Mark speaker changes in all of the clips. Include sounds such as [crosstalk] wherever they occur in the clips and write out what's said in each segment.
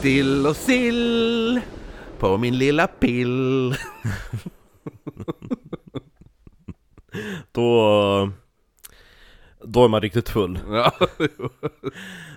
Speaker 1: sill och sill på min lilla pill.
Speaker 2: Då... Då är man riktigt full.
Speaker 1: Ja,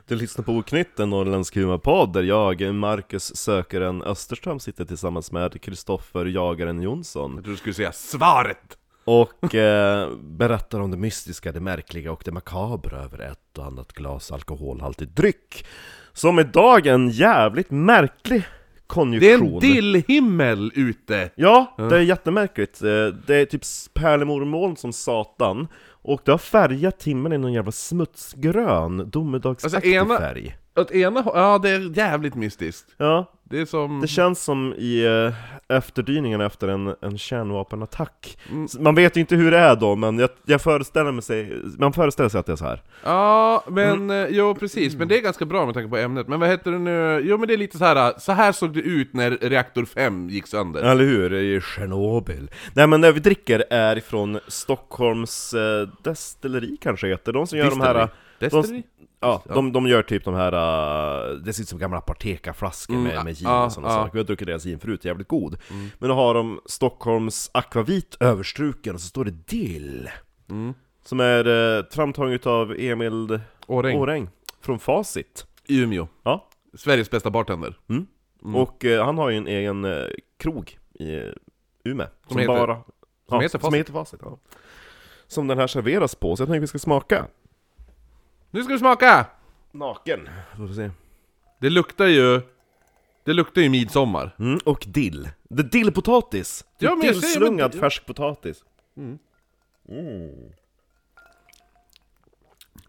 Speaker 2: Du lyssnar på Oknytt, en norrländsk humorpodd där jag, Marcus Sökaren Österström, sitter tillsammans med Kristoffer Jagaren Jonsson
Speaker 1: jag trodde du skulle säga svaret.
Speaker 2: och [laughs] eh, berättar om det mystiska, det märkliga och det makabra över ett och annat glas alkoholhaltig dryck. Som idag är en jävligt märklig
Speaker 1: Det är
Speaker 2: konjunktion.
Speaker 1: en dillhimmel ute.
Speaker 2: Ja, det är jättemärkligt. Eh, Det är typ pärlemormoln som satan, och det har färgat himlen i någon jävla smutsgrön, domedagsaktig
Speaker 1: Alltså, ena-
Speaker 2: färg.
Speaker 1: Åt ena hå- ja det är jävligt mystiskt.
Speaker 2: Ja,
Speaker 1: Det är som...
Speaker 2: det känns som i eh, efterdyningarna efter en, en kärnvapenattack.
Speaker 1: Mm.
Speaker 2: S- Man vet ju inte hur det är då, men jag, jag föreställer mig sig, man föreställer sig att det är så här.
Speaker 1: Ja, men eh, jo precis, men det är ganska bra med tanke på ämnet. Men vad heter det nu? Jo men det är lite så här. eh, så här såg det ut när reaktor 5 gick sönder.
Speaker 2: Eller hur? Det är ju Tjernobyl. Nej men det vi dricker är ifrån Stockholms eh, destilleri kanske heter, de som gör de här... eh,
Speaker 1: Destilleri?
Speaker 2: Ja, de, de gör typ de här, äh, det ser ut som gamla Apotekaflaskor med, med gin
Speaker 1: Mm, ja,
Speaker 2: och
Speaker 1: ja.
Speaker 2: sådana
Speaker 1: Mm.
Speaker 2: saker. Vi har druckit deras gin förut, jävligt god. Men då har de Stockholms akvavit överstruken och så står det dill.
Speaker 1: Mm.
Speaker 2: Som är eh, framtaget av Emil
Speaker 1: Åräng.
Speaker 2: Åräng från Facit.
Speaker 1: I Umeå.
Speaker 2: Ja.
Speaker 1: Sveriges bästa bartender. Mm.
Speaker 2: Och eh, han har ju en egen eh, krog i eh, Umeå. Som,
Speaker 1: heter-
Speaker 2: ja,
Speaker 1: heter
Speaker 2: som
Speaker 1: Facit.
Speaker 2: heter Facit. Ja. Som den här serveras på, så jag tänker vi ska smaka.
Speaker 1: Nu ska vi smaka!
Speaker 2: Naken. Får vi se.
Speaker 1: Det luktar ju... Det luktar ju midsommar.
Speaker 2: Mm, och dill. Det är dillpotatis! Det är
Speaker 1: Ja, men jag säger-
Speaker 2: Dillslungad
Speaker 1: men-
Speaker 2: färsk potatis. Mm.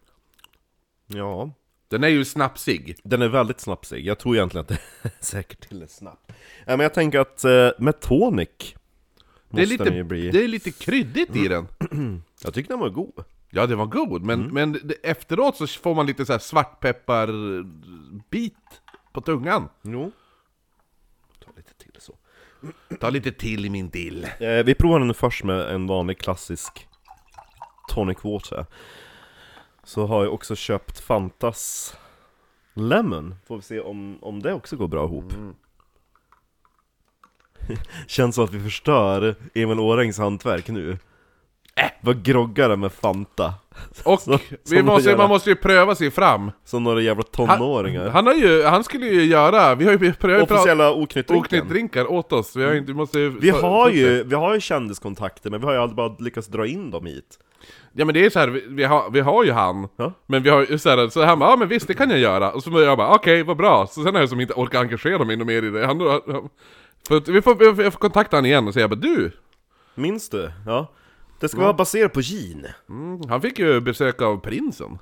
Speaker 2: Ja,
Speaker 1: Den är ju snapsig.
Speaker 2: den är väldigt snapsig. Jag tror egentligen att det är [laughs] säkert till ett snapp. Nej, men jag tänker att eh, med tonic
Speaker 1: Det är,
Speaker 2: måste
Speaker 1: lite,
Speaker 2: den ju bli... Mm.
Speaker 1: det är lite kryddigt i den.
Speaker 2: Jag tycker den var god.
Speaker 1: Ja, den var god, men,
Speaker 2: Mm.
Speaker 1: men det- efteråt så får man lite så här svartpepparbit på tungan.
Speaker 2: Jo. Ta lite till så.
Speaker 1: Ta lite till i min dill.
Speaker 2: Eh, vi provar den nu först med en vanlig klassisk tonic water. Så har jag också köpt Fantas Lemon. Får vi se om, om det också går bra ihop. [laughs] Känns som att vi förstör Emil Årängs hantverk nu. Äh, vad groggar det med Fanta?
Speaker 1: Och
Speaker 2: Så-
Speaker 1: vi
Speaker 2: som
Speaker 1: måste,
Speaker 2: jävla-
Speaker 1: man måste ju pröva sig fram.
Speaker 2: Som några jävla tonåringar.
Speaker 1: Han, har ju, han skulle ju göra, vi har ju prövat
Speaker 2: Officiella oknyttdrinken.
Speaker 1: oknytt-drinkar åt oss. Vi har ju inte, vi måste ju
Speaker 2: Vi
Speaker 1: ta-
Speaker 2: har
Speaker 1: ta upp det.
Speaker 2: ju, vi har ju kändiskontakter men vi har ju aldrig bara lyckats dra in dem hit.
Speaker 1: Ja men det är så här, vi, vi, har, vi har ju han,
Speaker 2: Ja.
Speaker 1: men vi har ju så, här, så han bara ja men visst det kan jag göra, och så börjar jag bara okej vad bra, så sen har jag som inte orkat engagera mig något mer i det. Han, han, för att vi får, vi får, jag får kontakta han igen och säga bara du,
Speaker 2: Minns du? Ja. Det ska vara baserat på gin.
Speaker 1: mm, han fick ju besök av prinsen.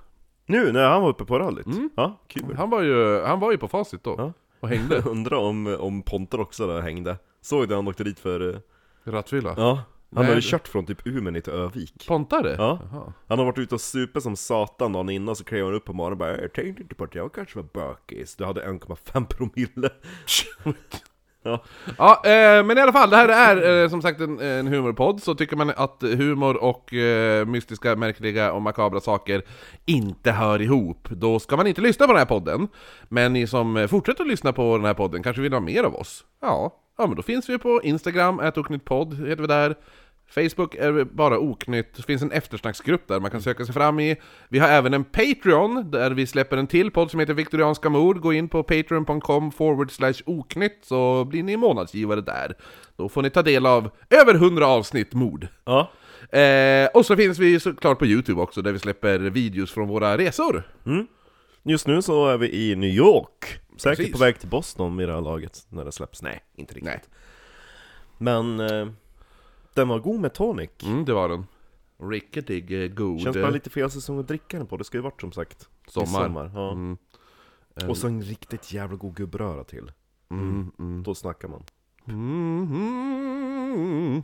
Speaker 2: Nu när han var uppe på rallyt?
Speaker 1: Mm.
Speaker 2: Ja, kul.
Speaker 1: Han var ju, han var ju på facit då,
Speaker 2: Ja.
Speaker 1: och
Speaker 2: [laughs]
Speaker 1: hängde,
Speaker 2: Undrar om, om Ponter också där hängde. Såg du han åkte dit för... eh,
Speaker 1: rattfylla.
Speaker 2: Ja. Han
Speaker 1: Nej,
Speaker 2: hade
Speaker 1: det-
Speaker 2: kört från typ Umeå ner till Övik.
Speaker 1: Pontare?
Speaker 2: Ja.
Speaker 1: Jaha.
Speaker 2: Han har varit ute och supit som satan dagen innan, så klev han upp på morgonen och bara Jag tänkte inte på att jag kanske var bökis. Du hade 1,5 promille. ja.
Speaker 1: Ja, eh, men i alla fall, det här är eh, som sagt en, en humorpodd, så tycker man att humor och eh, mystiska, märkliga och makabra saker inte hör ihop, då ska man inte lyssna på den här podden. Men ni som eh, fortsätter att lyssna på den här podden kanske vill ha mer av oss? Ja, ja men då finns vi på Instagram, @oknyttpodd heter vi där. Facebook är vi bara oknytt, det finns en eftersnacksgrupp där man kan söka sig fram i. Vi har även en Patreon, där vi släpper en till podd som heter Viktorianska mord. Gå in på patreon.com forward slash oknytt så blir ni månadsgivare där. Då får ni ta del av över 100 avsnitt mord.
Speaker 2: [laughs] ja.
Speaker 1: Eh, och så finns vi såklart på Youtube också, där vi släpper videos från våra resor.
Speaker 2: Just nu så är vi i New York. Säkert
Speaker 1: Precis.
Speaker 2: på väg till Boston vid det här laget när det släpps. Nej, inte riktigt.
Speaker 1: Nej,
Speaker 2: Men eh, den var god med tonic.
Speaker 1: mm, det var den. Riktigt god.
Speaker 2: Känns bara lite fel säsong att dricka den på, det ska ju varit som sagt i
Speaker 1: Sommar.
Speaker 2: ja.
Speaker 1: Mm.
Speaker 2: Och så en riktigt jävla god gubbröra till
Speaker 1: Mm, mm.
Speaker 2: Då snackar man
Speaker 1: Mhm.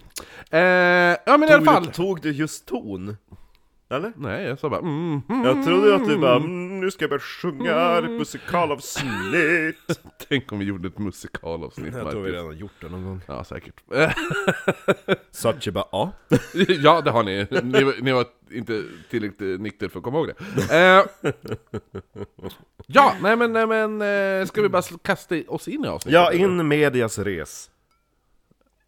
Speaker 1: Eh, ja men i alla
Speaker 2: tog
Speaker 1: fall.
Speaker 2: du, tog du just ton? Eller?
Speaker 1: Nej, jag sa bara mm, mm,
Speaker 2: Jag trodde att du bara mm, nu ska jag börja sjunga ett musikalavsnitt
Speaker 1: Tänk om vi gjorde ett [laughs] musikalavsnitt
Speaker 2: [laughs] Jag tror vi
Speaker 1: Marcus.
Speaker 2: redan har gjort det någon gång
Speaker 1: Ja, säkert. [laughs]
Speaker 2: Sachi bara ja
Speaker 1: ja, det har ni. Ni, var- ni var inte tillräckligt nykter för att komma ihåg det. Eh, ja, nej men, nej men eh, ska vi bara sl- kasta i- oss in i avsnittet?
Speaker 2: Ja, in medias res.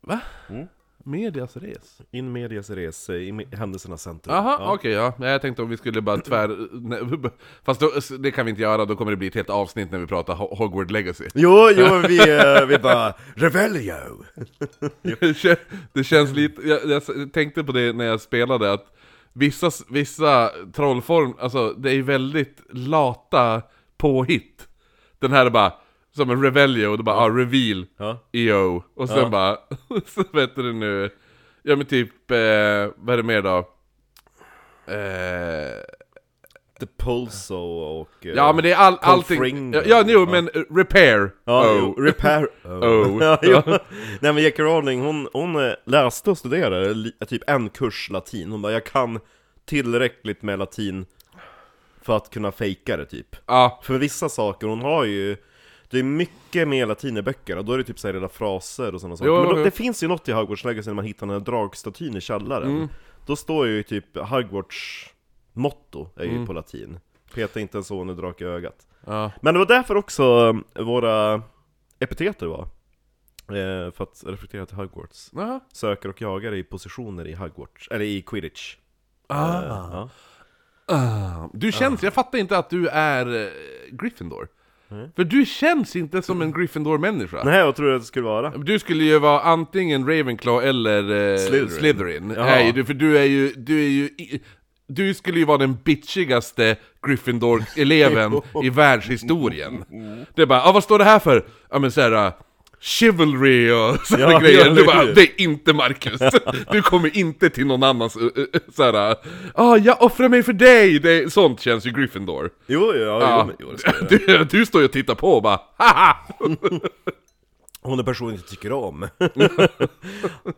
Speaker 1: Va?
Speaker 2: Mm.
Speaker 1: Medias res?
Speaker 2: In medias res, eh, i me- händelsernas centrum.
Speaker 1: Jaha,
Speaker 2: ja.
Speaker 1: okej ja. Nej, Jag tänkte om vi skulle bara tvär... [laughs] nej, Fast då, det kan vi inte göra, då kommer det bli ett helt avsnitt när vi pratar Ho- Hogwarts Legacy.
Speaker 2: Jo, jo, vi, eh, vi bara [laughs] Revelio!
Speaker 1: Det kän- Det känns lite, jag, jag s- tänkte på det när jag spelade att vissa, s- vissa trollform, alltså det är väldigt lata påhitt. Den här är bara, som en revelio, och det bara ah, reveal,
Speaker 2: Ja.
Speaker 1: EO, och sen
Speaker 2: Ja.
Speaker 1: bara, [laughs] så vet du det nu, ja men typ, eh, vad är det mer då? Eh,
Speaker 2: The Pulso och... eh,
Speaker 1: ja men det är all, allting,
Speaker 2: Fring.
Speaker 1: ja, ja jo men eh, repair,
Speaker 2: Ja,
Speaker 1: oh.
Speaker 2: jo, repair... [laughs]
Speaker 1: Oh.
Speaker 2: ja, jo. Nej men J.K. Rowling, hon, hon eh, läste och studerade li- typ en kurs latin. Hon bara, jag kan tillräckligt med latin för att kunna fejka det typ.
Speaker 1: ja,
Speaker 2: För vissa saker, hon har ju... Det är mycket mer latin i böckerna, då är det typ såhär rena fraser och sådana saker.
Speaker 1: Jo,
Speaker 2: Men då,
Speaker 1: jo.
Speaker 2: det finns ju något i Hogwarts Legacy när man hittar den här dragstatyn i källaren.
Speaker 1: Mm.
Speaker 2: Då står ju typ Hogwarts motto, är ju
Speaker 1: Mm.
Speaker 2: på latin. Peta inte en son i drake i ögat.
Speaker 1: ja,
Speaker 2: Men det var därför också eh, våra epiteter var. Eh, för att reflektera till Hogwarts.
Speaker 1: Jaha.
Speaker 2: Söker och jagar i positioner i Hogwarts, eller i Quidditch. Eh,
Speaker 1: Ah.
Speaker 2: Ja.
Speaker 1: Ah, Du känns, jag fattar inte att du är eh, Gryffindor. För du känns inte som en Gryffindor-människa.
Speaker 2: Nej, vad tror du att det skulle vara?
Speaker 1: Du skulle ju vara antingen Ravenclaw eller eh, Slytherin.
Speaker 2: Slytherin. Jaha.
Speaker 1: Nej, du, för du är ju, du är ju... i- Du skulle ju vara den bitchigaste
Speaker 2: [laughs]
Speaker 1: Gryffindor-eleven i världshistorien. Det är bara, ah, vad står det här för? Ja men såhär... Uh, Chivalry och [laughs] sådana
Speaker 2: Ja,
Speaker 1: grejer,
Speaker 2: ja,
Speaker 1: du bara
Speaker 2: eller hur?
Speaker 1: 'Det är inte
Speaker 2: [laughs]
Speaker 1: Marcus! Du kommer inte till någon annans uh, uh, såhär ah, jag offrar mig för dig!' Det, är- sånt känns ju Gryffindor.
Speaker 2: Jo, jo, jo,
Speaker 1: Ja.
Speaker 2: jo, men- jo det ska jag.
Speaker 1: [laughs] Du, du står ju och tittar på och bara Haha!
Speaker 2: Hon är personen jag tycker om. [laughs]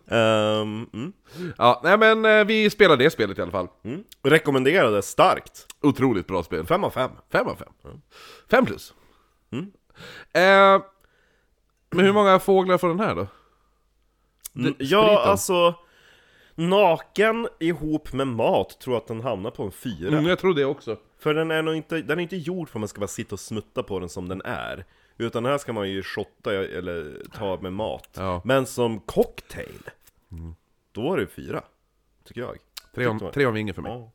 Speaker 2: Ehm, mm.
Speaker 1: Ja, nej men eh, vi spelar det spelet i alla fall.
Speaker 2: Mm. Rekommenderade starkt.
Speaker 1: Otroligt bra spel.
Speaker 2: fem av fem
Speaker 1: Fem av fem. Fem plus. Mm. Eh, men hur många fåglar får den här då?
Speaker 2: Mm,
Speaker 1: Det-
Speaker 2: Ja,
Speaker 1: spriten.
Speaker 2: alltså... Naken ihop med mat tror jag att den hamnar på en fyra.
Speaker 1: Mm, jag tror det också.
Speaker 2: För den är nog inte, den är inte gjord för att man ska bara sitta och smutta på den som den är. Utan här ska man ju shotta eller ta med mat.
Speaker 1: Ja.
Speaker 2: Men som cocktail, Mm. då är det fyra. Tycker jag.
Speaker 1: Tre om,
Speaker 2: Tyckte-
Speaker 1: tre om vingen för mig.
Speaker 2: Ja.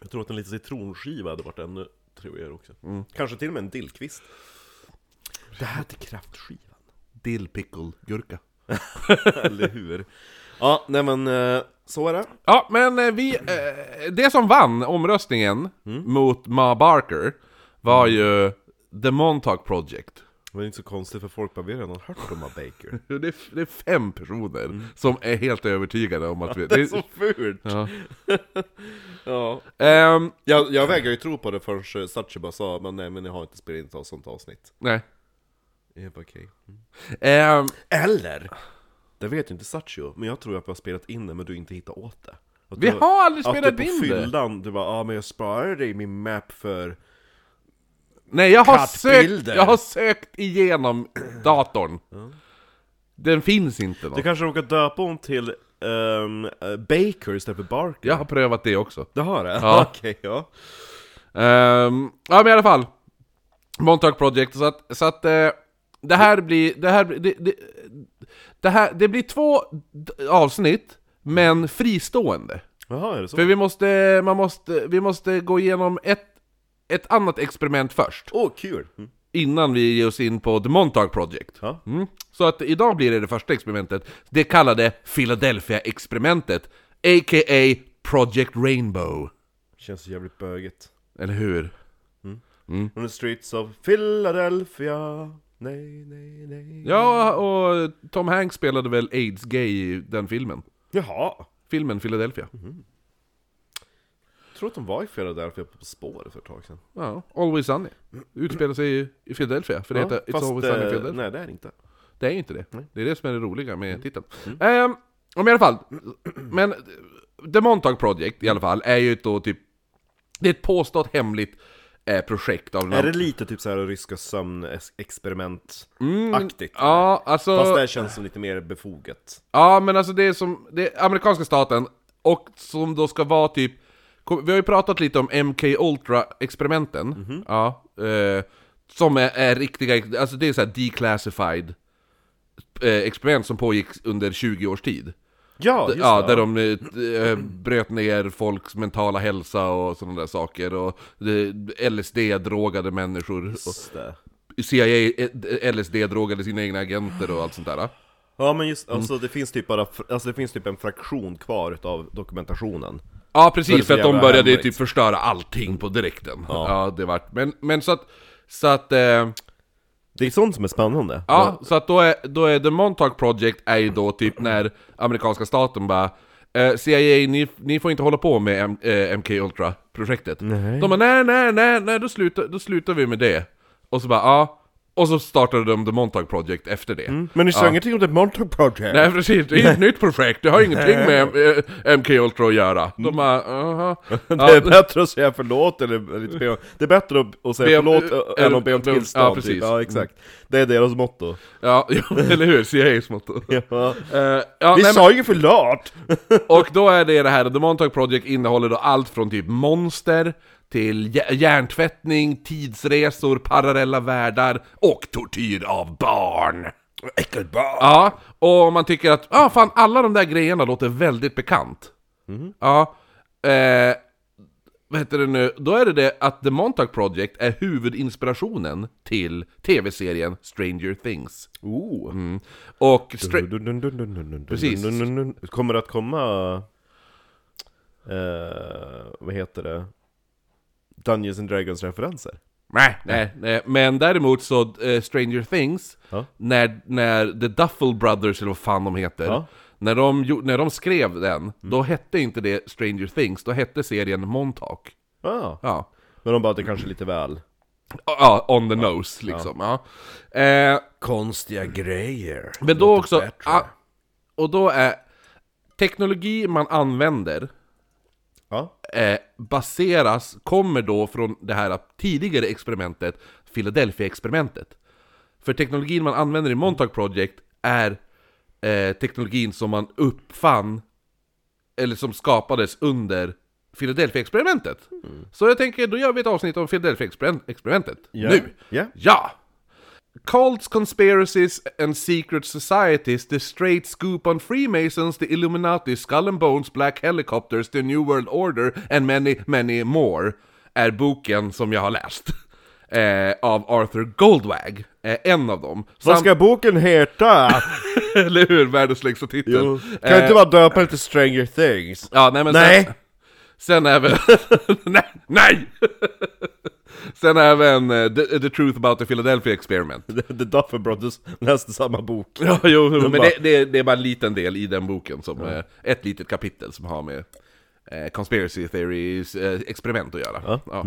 Speaker 2: Jag tror att en liten citronskiva hade varit ännu trevligare också. Kanske till och med en dillkvist. Mm. Det här till kraftskivan.
Speaker 1: Dill pickle gurka.
Speaker 2: [laughs] Eller hur? Ja, nej men eh, så är det.
Speaker 1: Ja, men eh, vi... Eh, det som vann omröstningen mot Ma Barker var ju The Montauk Project.
Speaker 2: Det var inte så konstigt för folk bara, vi har redan hört om Bob Baker.
Speaker 1: Det är, det är fem personer som är helt övertygade om att vi...
Speaker 2: Det är så fult!
Speaker 1: Ja.
Speaker 2: [laughs] ja.
Speaker 1: Ehm,
Speaker 2: Jag, jag vägrar ju tro på det förrän Sachi bara sa men nej men ni har inte spelat in ett sånt avsnitt.
Speaker 1: nej.
Speaker 2: Jag bara, okej.
Speaker 1: Ehm,
Speaker 2: Eller? Det vet ju inte Satchio, men jag tror att vi har spelat in det men du inte hittar åt det. Att
Speaker 1: Vi
Speaker 2: du,
Speaker 1: har aldrig spelat
Speaker 2: att du
Speaker 1: in det.
Speaker 2: på fyllan, du bara ja ah, men jag sparade det i min map för...
Speaker 1: nej, jag har, sökt,
Speaker 2: Kattbilder.
Speaker 1: jag har sökt igenom [clears throat] datorn. Den finns inte
Speaker 2: Du
Speaker 1: någon.
Speaker 2: kanske råkar döpa hon till ehm, eh, Baker istället för Barker?
Speaker 1: Jag har prövat det också.
Speaker 2: Det har det?
Speaker 1: Ja.
Speaker 2: [laughs] Okej, ja.
Speaker 1: Ehm, ja, men i alla fall. Montauk Project, så att... Så att eh, det här blir... Det här, blir- det, det, det, här, det blir två d- avsnitt, men fristående.
Speaker 2: Jaha, är det så?
Speaker 1: För vi måste, man måste, vi måste gå igenom ett, ett annat experiment först.
Speaker 2: Åh, kul! Mm.
Speaker 1: innan vi ger oss in på The Montauk Project.
Speaker 2: Ja.
Speaker 1: Mm. Så att idag blir det det första experimentet, det kallade Philadelphia-experimentet, a.k.a. Project Rainbow.
Speaker 2: Känns jävligt böget.
Speaker 1: Eller hur?
Speaker 2: On the streets of Philadelphia Nej, nej, nej
Speaker 1: Ja, och Tom Hanks spelade väl AIDS-gay i den filmen?
Speaker 2: Jaha!
Speaker 1: Filmen Philadelphia.
Speaker 2: Mm. Jag tror att de var i Philadelphia på spåret för ett tag sedan.
Speaker 1: Ja, Always Sunny. Utspelar sig i- i Philadelphia, för det heter It's Always Sunny i
Speaker 2: eh,
Speaker 1: Philadelphia.
Speaker 2: Nej, det är det inte.
Speaker 1: Det är ju inte det. Det är det som är det roliga
Speaker 2: Mm.
Speaker 1: med titeln. Ehm, men i alla fall. Men eh, The Montauk Project i alla fall är ju då typ... Det är ett påstått hemligt eh, projekt av...
Speaker 2: Är det lite typ så här ryska sömnexperiment-aktigt?
Speaker 1: Mm, Ja, alltså...
Speaker 2: Fast det här känns som lite mer befogat.
Speaker 1: Ja, men alltså det är som... Det är amerikanska staten Och som då ska vara typ... kom- Vi har ju pratat lite om MK Ultra-experimenten.
Speaker 2: Mhm.
Speaker 1: Ja. Eh, som är, är riktiga, alltså det är så här declassified eh, experiment som pågick under 20 års tid.
Speaker 2: Ja, just
Speaker 1: Ja,
Speaker 2: det.
Speaker 1: där de eh, t- eh, bröt ner folks mentala hälsa och sådana där saker. Och eh, LSD-drogade människor.
Speaker 2: Just det.
Speaker 1: Och CIA eh, LSD-drogade sina egna agenter och allt sånt där.
Speaker 2: Ja men
Speaker 1: Mm.
Speaker 2: just, alltså det finns typ bara, alltså det finns typ en fraktion kvar av dokumentationen
Speaker 1: Ja
Speaker 2: För
Speaker 1: precis,
Speaker 2: att
Speaker 1: för att de
Speaker 2: jävla
Speaker 1: började ju
Speaker 2: hemligt.
Speaker 1: typ förstöra allting på direkten. Ja, det vart... Men, men så att... Så att... Eh,
Speaker 2: Det är sånt som är spännande
Speaker 1: Ja, så att då är, då är The Montauk Project är ju då typ när amerikanska staten bara eh, CIA, ni, ni får inte hålla på med M- eh, MK Ultra-projektet.
Speaker 2: Nej.
Speaker 1: De bara nej, nej, nej, nej, då slutar, då slutar vi med det. Och så bara ja, och så startade de The Montauk Project efter det.
Speaker 2: Men ni sa ingenting om The Montauk Project?
Speaker 1: Nej precis, det
Speaker 2: [laughs]
Speaker 1: är ett nytt projekt, det har ingenting med eh, MK Ultra att göra. De bara,
Speaker 2: [laughs]
Speaker 1: aha.
Speaker 2: Det är bättre att säga förlåt eller, eller inte be om, Det är bättre att, att
Speaker 1: Be
Speaker 2: säga
Speaker 1: om-
Speaker 2: förlåt
Speaker 1: eh,
Speaker 2: än att be om
Speaker 1: be om-
Speaker 2: tillstånd
Speaker 1: ja, precis. Mm.
Speaker 2: Typ. ja exakt Det är deras motto
Speaker 1: Ja, [laughs] ja, eller hur? CIA's motto.
Speaker 2: ja.
Speaker 1: Eh, ja,
Speaker 2: Vi
Speaker 1: nej,
Speaker 2: sa ju förlåt!
Speaker 1: Och då är det det här, The Montauk Project innehåller då allt från typ monster till jä- hjärntvättning, tidsresor, parallella världar och tortyr av barn.
Speaker 2: Äckelbarn!
Speaker 1: Ja, och om man tycker att ja, fan alla de där grejerna låter väldigt bekant. Ja, eh, vad heter det nu? Då är det det att The Montauk Project är huvudinspirationen till tv-serien Stranger Things. Mm.
Speaker 2: Oh.
Speaker 1: Och Stra-
Speaker 2: Dun, dun, dun, dun, dun, dun,
Speaker 1: Precis.
Speaker 2: dun, dun, dun. Kommer det att komma... Eh, vad heter det? Dungeons and Dragons referenser?
Speaker 1: Nej, nej, nej. Men däremot så, eh, Stranger Things,
Speaker 2: Ja.
Speaker 1: när, när The Duffel Brothers, eller vad fan de heter,
Speaker 2: Ja.
Speaker 1: när, de, gjo- när de skrev den, då hette inte det Stranger Things, då hette serien Montauk.
Speaker 2: Ah,
Speaker 1: Ja,
Speaker 2: men de bara att det kanske är lite väl...
Speaker 1: ja on the nose liksom. Ja. Eh,
Speaker 2: Konstiga grejer.
Speaker 1: men då också, ah, och då är teknologi man använder
Speaker 2: Ja,
Speaker 1: eh, baseras, kommer då från det här tidigare experimentet, Philadelphia-experimentet. För teknologin man använder i Montauk Project är eh, teknologin som man uppfann, eller som skapades under Philadelphia-experimentet. Så jag tänker, då gör vi ett avsnitt om Philadelphia-experimentet.
Speaker 2: Ja.
Speaker 1: Nu!
Speaker 2: Ja.
Speaker 1: Ja! Cults, conspiracies and secret societies, the straight scoop on Freemasons, the Illuminati, skull and bones, black helicopters, the new world order and many, many more är boken som jag har läst. [laughs] Eh, av Arthur Goldwag, eh, en av dem.
Speaker 2: vad
Speaker 1: Sam-
Speaker 2: ska
Speaker 1: [laughs]
Speaker 2: boken heta?
Speaker 1: Eller hur? Världens längsta titel.
Speaker 2: Jo. Kan
Speaker 1: Eh,
Speaker 2: inte bara döpa den till Stranger Things?
Speaker 1: Ja, nej men
Speaker 2: Nej.
Speaker 1: Sen, sen även... [laughs] nej! nej! [laughs] sen även eh, the, the Truth About the Philadelphia Experiment.
Speaker 2: [laughs] The Duffer Brothers läste samma bok.
Speaker 1: Ja, jo, jo, men
Speaker 2: bara-
Speaker 1: det, det, det är bara en liten del i den boken, som, eh, ett litet kapitel som har med eh, conspiracy theories eh, experiment att göra. Ja.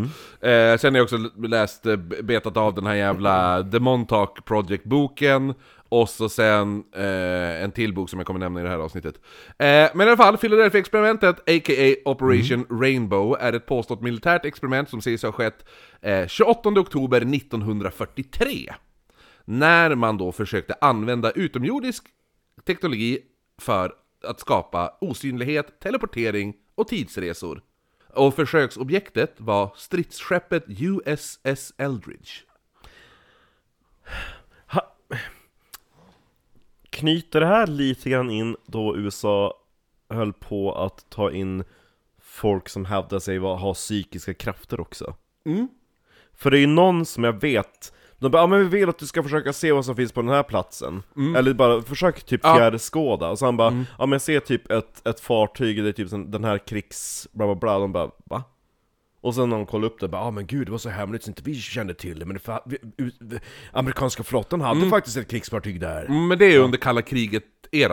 Speaker 1: Eh, sen har jag också läst, eh, betat av den här jävla The Montauk Project-boken, och så sen eh, en till bok som jag kommer nämna i det här avsnittet. Eh, men i alla fall, Philadelphia-experimentet, a.k.a. Operation Rainbow, är ett påstått militärt experiment som sägs ha skett eh, 28 oktober 1943 när man då försökte använda utomjordisk teknologi för att skapa osynlighet, teleportering och tidsresor. Och försöksobjektet var stridsskeppet USS Eldridge.
Speaker 2: Knyter det här lite grann in då USA höll på att ta in folk som hävdar sig va- ha psykiska krafter också? För det är ju någon som jag vet, de bara ah, men vi vill att du ska försöka se vad som finns på den här platsen' Eller bara försök typ
Speaker 1: Ja.
Speaker 2: fjärrskåda, och så han bara ja ah, men jag ser typ ett, ett fartyg, det är typ sån- den här krigs... bla bla bla, de bara va? Och sen när de kollade upp det, bara ah, men gud det var så hemligt så inte vi kände till det, men det fa- vi, ut- vi, amerikanska flottan hade faktiskt ett krigsfartyg där'
Speaker 1: Mm, Men det är ju under kalla kriget-eran.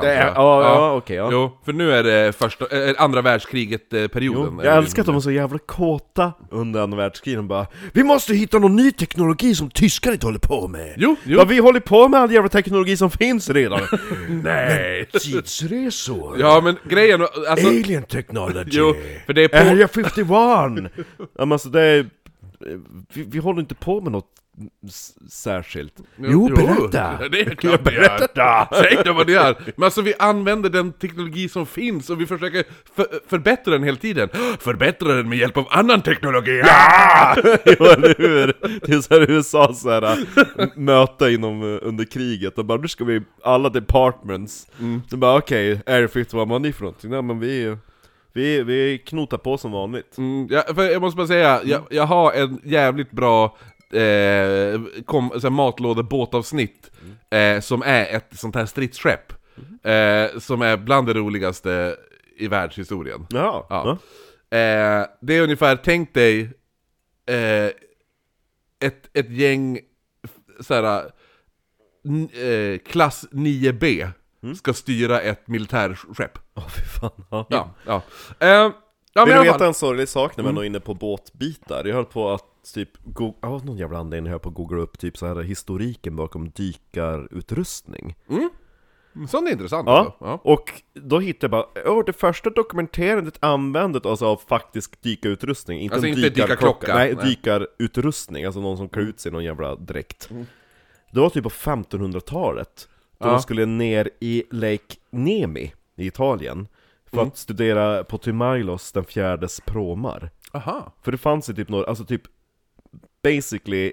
Speaker 2: Det är-
Speaker 1: tror jag.
Speaker 2: ja, ja, okej, ja.
Speaker 1: Jo, för nu är det första, eh, andra eh, världskriget-perioden.
Speaker 2: Jag älskar att de var så jävla kåta under andra världskriget, de bara Vi måste hitta någon ny teknologi som tyskar inte håller på med!
Speaker 1: Jo, jo.
Speaker 2: Vad vi håller på med all jävla teknologi som
Speaker 1: [laughs]
Speaker 2: finns redan!
Speaker 1: Nej!
Speaker 2: Tidsresor!
Speaker 1: Ja, men grejen... Alltså,
Speaker 2: Alien technology!
Speaker 1: jo, för det är på...
Speaker 2: Area 51! ja men alltså det är... Vi, vi håller inte på med något s-
Speaker 1: [laughs]
Speaker 2: särskilt.
Speaker 1: Det är klart vi gör. Säg inte vad det är! Men alltså vi använder den teknologi som finns och vi försöker för- förbättra den hela tiden. Förbättra den med hjälp av annan teknologi! Ja!
Speaker 2: Jo, eller hur? Det är såhär USA såhär möte inom, eh, under kriget, och bara nu ska vi, alla departments.
Speaker 1: Mm.
Speaker 2: Så bara okej, Air 51, vad var ni för någonting? Nej men vi, är ju- vi, vi knotar på som vanligt.
Speaker 1: Mm, ja, för jag måste bara säga, jag, jag har en jävligt bra eh, kom, så här matlådebåtavsnitt eh, som är ett sånt här stridsskepp. Eh, som är bland det roligaste i världshistorien.
Speaker 2: Ja.
Speaker 1: Ja. Eh, det är ungefär, tänk dig eh, ett, ett gäng f- såhär, n- eh, klass 9B
Speaker 2: Mm.
Speaker 1: ska styra ett militärskepp.
Speaker 2: Åh fy fan. Ja.
Speaker 1: Ja, ja. Eh, ja men i
Speaker 2: Vill
Speaker 1: alla
Speaker 2: du
Speaker 1: fall. Mm.
Speaker 2: veta en sorglig sak när man är inne på båtbitar? Jag höll på att typ, go- av någon jävla anledning höll jag på att googla upp typ så här historiken bakom dykarutrustning.
Speaker 1: Sånt är intressant.
Speaker 2: Ja,
Speaker 1: alltså. Ja.
Speaker 2: och då hittade jag bara, åh det första dokumenterandet användandet alltså av faktisk dykarutrustning, inte
Speaker 1: Alltså
Speaker 2: en
Speaker 1: inte dykarklocka.
Speaker 2: dykarklocka. Nej,
Speaker 1: Nej.
Speaker 2: dykarutrustning, alltså någon som klär ut sig i någon jävla dräkt. Det var typ på 1500-talet, då
Speaker 1: Mm. Ja.
Speaker 2: de skulle ner i Lake Nemi i Italien för
Speaker 1: Mm.
Speaker 2: att studera Potymailos den fjärdes pråmar.
Speaker 1: Aha.
Speaker 2: För det fanns ju typ några, alltså typ basically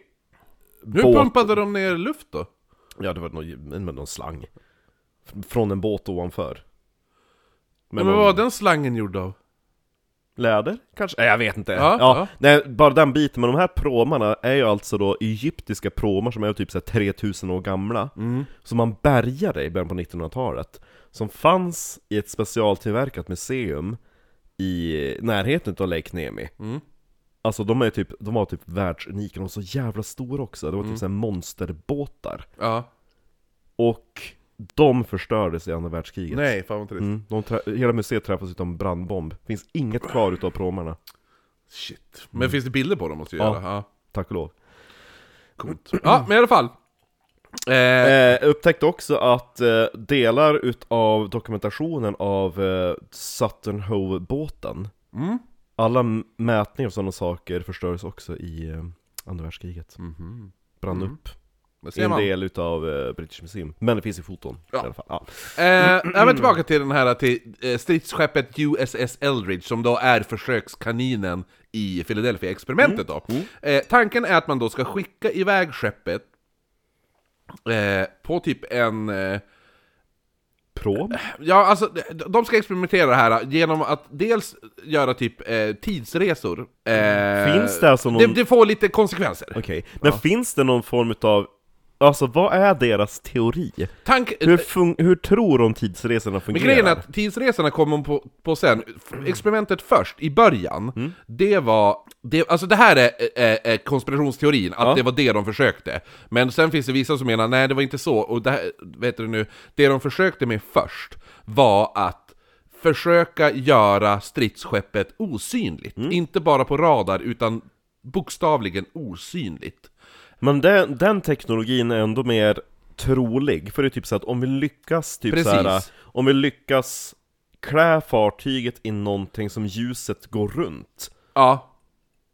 Speaker 1: Hur
Speaker 2: båt-
Speaker 1: pumpade de ner luft då?
Speaker 2: Ja det var någon, med någon slang. F- Från en båt ovanför.
Speaker 1: Men, men
Speaker 2: Med någon
Speaker 1: vad var den slangen gjord av?
Speaker 2: läder kanske? Nej jag vet inte.
Speaker 1: Ja,
Speaker 2: Ja,
Speaker 1: ja.
Speaker 2: Nej, bara den biten, men de här pråmarna är ju alltså då egyptiska pråmar som är typ så här 3000 år gamla.
Speaker 1: Mm.
Speaker 2: Som man bärgade i början på 1900-talet. Som fanns i ett specialtillverkat museum i närheten av Lake Nemi.
Speaker 1: Mm.
Speaker 2: Alltså de är typ, de var typ världsunika, de var så jävla stora också. Det
Speaker 1: Mm.
Speaker 2: var typ så här monsterbåtar.
Speaker 1: Ja.
Speaker 2: Och de förstördes i andra världskriget.
Speaker 1: Nej, fan vad trist.
Speaker 2: Mm, de tra- hela museet träffas utav en brandbomb. Finns inget kvar utav pråmarna,
Speaker 1: Shit. Men finns det bilder på dem måste ju
Speaker 2: Ja.
Speaker 1: göra? Ja.
Speaker 2: tack och lov.
Speaker 1: Coolt. Ja, men i alla fall. Eh,
Speaker 2: Eh, upptäckte också att eh, delar utav dokumentationen av eh, Sutton Hoo-båten,
Speaker 1: Mm.
Speaker 2: alla m- mätningar och sådana saker förstördes också i eh, andra världskriget.
Speaker 1: mhm.
Speaker 2: Brann
Speaker 1: Mm.
Speaker 2: upp
Speaker 1: Där
Speaker 2: i
Speaker 1: ser
Speaker 2: en
Speaker 1: man. Eh,
Speaker 2: del utav eh, British Museum. Men det finns i foton
Speaker 1: Ja.
Speaker 2: i alla fall. Ja.
Speaker 1: ja, men Eh, tillbaka till den här till eh, stridsskeppet USS Eldridge som då är försökskaninen i Philadelphia-experimentet då.
Speaker 2: Mm.
Speaker 1: Eh, tanken är att man då ska skicka iväg skeppet eh, på typ en... Eh,
Speaker 2: Pråm?
Speaker 1: Ja, alltså de- de ska experimentera det här genom att dels göra typ eh, tidsresor. Eh,
Speaker 2: Finns det alltså någon-
Speaker 1: Det, det får lite konsekvenser.
Speaker 2: Okej, men finns det någon form utav, alltså vad är deras teori?
Speaker 1: Tank...
Speaker 2: Hur, fun- hur tror de tidsresorna
Speaker 1: Eh, Men
Speaker 2: fungerar?
Speaker 1: grejen är att tidsresorna kom hon på, på sen. F- Experimentet först, i början,
Speaker 2: Mm.
Speaker 1: det var... Det, alltså det här är, är, är konspirationsteorin, att
Speaker 2: Ja.
Speaker 1: det var det de försökte. Men sen finns det vissa som menar, nej det var inte så, och det här, vet du nu, det de försökte med först var att försöka göra stridsskeppet osynligt.
Speaker 2: Mm.
Speaker 1: Inte bara på radar, utan bokstavligen osynligt.
Speaker 2: Men den, den teknologin är ändå mer trolig, för det är typ så att om vi lyckas typ
Speaker 1: Precis.
Speaker 2: så här, om vi lyckas klä fartyget i någonting som ljuset går runt.
Speaker 1: Ja.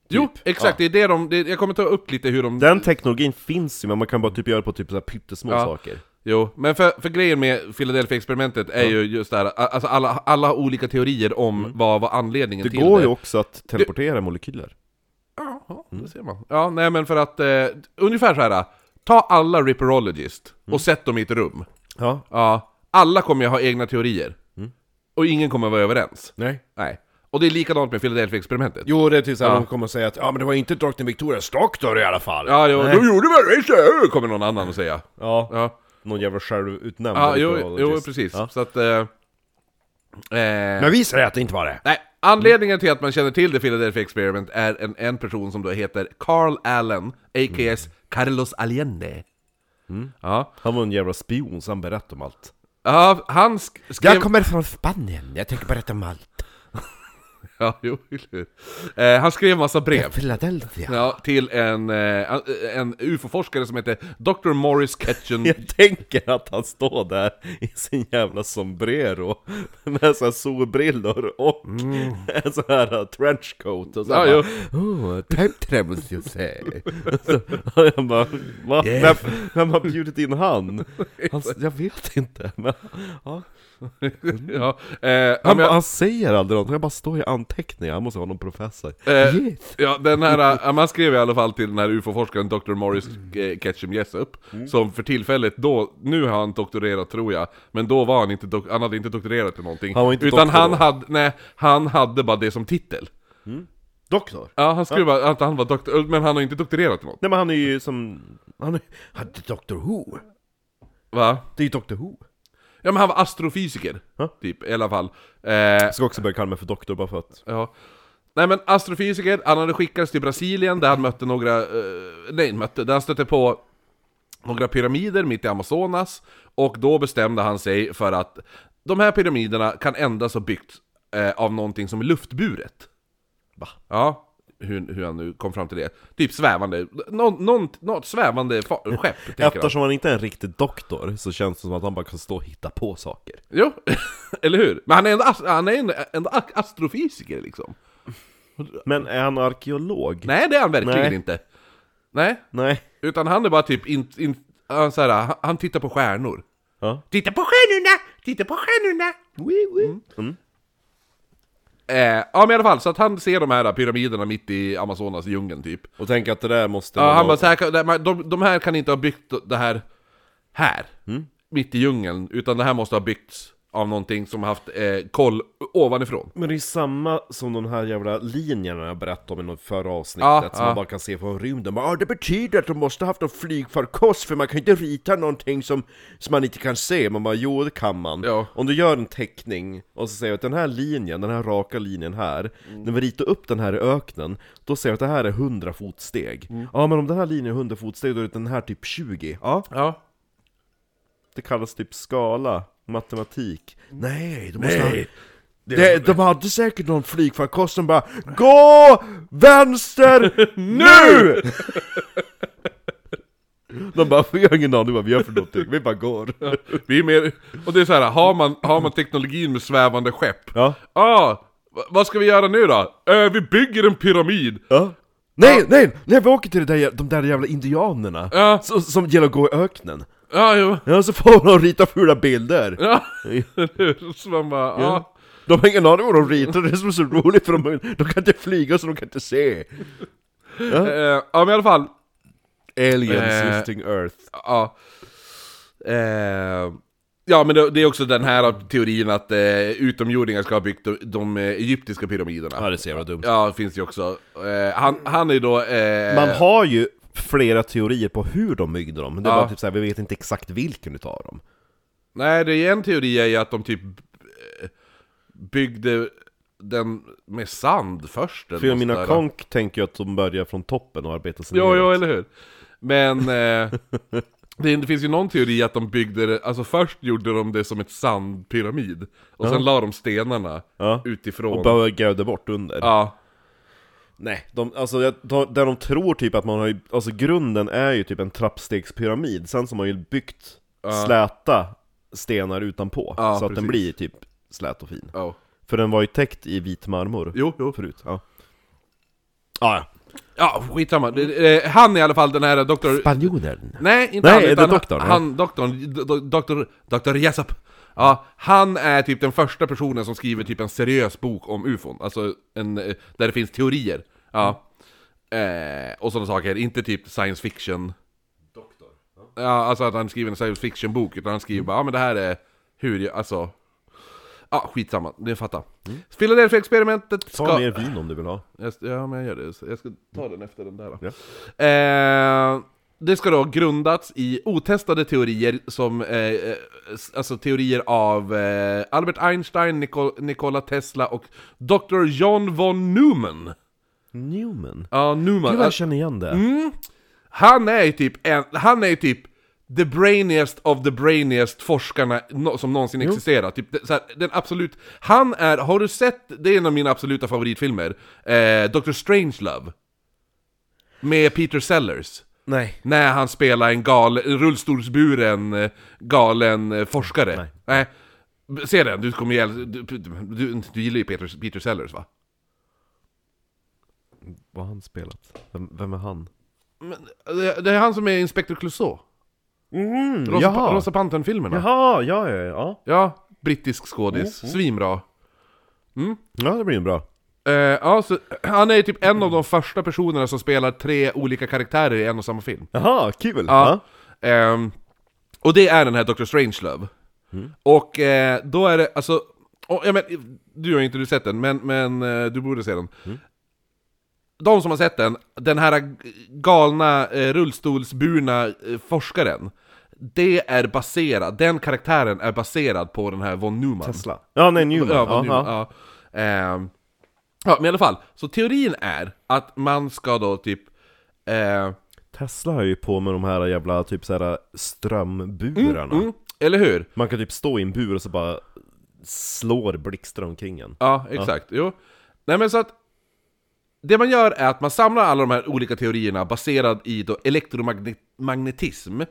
Speaker 1: Jo,
Speaker 2: Typ.
Speaker 1: exakt, det är det de... Det, jag kommer ta upp lite hur de...
Speaker 2: Den teknologin finns ju, men man kan bara typ göra på typ så här pyttesmå
Speaker 1: Ja.
Speaker 2: saker.
Speaker 1: Jo, men för, för grejen med Philadelphia-experimentet är ju just det här, a- alltså alla, alla olika teorier om vad var anledningen
Speaker 2: Mm. Det
Speaker 1: till
Speaker 2: går
Speaker 1: det.
Speaker 2: ju Mm. också att teleportera molekyler.
Speaker 1: Ja, det ser man. Ja, nej men för att, eh, ungefär så här. ta alla Ripperologist
Speaker 2: Mm.
Speaker 1: och sätt dem i ett rum.
Speaker 2: Ja.
Speaker 1: Ja, alla kommer ju ha egna teorier.
Speaker 2: Mm.
Speaker 1: Och ingen kommer vara överens.
Speaker 2: Nej.
Speaker 1: Nej. Och det är likadant med Philadelphia-experimentet.
Speaker 2: Jo, det är typ såhär,
Speaker 1: Ja. de
Speaker 2: kommer säga att ja men det var inte drottning Victorias doktor i alla fall. Ja,
Speaker 1: Ja, jo, då gjorde man det, kommer någon annan att säga. Ja,
Speaker 2: någon jävla självutnämnd
Speaker 1: ja jo,
Speaker 2: arkeologist.
Speaker 1: jo, precis.
Speaker 2: Ja.
Speaker 1: Så att... Eh, eh,
Speaker 2: Men vi säger att det inte var det.
Speaker 1: Nej, anledningen till att man känner till The Philadelphia Experiment är en, en person som då heter Carl Allen, a.k.s. Carlos Allende. Ja.
Speaker 2: Han var en jävla spion, så han berättade om allt.
Speaker 1: ja, han sk- skrev...
Speaker 2: kommer från Spanien, jag tänker berätta om allt.
Speaker 1: [laughs] Ja, jo, eller hur? eh, Han skrev massa brev.
Speaker 2: Philadelphia.
Speaker 1: Ja, till en, eh, en ufo-forskare som heter Dr. Morris Ketchen
Speaker 2: [laughs] Jag tänker att han står där i sin jävla sombrero med så här solbrillor och en sån här uh, trenchcoat och så
Speaker 1: Ja,
Speaker 2: här
Speaker 1: jo.
Speaker 2: bara, Oh, time travels you say så, och [laughs] jag bara, Va?
Speaker 1: Yes.
Speaker 2: Vem, vem har bjudit in [laughs] han? han? s- Jag vet inte, men ja.
Speaker 1: [laughs] ja, eh,
Speaker 2: han,
Speaker 1: han,
Speaker 2: bara, han säger aldrig något, han bara står i anteckningar, han måste vara någon professor
Speaker 1: Eh,
Speaker 2: Yes.
Speaker 1: ja, den
Speaker 2: [laughs]
Speaker 1: här, eh, man skrev i alla fall till den här ufo-forskaren Dr. Morris
Speaker 2: Mm.
Speaker 1: eh, Ketchum Jessup Som för tillfället då, nu har han doktorerat tror jag Men då var han inte, dok- han hade inte doktorerat till någonting
Speaker 2: Han var inte
Speaker 1: Utan
Speaker 2: doktor
Speaker 1: han
Speaker 2: då.
Speaker 1: hade, nej, han hade bara det som titel
Speaker 2: Doktor?
Speaker 1: Ja, han skrev bara att han var doktor, men han har inte doktorerat till något
Speaker 2: Nej men han är ju som, han är, han är Doctor Who
Speaker 1: Va?
Speaker 2: Det är ju Doctor Who
Speaker 1: Ja men han var astrofysiker,
Speaker 2: Ja.
Speaker 1: typ, i alla fall eh,
Speaker 2: Jag ska också börja kalla mig för doktor bara för att
Speaker 1: Ja. Nej men astrofysiker, han hade skickats till Brasilien där han mötte några, eh, nej mötte, där han stötte på några pyramider mitt i Amazonas och då bestämde han sig för att de här pyramiderna kan endast ha byggts eh, av någonting som är luftburet.
Speaker 2: Va?
Speaker 1: Ja, hur, hur han nu kom fram till det. Typ svävande, någon, någon, något svävande fa- skepp tänker han.
Speaker 2: Eftersom han inte är en riktig doktor så känns det som att han bara kan stå och hitta på saker.
Speaker 1: Jo, [laughs] eller hur? Men han är ändå, ast- han är ändå, ändå ak- astrofysiker liksom.
Speaker 2: Men är han arkeolog?
Speaker 1: Nej det är han verkligen
Speaker 2: Nej.
Speaker 1: inte. Nej.
Speaker 2: Nej.
Speaker 1: Utan han är bara typ, in, in, han, så här, han, han tittar på stjärnor.
Speaker 2: Ja.
Speaker 1: Titta på stjärnorna! Titta på stjärnorna!
Speaker 2: Mm. Mm.
Speaker 1: Eh, ja men i alla fall, så att han ser de här pyramiderna mitt i Amazonas djungeln typ.
Speaker 2: Och tänk att det där måste
Speaker 1: Ja,
Speaker 2: vara
Speaker 1: han bara
Speaker 2: någon-
Speaker 1: så här, kan- de, de, de här kan inte ha byggt det här här, mitt i djungeln, utan det här måste ha byggts av någonting som har haft eh, koll ovanifrån.
Speaker 2: Men det är ju samma som de här jävla linjerna jag berättade om i något förra avsnittet
Speaker 1: Ja,
Speaker 2: som
Speaker 1: ja.
Speaker 2: man bara kan se från rymden. Ja, ah, det betyder att de måste haft en flygfarkost för man kan inte rita någonting som, som man inte kan se. Man bara, jo det kan man.
Speaker 1: Ja.
Speaker 2: Om du gör en teckning och så säger du att den här linjen, den här raka linjen här, när vi ritar upp den här i öknen, då säger du att det här är 100 fotsteg. Ja, men om den här linjen är 100 fotsteg, då är den här typ 20. Ja,
Speaker 1: Ja.
Speaker 2: det kallas typ skala, matematik. Mm. Nej, de måste
Speaker 1: Nej.
Speaker 2: ha... Det, de hade säkert någon flygfarkost som bara Gå vänster [laughs] nu! [laughs] De bara, vi har ingen aning vad vi gör för någonting, vi bara går
Speaker 1: [laughs] Vi är mer, och det är så här, har man, har man teknologin med svävande skepp?
Speaker 2: Ja,
Speaker 1: Ah, v- vad ska vi göra nu då? Eh, vi bygger en pyramid!
Speaker 2: ja Nej, nej, nej vi åker till det där, de där jävla indianerna
Speaker 1: Ja.
Speaker 2: som, som gillar att gå i öknen
Speaker 1: Ja, jo.
Speaker 2: Ja, så får de rita fula bilder
Speaker 1: Ja, [laughs] så man bara, ah. ja.
Speaker 2: De har ingen aning vad de ritar, det är som är så roligt för de, de kan inte flyga så de kan inte se
Speaker 1: Eh, ja, men i alla fall.
Speaker 2: Aliens
Speaker 1: Eh.
Speaker 2: listing earth
Speaker 1: Ja. Eh, ja, men det, det är också den här teorin att eh, utomjordingar ska ha byggt de, de eh, egyptiska pyramiderna.
Speaker 2: Ja, det ser jävla dumt
Speaker 1: Ja, finns ju också. Eh, han, han är ju då... Eh,
Speaker 2: Man har ju flera teorier på hur de byggde dem, men det är
Speaker 1: Ja.
Speaker 2: bara typ såhär, vi vet inte exakt vilken utav dem
Speaker 1: Nej, det är en teori är ju att de typ eh, byggde den med sand först. eller något
Speaker 2: Filomena
Speaker 1: sådär.
Speaker 2: Konk tänker ju att de börjar från toppen och arbetar sig
Speaker 1: Jo,
Speaker 2: neråt.
Speaker 1: jo, eller hur? Men eh, [laughs] det, det finns ju någon teori att de byggde det, alltså först gjorde de det som ett sandpyramid Och sen la de stenarna
Speaker 2: Ja.
Speaker 1: utifrån
Speaker 2: Och bögade bort under
Speaker 1: Ja,
Speaker 2: Nej, de, alltså jag- de, där de tror typ att man har ju, alltså grunden är ju typ en trappstegspyramid Sen så har man ju byggt släta stenar utanpå
Speaker 1: Ja,
Speaker 2: Så att den
Speaker 1: precis.
Speaker 2: blir typ slät och fin
Speaker 1: ja.
Speaker 2: För den var ju täckt i vit marmor
Speaker 1: Jo, jo.
Speaker 2: Förut, ja Ah, ja.
Speaker 1: Ja, skitsamma. Det- eh, Han i alla fall, den här doktor...
Speaker 2: Spanjoren
Speaker 1: Nej, inte
Speaker 2: Nej,
Speaker 1: han,
Speaker 2: är det
Speaker 1: utan
Speaker 2: doktorn, ja.
Speaker 1: Han, doktorn, do- do- doktor, doktor Jessup. Ja, han är typ den första personen som skriver typ en seriös bok om ufon. Alltså, en, eh, där det finns teorier. Ja. Eh, och sådana saker, inte typ science fiction. Doktor? Mm. Ja, alltså att han skriver en science fiction-bok, utan han skriver bara ja men det här är hur jag, alltså... Ja, skitsamma, ni fattar. Philadelphia-experimentet ska...
Speaker 2: Ta mer vin om du vill ha
Speaker 1: Jag, s- ja, men jag gör det. Jag ska ta den efter den där. Då.
Speaker 2: Ja.
Speaker 1: Eh, det ska då ha grundats i otestade teorier som, eh, eh, s- alltså teorier av eh, Albert Einstein, Nico, Nikola Tesla och Dr. John von Neumann.
Speaker 2: Newman
Speaker 1: Ja, Neumann.
Speaker 2: Gud vad jag
Speaker 1: Alltså,
Speaker 2: Mm. känner igen det
Speaker 1: han är ju typ en, han är ju typ the brainiest of the brainiest forskarna no, som någonsin existerat. Typ, det- så här, den absolut... Han är... Har du sett... Det är en av mina absoluta favoritfilmer. Eh, Dr. Strangelove. Med Peter Sellers.
Speaker 2: Nej.
Speaker 1: När han spelar en gal, en rullstolsburen eh, galen eh, forskare. Nej.
Speaker 2: Nej.
Speaker 1: B- Se den, du kommer ihjäl... Du, du, du, du gillar ju Peter, Peter Sellers va?
Speaker 2: Vad har han spelat? Vem, vem är han?
Speaker 1: Men, eh, det, det är han som är Inspector Clouseau.
Speaker 2: Mm,
Speaker 1: Rosa,
Speaker 2: jaha.
Speaker 1: Rosa Pantern-filmerna.
Speaker 2: Jaha, ja, ja, ja.
Speaker 1: Ja, brittisk skådis. Svinbra.
Speaker 2: Ja, det blir ju bra.
Speaker 1: Eh, ja, så, [clears throat] han är ju typ en av de första personerna som spelar tre olika karaktärer i en och samma film.
Speaker 2: Jaha, kul!
Speaker 1: Ja. Ehm, och det är den här Dr. Strangelove. Och eh, då är det, alltså... Och, ja, men, du har ju inte du sett den, men, men eh, du borde se den. De som har sett den, den här g- galna eh, rullstolsburna eh, forskaren. Det är baserat, den karaktären är baserad på den här von Neumann.
Speaker 2: Tesla. Ja, nej, Newman.
Speaker 1: Ja,
Speaker 2: Ja,
Speaker 1: vad nu- ja. Ehm, ja, men i alla fall. Så teorin är att man ska då typ... Eh,
Speaker 2: Tesla har ju på med de här jävla typ såhär strömburarna.
Speaker 1: mm, eller hur?
Speaker 2: Man kan typ stå i en bur och så bara slår blixtar omkring en.
Speaker 1: Ja, exakt. Jo. Nej men så att... Det man gör är att man samlar alla de här olika teorierna baserad i då elektromagnetism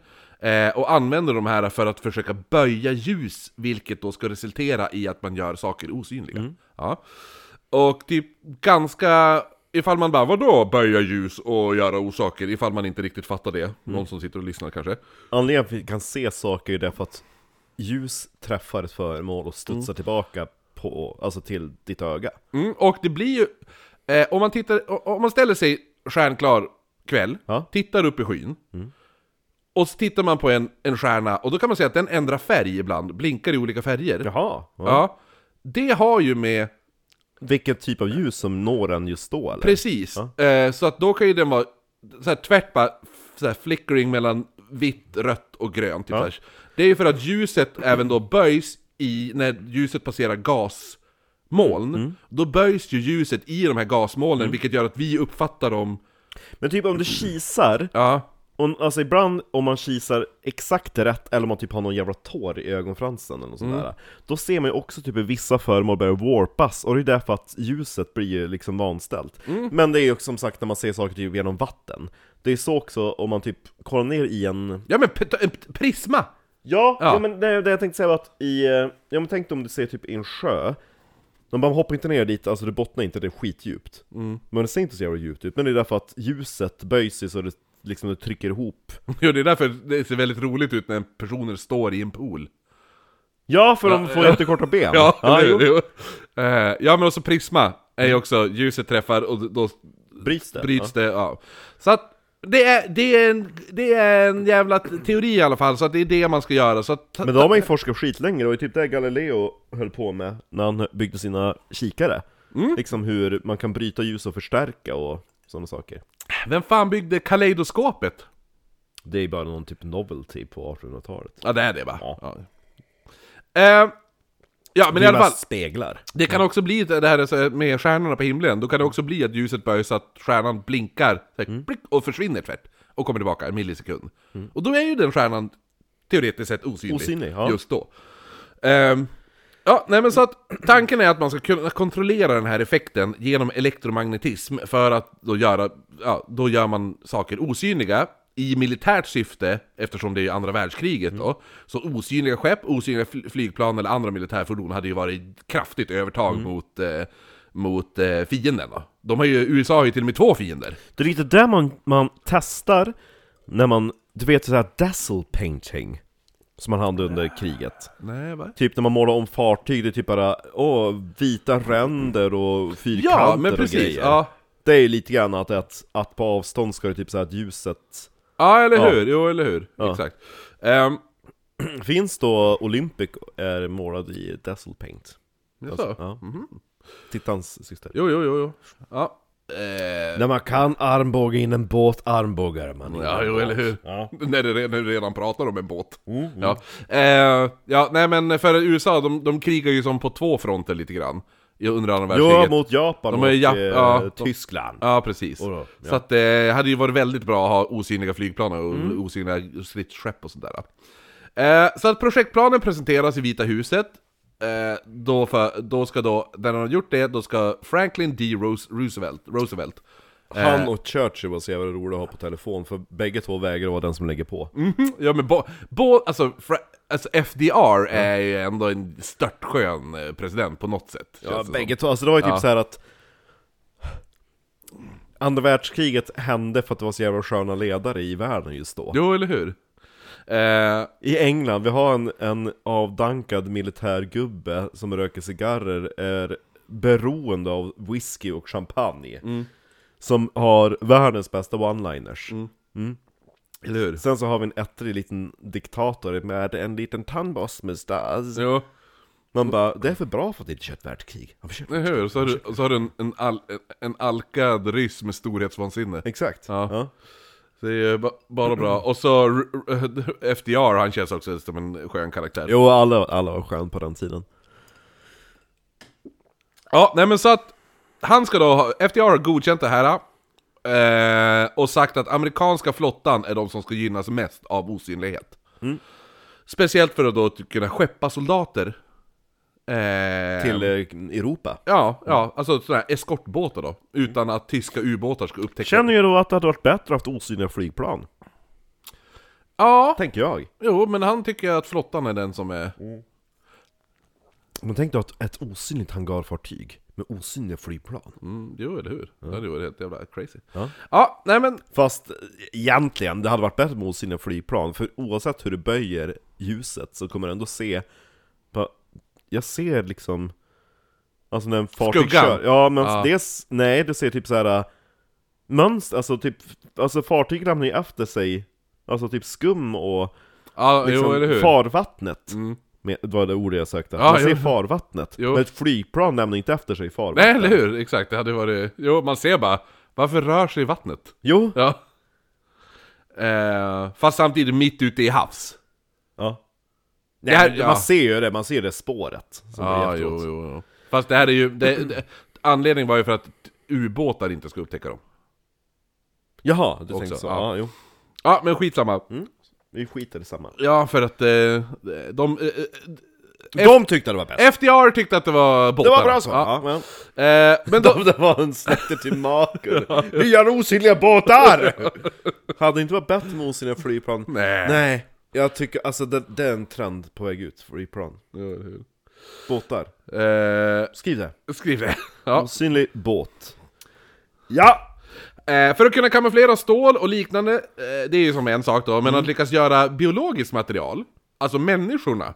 Speaker 1: eh, och använder de här för att försöka böja ljus, vilket då ska resultera i att man gör saker osynliga. Ja. Och typ ganska... Ifall man bara vadå böja ljus och göra osaker? Ifall man inte riktigt fattar det. Någon som sitter och lyssnar kanske.
Speaker 2: Anledningen till att vi kan se saker är därför att ljus träffar ett föremål och studsar tillbaka på, alltså till ditt öga.
Speaker 1: Mm, och det blir ju... Eh, om, man tittar, o- om man ställer sig stjärnklar kväll,
Speaker 2: Ja. Mm.
Speaker 1: tittar upp i skyn, och så tittar man på en, en stjärna, och då kan man se att den ändrar färg ibland, blinkar i olika färger.
Speaker 2: Jaha! Ja.
Speaker 1: Ja. Det har ju med...
Speaker 2: Vilken typ av ljus som når en just då eller?
Speaker 1: Precis. Eh, så att då kan ju den vara så här, tvärt bara, f- så här, flickering mellan vitt, rött och grönt. Typ
Speaker 2: Ja.
Speaker 1: så här. Det är ju för att ljuset även då böjs i, när ljuset passerar gasmoln, då böjs ju ljuset i de här gasmolnen, vilket gör att vi uppfattar dem...
Speaker 2: Men typ om du kisar,
Speaker 1: Ja,
Speaker 2: och, alltså ibland om man kisar exakt rätt eller om man typ har någon jävla tår i ögonfransen eller något sånt där Då ser man ju också typ hur vissa föremål börjar warpas och det är därför att ljuset blir ju liksom vanställt Men det är ju också som sagt när man ser saker typ genom vatten Det är så också om man typ kollar ner i en
Speaker 1: ja men p- t- p- prisma! [laughs]
Speaker 2: Ja,
Speaker 1: Ja.
Speaker 2: ja. men det, det jag tänkte säga var att i, eh, ja men tänk dig om du ser typ i en sjö De bara hoppar inte ner dit, alltså det bottnar inte, det är skitdjupt
Speaker 1: Mm.
Speaker 2: Men det ser inte så jävla djupt ut, men det är därför att ljuset böjs ju så det liksom det trycker ihop
Speaker 1: Jo, det är därför det ser väldigt roligt ut när personer står i en pool.
Speaker 2: Ja, för de får jättekorta ben!
Speaker 1: [laughs] Ja, eller
Speaker 2: jo.
Speaker 1: hur? Jo. Eh, ja men också prisma är ju också, ljuset träffar och då
Speaker 2: bryts det?
Speaker 1: bryts det, ja. Så att det är, det, är en, det är en jävla t- teori i alla fall, så att det är det man ska göra. Så att,
Speaker 2: ja. Men då har man ju forskat skitlänge, det var ju typ det Galileo höll på med när han byggde sina kikare
Speaker 1: Mm.
Speaker 2: Liksom hur man kan bryta ljus och förstärka och sådana saker
Speaker 1: vem fan byggde kaleidoskopet?
Speaker 2: Det är bara någon typ novelty på 1800-talet
Speaker 1: Ja, det är det va? Ja.
Speaker 2: Ja.
Speaker 1: Eh, ja, men i
Speaker 2: Det är
Speaker 1: alla
Speaker 2: mest
Speaker 1: fall.
Speaker 2: speglar
Speaker 1: Det kan också bli det här så här med stjärnorna på himlen, då kan det också bli att ljuset böjs så att stjärnan blinkar så
Speaker 2: Mm.
Speaker 1: här, blick, och försvinner tvärt. Och kommer tillbaka en millisekund. Och då är ju den stjärnan teoretiskt sett osynlig.
Speaker 2: Osynlig, ja.
Speaker 1: Just då. Ehm, ja, nej men så att tanken är att man ska kunna kontrollera den här effekten genom elektromagnetism för att då göra, ja, då gör man saker osynliga i militärt syfte, eftersom det är ju andra världskriget då. Så osynliga skepp, osynliga fl- flygplan eller andra militärfordon hade ju varit kraftigt övertag mot, eh, mot eh, fienden då. De har ju, USA har ju till och med två fiender.
Speaker 2: Det är lite det man, man testar när man, du vet såhär dazzle painting Som man hade under kriget
Speaker 1: Nej, va?
Speaker 2: Typ när man målar om fartyg, det är typ bara åh, vita ränder och fyrkanter
Speaker 1: Ja, men
Speaker 2: och
Speaker 1: precis.
Speaker 2: grejer
Speaker 1: Ja.
Speaker 2: Det är ju lite grann att, att, att på avstånd ska det typ såhär att ljuset
Speaker 1: ja, eller
Speaker 2: Ja.
Speaker 1: hur? Jo, eller hur?
Speaker 2: Ja.
Speaker 1: Exakt. Ehm,
Speaker 2: Finns då Olympic är målad i dazzle paint?
Speaker 1: jaså? Mhm.
Speaker 2: Alltså, ja. Tittans syster
Speaker 1: Jo, jo, jo, jo. Ja. Eh,
Speaker 2: När man kan armbåga in en båt, armbågar man in
Speaker 1: ja,
Speaker 2: en
Speaker 1: jo,
Speaker 2: båt.
Speaker 1: eller hur?
Speaker 2: Ja.
Speaker 1: [laughs] När du re- när du redan pratar om en båt.
Speaker 2: Mm,
Speaker 1: Ja. Eh, ja, nej men för USA, de, de krigar ju som på två fronter lite grann. i- under andra
Speaker 2: Jo,
Speaker 1: världskriget.
Speaker 2: mot Japan
Speaker 1: De
Speaker 2: och
Speaker 1: är Jap-
Speaker 2: eh,
Speaker 1: ja.
Speaker 2: Tyskland.
Speaker 1: Ja, precis.
Speaker 2: Och då, ja.
Speaker 1: Så att det hade ju varit väldigt bra att ha osynliga flygplan och
Speaker 2: Mm.
Speaker 1: osynliga stridsskepp och sådär. Eh, så att projektplanen presenteras i Vita huset. Eh, då, för, då ska då, när de har gjort det, då ska Franklin D. Rose, Roosevelt, Roosevelt eh,
Speaker 2: Han och Churchill var så jävla roliga att ha på telefon, för bägge två vägrar vara den som lägger på.
Speaker 1: Ja men bo, bo, alltså, fra, alltså
Speaker 2: Mm.
Speaker 1: FDR är ju ändå en störtskön eh, president på något sätt.
Speaker 2: Ja,
Speaker 1: känns det
Speaker 2: bägge två, alltså det var ju typ
Speaker 1: Ja.
Speaker 2: så här att Andra världskriget hände för att det var så jävla sköna ledare i världen just då
Speaker 1: som. Jo, eller hur? Eh,
Speaker 2: I England, vi har en, en avdankad militärgubbe som röker cigarrer, är beroende av whisky och champagne
Speaker 1: Mm.
Speaker 2: Som har världens bästa one-liners
Speaker 1: Mm.
Speaker 2: Mm.
Speaker 1: eller hur?
Speaker 2: Sen så har vi en ettrig liten diktator med en liten tandborstmustasch
Speaker 1: Jo,
Speaker 2: Man bara, det är för bra för att det inte är ett världskrig Han försöker-
Speaker 1: eller hur? Så har du, så har du en, en, al, en alkad ryss med storhetsvansinne.
Speaker 2: Exakt
Speaker 1: Ja.
Speaker 2: Ja.
Speaker 1: Det är ju ba- bara bra. Och så R- R- FDR, han känns också som en skön karaktär.
Speaker 2: Jo, alla, alla var skön på den tiden.
Speaker 1: Ja, nej men så att han ska då ha, FDR har godkänt det här. Eh, och sagt att amerikanska flottan är de som ska gynnas mest av osynlighet. Speciellt för att då ty- kunna skeppa soldater. Eh,
Speaker 2: Till eh, Europa.
Speaker 1: Ja, ja, alltså sådana här eskortbåtar då. Utan att tyska ubåtar ska upptäcka
Speaker 2: Känner ju då att det hade varit bättre att haft osynliga flygplan,
Speaker 1: Ja,
Speaker 2: tänker jag.
Speaker 1: jo men han tycker att flottan är den som är...
Speaker 2: Men tänk dig att ett osynligt hangarfartyg med osynliga flygplan.
Speaker 1: Mm, jo, eller hur? Det hade ju varit helt jävla crazy.
Speaker 2: Ja.
Speaker 1: ja nej men
Speaker 2: Fast eh, egentligen, det hade varit bättre med osynliga flygplan, för oavsett hur du böjer ljuset så kommer du ändå se... va- Jag ser liksom... Alltså när en fartyg
Speaker 1: Skuggan.
Speaker 2: kör. Ja, men
Speaker 1: Ja.
Speaker 2: dels... Nej, du ser typ så här äh, Mönster, alltså typ... Alltså fartyg ramlar ju efter sig. Alltså typ skum och...
Speaker 1: Ja,
Speaker 2: liksom,
Speaker 1: jo, eller hur?
Speaker 2: farvattnet. Med, det var det ordet jag sökte.
Speaker 1: Ja,
Speaker 2: man ser
Speaker 1: jo.
Speaker 2: farvattnet.
Speaker 1: Jo.
Speaker 2: Men ett flygplan lämnar inte efter sig farvattnet.
Speaker 1: Nej, eller hur? Exakt, det hade varit... Jo, man ser bara, varför rör sig vattnet?
Speaker 2: Jo.
Speaker 1: Ja. Eh, fast samtidigt mitt ute i havs.
Speaker 2: Ja.
Speaker 1: Det
Speaker 2: Nej,
Speaker 1: här-
Speaker 2: men
Speaker 1: ja.
Speaker 2: Man ser ju det, man ser det spåret. Som
Speaker 1: Ja,
Speaker 2: är
Speaker 1: jo,
Speaker 2: efteråt.
Speaker 1: jo, jo. Fast det här är ju... Det, det, anledningen var ju för att ubåtar inte skulle upptäcka dem.
Speaker 2: Jaha, du
Speaker 1: Också,
Speaker 2: tänkte så.
Speaker 1: ja.
Speaker 2: Ja. jo.
Speaker 1: Ja, men skitsamma.
Speaker 2: Mm. Vi skiter i samma.
Speaker 1: Ja, för att eh, de... eh,
Speaker 2: De tyckte det var bäst.
Speaker 1: Eh, FDR tyckte att det var båtar.
Speaker 2: Det var bra så.
Speaker 1: Ja.
Speaker 2: Ja. men
Speaker 1: Eh, men då...
Speaker 2: [laughs] de, det var en släkte till [laughs] maken. Vi har osynliga båtar! [laughs] Hade inte varit bättre med osynliga flygplan?
Speaker 1: Nej.
Speaker 2: [laughs] Nej. Jag tycker, alltså det, det är en trend på väg ut, flygplan.
Speaker 1: Jo, eller hur?
Speaker 2: Båtar.
Speaker 1: Eh,
Speaker 2: Skriv det.
Speaker 1: skriv det. Ja.
Speaker 2: Osynlig båt. Ja!
Speaker 1: Eh, för att kunna kamouflera stål och liknande, eh, det är ju som en sak då, men att lyckas göra biologiskt material, alltså människorna,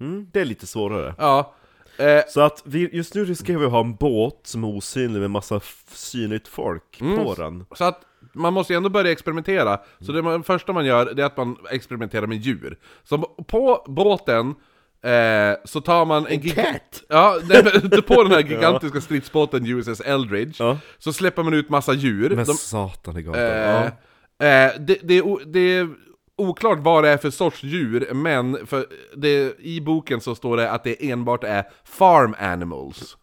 Speaker 2: Mm, det är lite svårare.
Speaker 1: ja. Eh,
Speaker 2: Så att vi, just nu riskerar vi att ha en båt som är osynlig med massa f- synligt folk på den.
Speaker 1: så att man måste ju ändå börja experimentera. Så det man, första man gör, det är att man experimenterar med djur. Så på båten eh, så tar man en... giga-
Speaker 2: cat!
Speaker 1: [laughs] Ja, nej, men på den här gigantiska stridsbåten USS Eldridge,
Speaker 2: Ja.
Speaker 1: så släpper man ut massa djur.
Speaker 2: Men
Speaker 1: De-
Speaker 2: satan det gav
Speaker 1: Eh,
Speaker 2: ja.
Speaker 1: eh, det, det, är o- det är oklart vad det är för sorts djur, men för det, i boken så står det att det enbart är farm animals.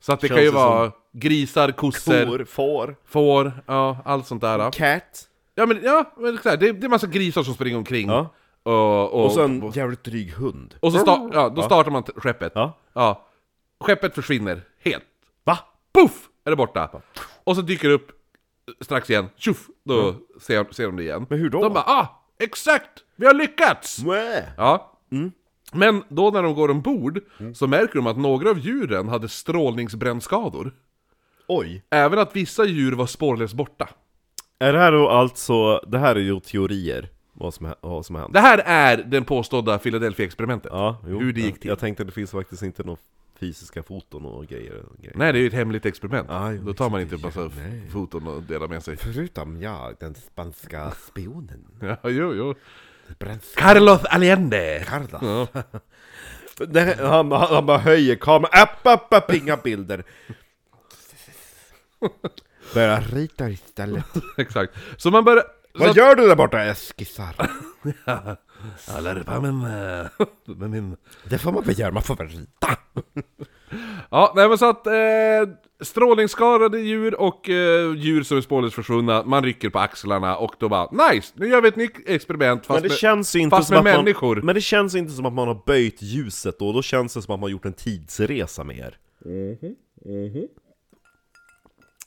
Speaker 1: Så att det
Speaker 2: Känns
Speaker 1: kan ju
Speaker 2: det
Speaker 1: vara grisar, kossor,
Speaker 2: Kor, får,
Speaker 1: får, ja, allt sånt där. ja.
Speaker 2: cat.
Speaker 1: Ja, men, ja, men så här, det, det är massa grisar som springer omkring.
Speaker 2: Ja.
Speaker 1: Och, och,
Speaker 2: Och så en jävligt dryg hund.
Speaker 1: och så sta, ja, då startar man t- skeppet.
Speaker 2: Ja.
Speaker 1: Ja. Skeppet försvinner helt.
Speaker 2: Va?
Speaker 1: Puff! Är det borta. Och så dyker det upp strax igen. Tjoff! Då ser, ser de det igen.
Speaker 2: Men hur då?
Speaker 1: De bara ah! Exakt! Vi har
Speaker 2: Mm.
Speaker 1: lyckats!
Speaker 2: Mwah.
Speaker 1: Ja. Men då när de går ombord så märker de att några av djuren hade strålningsbrännskador.
Speaker 2: Oj.
Speaker 1: Även att vissa djur var spårlöst borta.
Speaker 2: Är det här då alltså, det här är ju teorier, vad som, hä- vad som har hänt.
Speaker 1: Det här är den påstådda Philadelphia-experimentet.
Speaker 2: Ja, jo.
Speaker 1: Hur det gick till.
Speaker 2: Jag tänkte att det finns faktiskt inte några fysiska foton och grejer. och grejer.
Speaker 1: Nej, det är ju ett hemligt experiment.
Speaker 2: Ah, jo,
Speaker 1: då tar man inte
Speaker 2: exakt.
Speaker 1: en massa foton och delar med sig. [laughs]
Speaker 2: Förutom jag, den spanska spionen.
Speaker 1: Ja, jo, jo.
Speaker 2: Bränns-
Speaker 1: Carlos Allende!
Speaker 2: Carlos.
Speaker 1: Ja.
Speaker 2: Det, han, han, han bara höjer kameran, app, app, app, inga bilder. Börja rita istället.
Speaker 1: [laughs] Exakt. Så man börjar...
Speaker 2: Vad gör du där borta? Jag skissar.
Speaker 1: Jag lärde mig min... eh, med min...
Speaker 2: Det får man väl göra, man får väl rita.
Speaker 1: Ja, nej men så att eh, strålningsskadade djur och eh, djur som är spårlöst försvunna, man rycker på axlarna och då bara nice, nu gör vi ett nytt experiment fast
Speaker 2: Men det
Speaker 1: med-
Speaker 2: känns ju inte
Speaker 1: fast
Speaker 2: som
Speaker 1: med
Speaker 2: att man,
Speaker 1: människor.
Speaker 2: Men det känns inte som att man har böjt ljuset då, då känns det som att man har gjort en tidsresa med er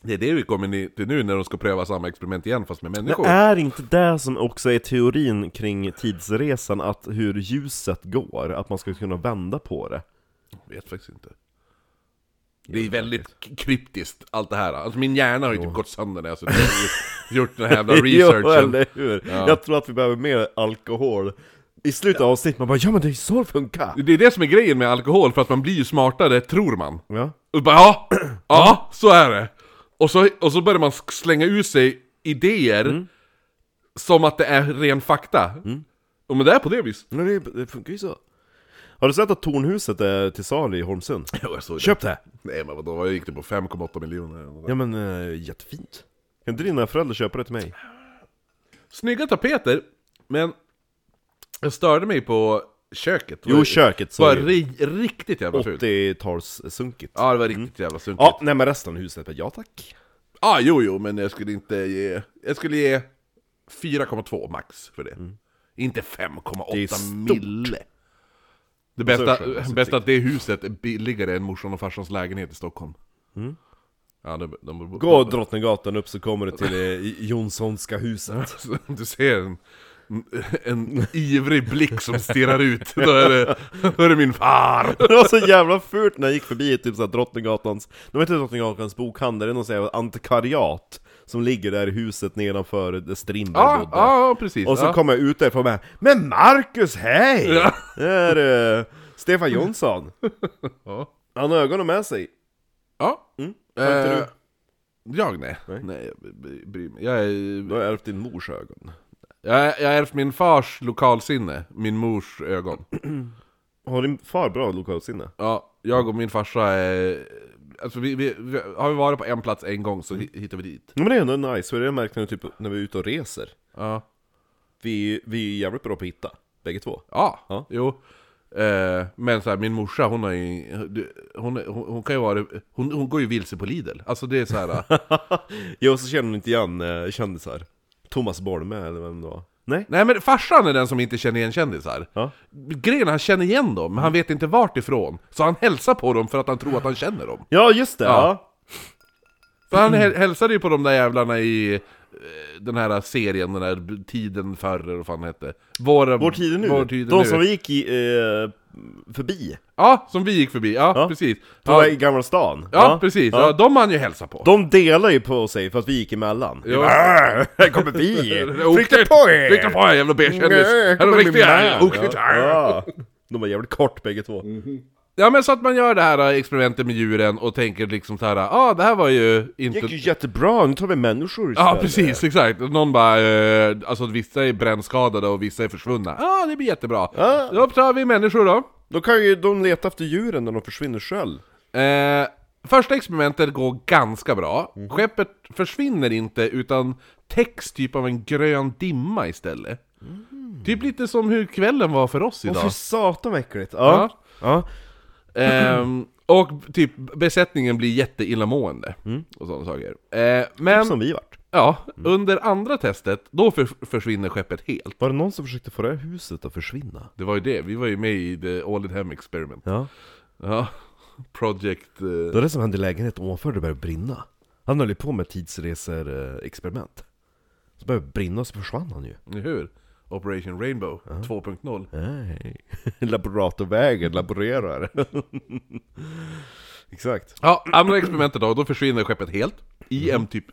Speaker 1: Det är det vi kommer ni- till nu när de ska pröva samma experiment igen fast med människor.
Speaker 2: Det är inte det som också är teorin kring tidsresan, att hur ljuset går, att man ska kunna vända på det
Speaker 1: Jag vet faktiskt inte. Det är väldigt k- kryptiskt allt det här. Alltså min hjärna har ju typ gått sönder när jag har suttit och gjort den här jävla
Speaker 2: [laughs] Jo,
Speaker 1: researchen.
Speaker 2: eller hur? Jag tror att vi behöver mer alkohol I slutet av avsnittet, man bara 'Ja men det är så det funkar'
Speaker 1: Det är det som är grejen med alkohol, för att man blir ju smartare, tror man.
Speaker 2: Ja,
Speaker 1: Och bara, ja, ja, så är det. Och så, och så börjar man sk- slänga ut sig idéer som att det är ren fakta. Och men det är på det [laughs] viset.
Speaker 2: men det, det funkar ju så Har du sett att Tornhuset är till salu i Holmsund?
Speaker 1: jag såg
Speaker 2: Köp det!
Speaker 1: Nej men vadå, vad gick det på 5,8 miljoner?
Speaker 2: Ja men eh, jättefint Kan inte dina föräldrar köpa det till mig?
Speaker 1: Snygga tapeter, men jag störde mig på köket. Det
Speaker 2: Jo,
Speaker 1: var-
Speaker 2: köket
Speaker 1: Det var
Speaker 2: så
Speaker 1: ri riktigt jävla fult.
Speaker 2: 80-talssunkigt
Speaker 1: Ja, det var riktigt jävla sunkigt.
Speaker 2: Ja,
Speaker 1: Ja,
Speaker 2: nej men resten av huset, ja tack
Speaker 1: ah, jo, jo, men jag skulle inte ge... Jag skulle ge 4,2 max för det. Inte
Speaker 2: Det är
Speaker 1: 5,8
Speaker 2: stort.
Speaker 1: mille. Det
Speaker 2: Och
Speaker 1: bästa,
Speaker 2: så är det skönt.
Speaker 1: bästa att det huset är billigare än morsan och farsans lägenhet i Stockholm. Mm. Ja, de, de,
Speaker 2: Gå Drottninggatan upp så kommer du till eh, Jonssonska huset
Speaker 1: [laughs]
Speaker 2: [laughs]
Speaker 1: Du ser en, en ivrig blick som stirrar ut. Då är det, då är det min far!
Speaker 2: Det var så jävla fult när jag gick förbi typ såhär Drottninggatans, de heter Drottninggatans bokhandel, det är någon sån här antikariat Som ligger där i huset nedanför där Strindberg
Speaker 1: [laughs] Ja,
Speaker 2: bodde
Speaker 1: ja precis.
Speaker 2: Och så
Speaker 1: Ah, ja.
Speaker 2: kommer jag ut därifrån och bara Men Marcus, hej!
Speaker 1: Ja.
Speaker 2: Det är eh, Stefan Jonsson
Speaker 1: [laughs] Ja.
Speaker 2: Han har ögonen med sig
Speaker 1: Ja.
Speaker 2: Har inte
Speaker 1: Eh, Jag nej.
Speaker 2: Nej.
Speaker 1: Nej, jag b- b- bryr mig. Jag är...
Speaker 2: Du har ärvt din mors ögon
Speaker 1: Jag är- jag har ärvt min fars lokalsinne, min mors ögon.
Speaker 2: Har din far bra lokalsinne?
Speaker 1: Ja, jag och min farsa är... Alltså vi, vi, vi, har vi varit på en plats en gång så hi- hittar vi dit.
Speaker 2: Ja, men det är ändå nice, för det har jag märkt när, typ, när vi är ute och reser
Speaker 1: Ja,
Speaker 2: Vi, vi är jävligt bra på att hitta, bägge två
Speaker 1: ja,
Speaker 2: Ja.
Speaker 1: jo. Eh, men så här, min morsa hon har ju... du- Hon, hon, hon kan ju vara... Hon, hon går ju vilse på Lidl. Alltså det är så
Speaker 2: [laughs]
Speaker 1: här... eh,
Speaker 2: Jo, och så känner hon inte igen eh, kändisar Thomas Bolme eller vem det var Nej?
Speaker 1: Nej men farsan är den som inte känner igen kändisar.
Speaker 2: Ja.
Speaker 1: Grejen är, han känner igen dem, men han vet inte vart ifrån. Så han hälsar på dem för att han tror att han känner dem.
Speaker 2: Ja, just det! Ja.
Speaker 1: Ja. För
Speaker 2: Mm.
Speaker 1: han häl- hälsade ju på de där jävlarna i eh, den här serien, den där b- Tiden förr, eller vad fan det hette. Vår,
Speaker 2: Vår tid är nu.
Speaker 1: Vår tid är
Speaker 2: De
Speaker 1: nu.
Speaker 2: som vi gick i, eh, förbi,
Speaker 1: Ja, som vi gick förbi, ja,
Speaker 2: Ja.
Speaker 1: precis.
Speaker 2: på
Speaker 1: Ja,
Speaker 2: väg i Gamla stan.
Speaker 1: ja, precis. Ja.
Speaker 2: Ja.
Speaker 1: de han ju hälsa på.
Speaker 2: De delar ju på sig för att vi gick emellan.
Speaker 1: Ja.
Speaker 2: Här
Speaker 1: [laughs]
Speaker 2: kommer vi! Flytta
Speaker 1: Oknytt.
Speaker 2: på er!
Speaker 1: Flytta på er jävla B-kändis! Här är de riktiga oknytt här.
Speaker 2: Ja. Ja. De var jävligt kort bägge två.
Speaker 1: Mm. Ja men så att man gör det här eh, experimentet med djuren och tänker liksom så här, ja ah, det här var ju
Speaker 2: Det gick
Speaker 1: inte...
Speaker 2: ju jättebra, nu tar vi människor
Speaker 1: Ja
Speaker 2: istället.
Speaker 1: precis, exakt. Någon bara, eh, alltså vissa är brännskadade och vissa är försvunna. Ja ah, det blir jättebra.
Speaker 2: Ja.
Speaker 1: Då tar vi människor då.
Speaker 2: Då kan ju de leta efter djuren när de försvinner själv.
Speaker 1: Eh, första experimentet går ganska bra.
Speaker 2: Mhm.
Speaker 1: Skeppet försvinner inte, utan täcks typ av en grön dimma istället.
Speaker 2: Mm.
Speaker 1: Typ lite som hur kvällen var för oss
Speaker 2: Åh
Speaker 1: idag.
Speaker 2: fy satan vad äckligt! Ja. Ja.
Speaker 1: Ehm, och typ besättningen blir jätteillamående
Speaker 2: Mm.
Speaker 1: och sådana saker. Eh, men
Speaker 2: Som vi vart.
Speaker 1: ja,
Speaker 2: Mm.
Speaker 1: under andra testet, då för, försvinner skeppet helt.
Speaker 2: Var det någon som försökte få det här huset att försvinna? det
Speaker 1: Det var ju det, vi var ju med i the All in Hem Experiment.
Speaker 2: Ja.
Speaker 1: Ja, [laughs] Project... eh,
Speaker 2: Det var det som hände i lägenheten ovanför, det började brinna. Han höll ju på med tidsreser-experiment. Så började det brinna och så försvann han ju.
Speaker 1: Eller hur? Operation Rainbow 2.0.
Speaker 2: Nej. [laughs] Laboratorvägen, laborerar. [laughs] Exakt.
Speaker 1: Ja, andra experimentet då, då försvinner skeppet helt i
Speaker 2: Mm.
Speaker 1: en typ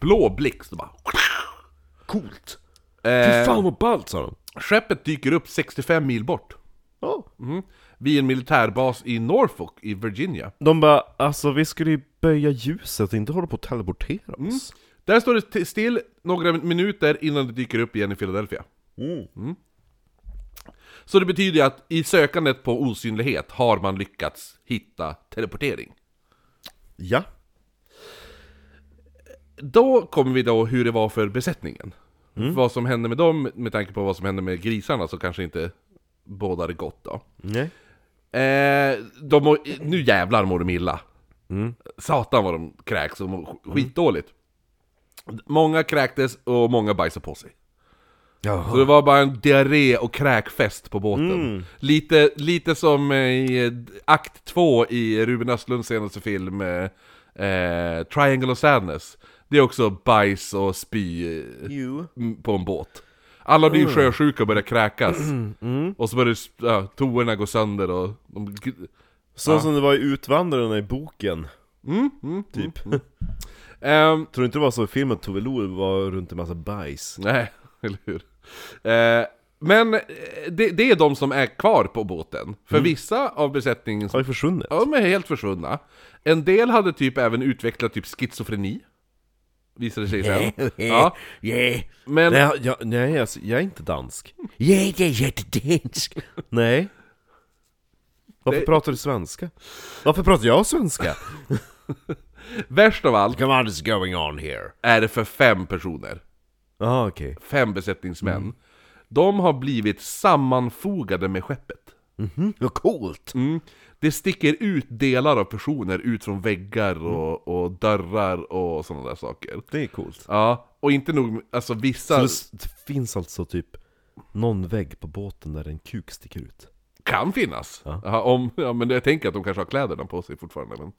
Speaker 1: blå blixt och bara...
Speaker 2: Coolt! Fy
Speaker 1: Eh,
Speaker 2: fan vad ballt sa de.
Speaker 1: skeppet dyker upp 65 mil bort.
Speaker 2: Ja.
Speaker 1: Mm. Vid en militärbas i Norfolk i Virginia.
Speaker 2: De bara, alltså vi skulle ju böja ljuset och inte hålla på att teleportera oss.
Speaker 1: Där står det t- still några minuter innan det dyker upp igen i Philadelphia. Mm. Så det betyder ju att i sökandet på osynlighet har man lyckats hitta teleportering.
Speaker 2: Ja.
Speaker 1: Då kommer vi då hur det var för besättningen. Vad som hände med dem, med tanke på vad som hände med grisarna, så kanske inte bådar gott då.
Speaker 2: Nej.
Speaker 1: Eh, de mår, nu jävlar mår de illa. Satan vad de kräks och mår sk- skitdåligt. Många kräktes och många bajsade på sig. Så det var bara en diarré och kräkfest på båten. Lite, lite som eh, i eh, akt 2 i Ruben Östlunds senaste film eh, eh, Triangle of Sadness. Det är också bajs och spy eh,
Speaker 2: You.
Speaker 1: m- på en båt. Alla blir sjösjuka och börjar kräkas.
Speaker 2: Mm.
Speaker 1: Och så börjar s- ja, toorna gå sönder och de gr-
Speaker 2: Så som det var i Utvandrarna i boken.
Speaker 1: Mm,
Speaker 2: typ.
Speaker 1: Ehm,
Speaker 2: Tror du inte det var så i filmen att Tove Lo var runt en massa bajs?
Speaker 1: nej, [laughs] eller hur? Eh, men eh, det, det är de som är kvar på båten.
Speaker 2: Mm.
Speaker 1: För vissa av besättningen
Speaker 2: Har ju försvunnit.
Speaker 1: Ja, de är helt försvunna. En del hade typ även utvecklat typ schizofreni. Visade sig
Speaker 2: [laughs]
Speaker 1: sen. Ja,
Speaker 2: Yeah.
Speaker 1: men
Speaker 2: Nej, jag, nej alltså, jag är inte [laughs] dansk. Yeah, jag är jättedansk. Nej. Varför
Speaker 1: Det-
Speaker 2: pratar du svenska? Varför pratar jag [laughs] svenska?
Speaker 1: värst av allt
Speaker 2: Come on, is going on here.
Speaker 1: är det för fem personer.
Speaker 2: Ja, Ah, okej.
Speaker 1: Fem besättningsmän.
Speaker 2: Mm.
Speaker 1: De har blivit sammanfogade med skeppet.
Speaker 2: Vad coolt!
Speaker 1: Mm. Det sticker ut delar av personer ut från väggar
Speaker 2: Mm.
Speaker 1: och, och dörrar och sådana där saker.
Speaker 2: Det är coolt.
Speaker 1: Ja, och inte nog alltså
Speaker 2: Så
Speaker 1: vissa
Speaker 2: det, s- det finns alltså typ någon vägg på båten där en kuk sticker ut.
Speaker 1: kan finnas. Ja. om, ja, men jag tänker att de kanske har kläderna på sig fortfarande. Men...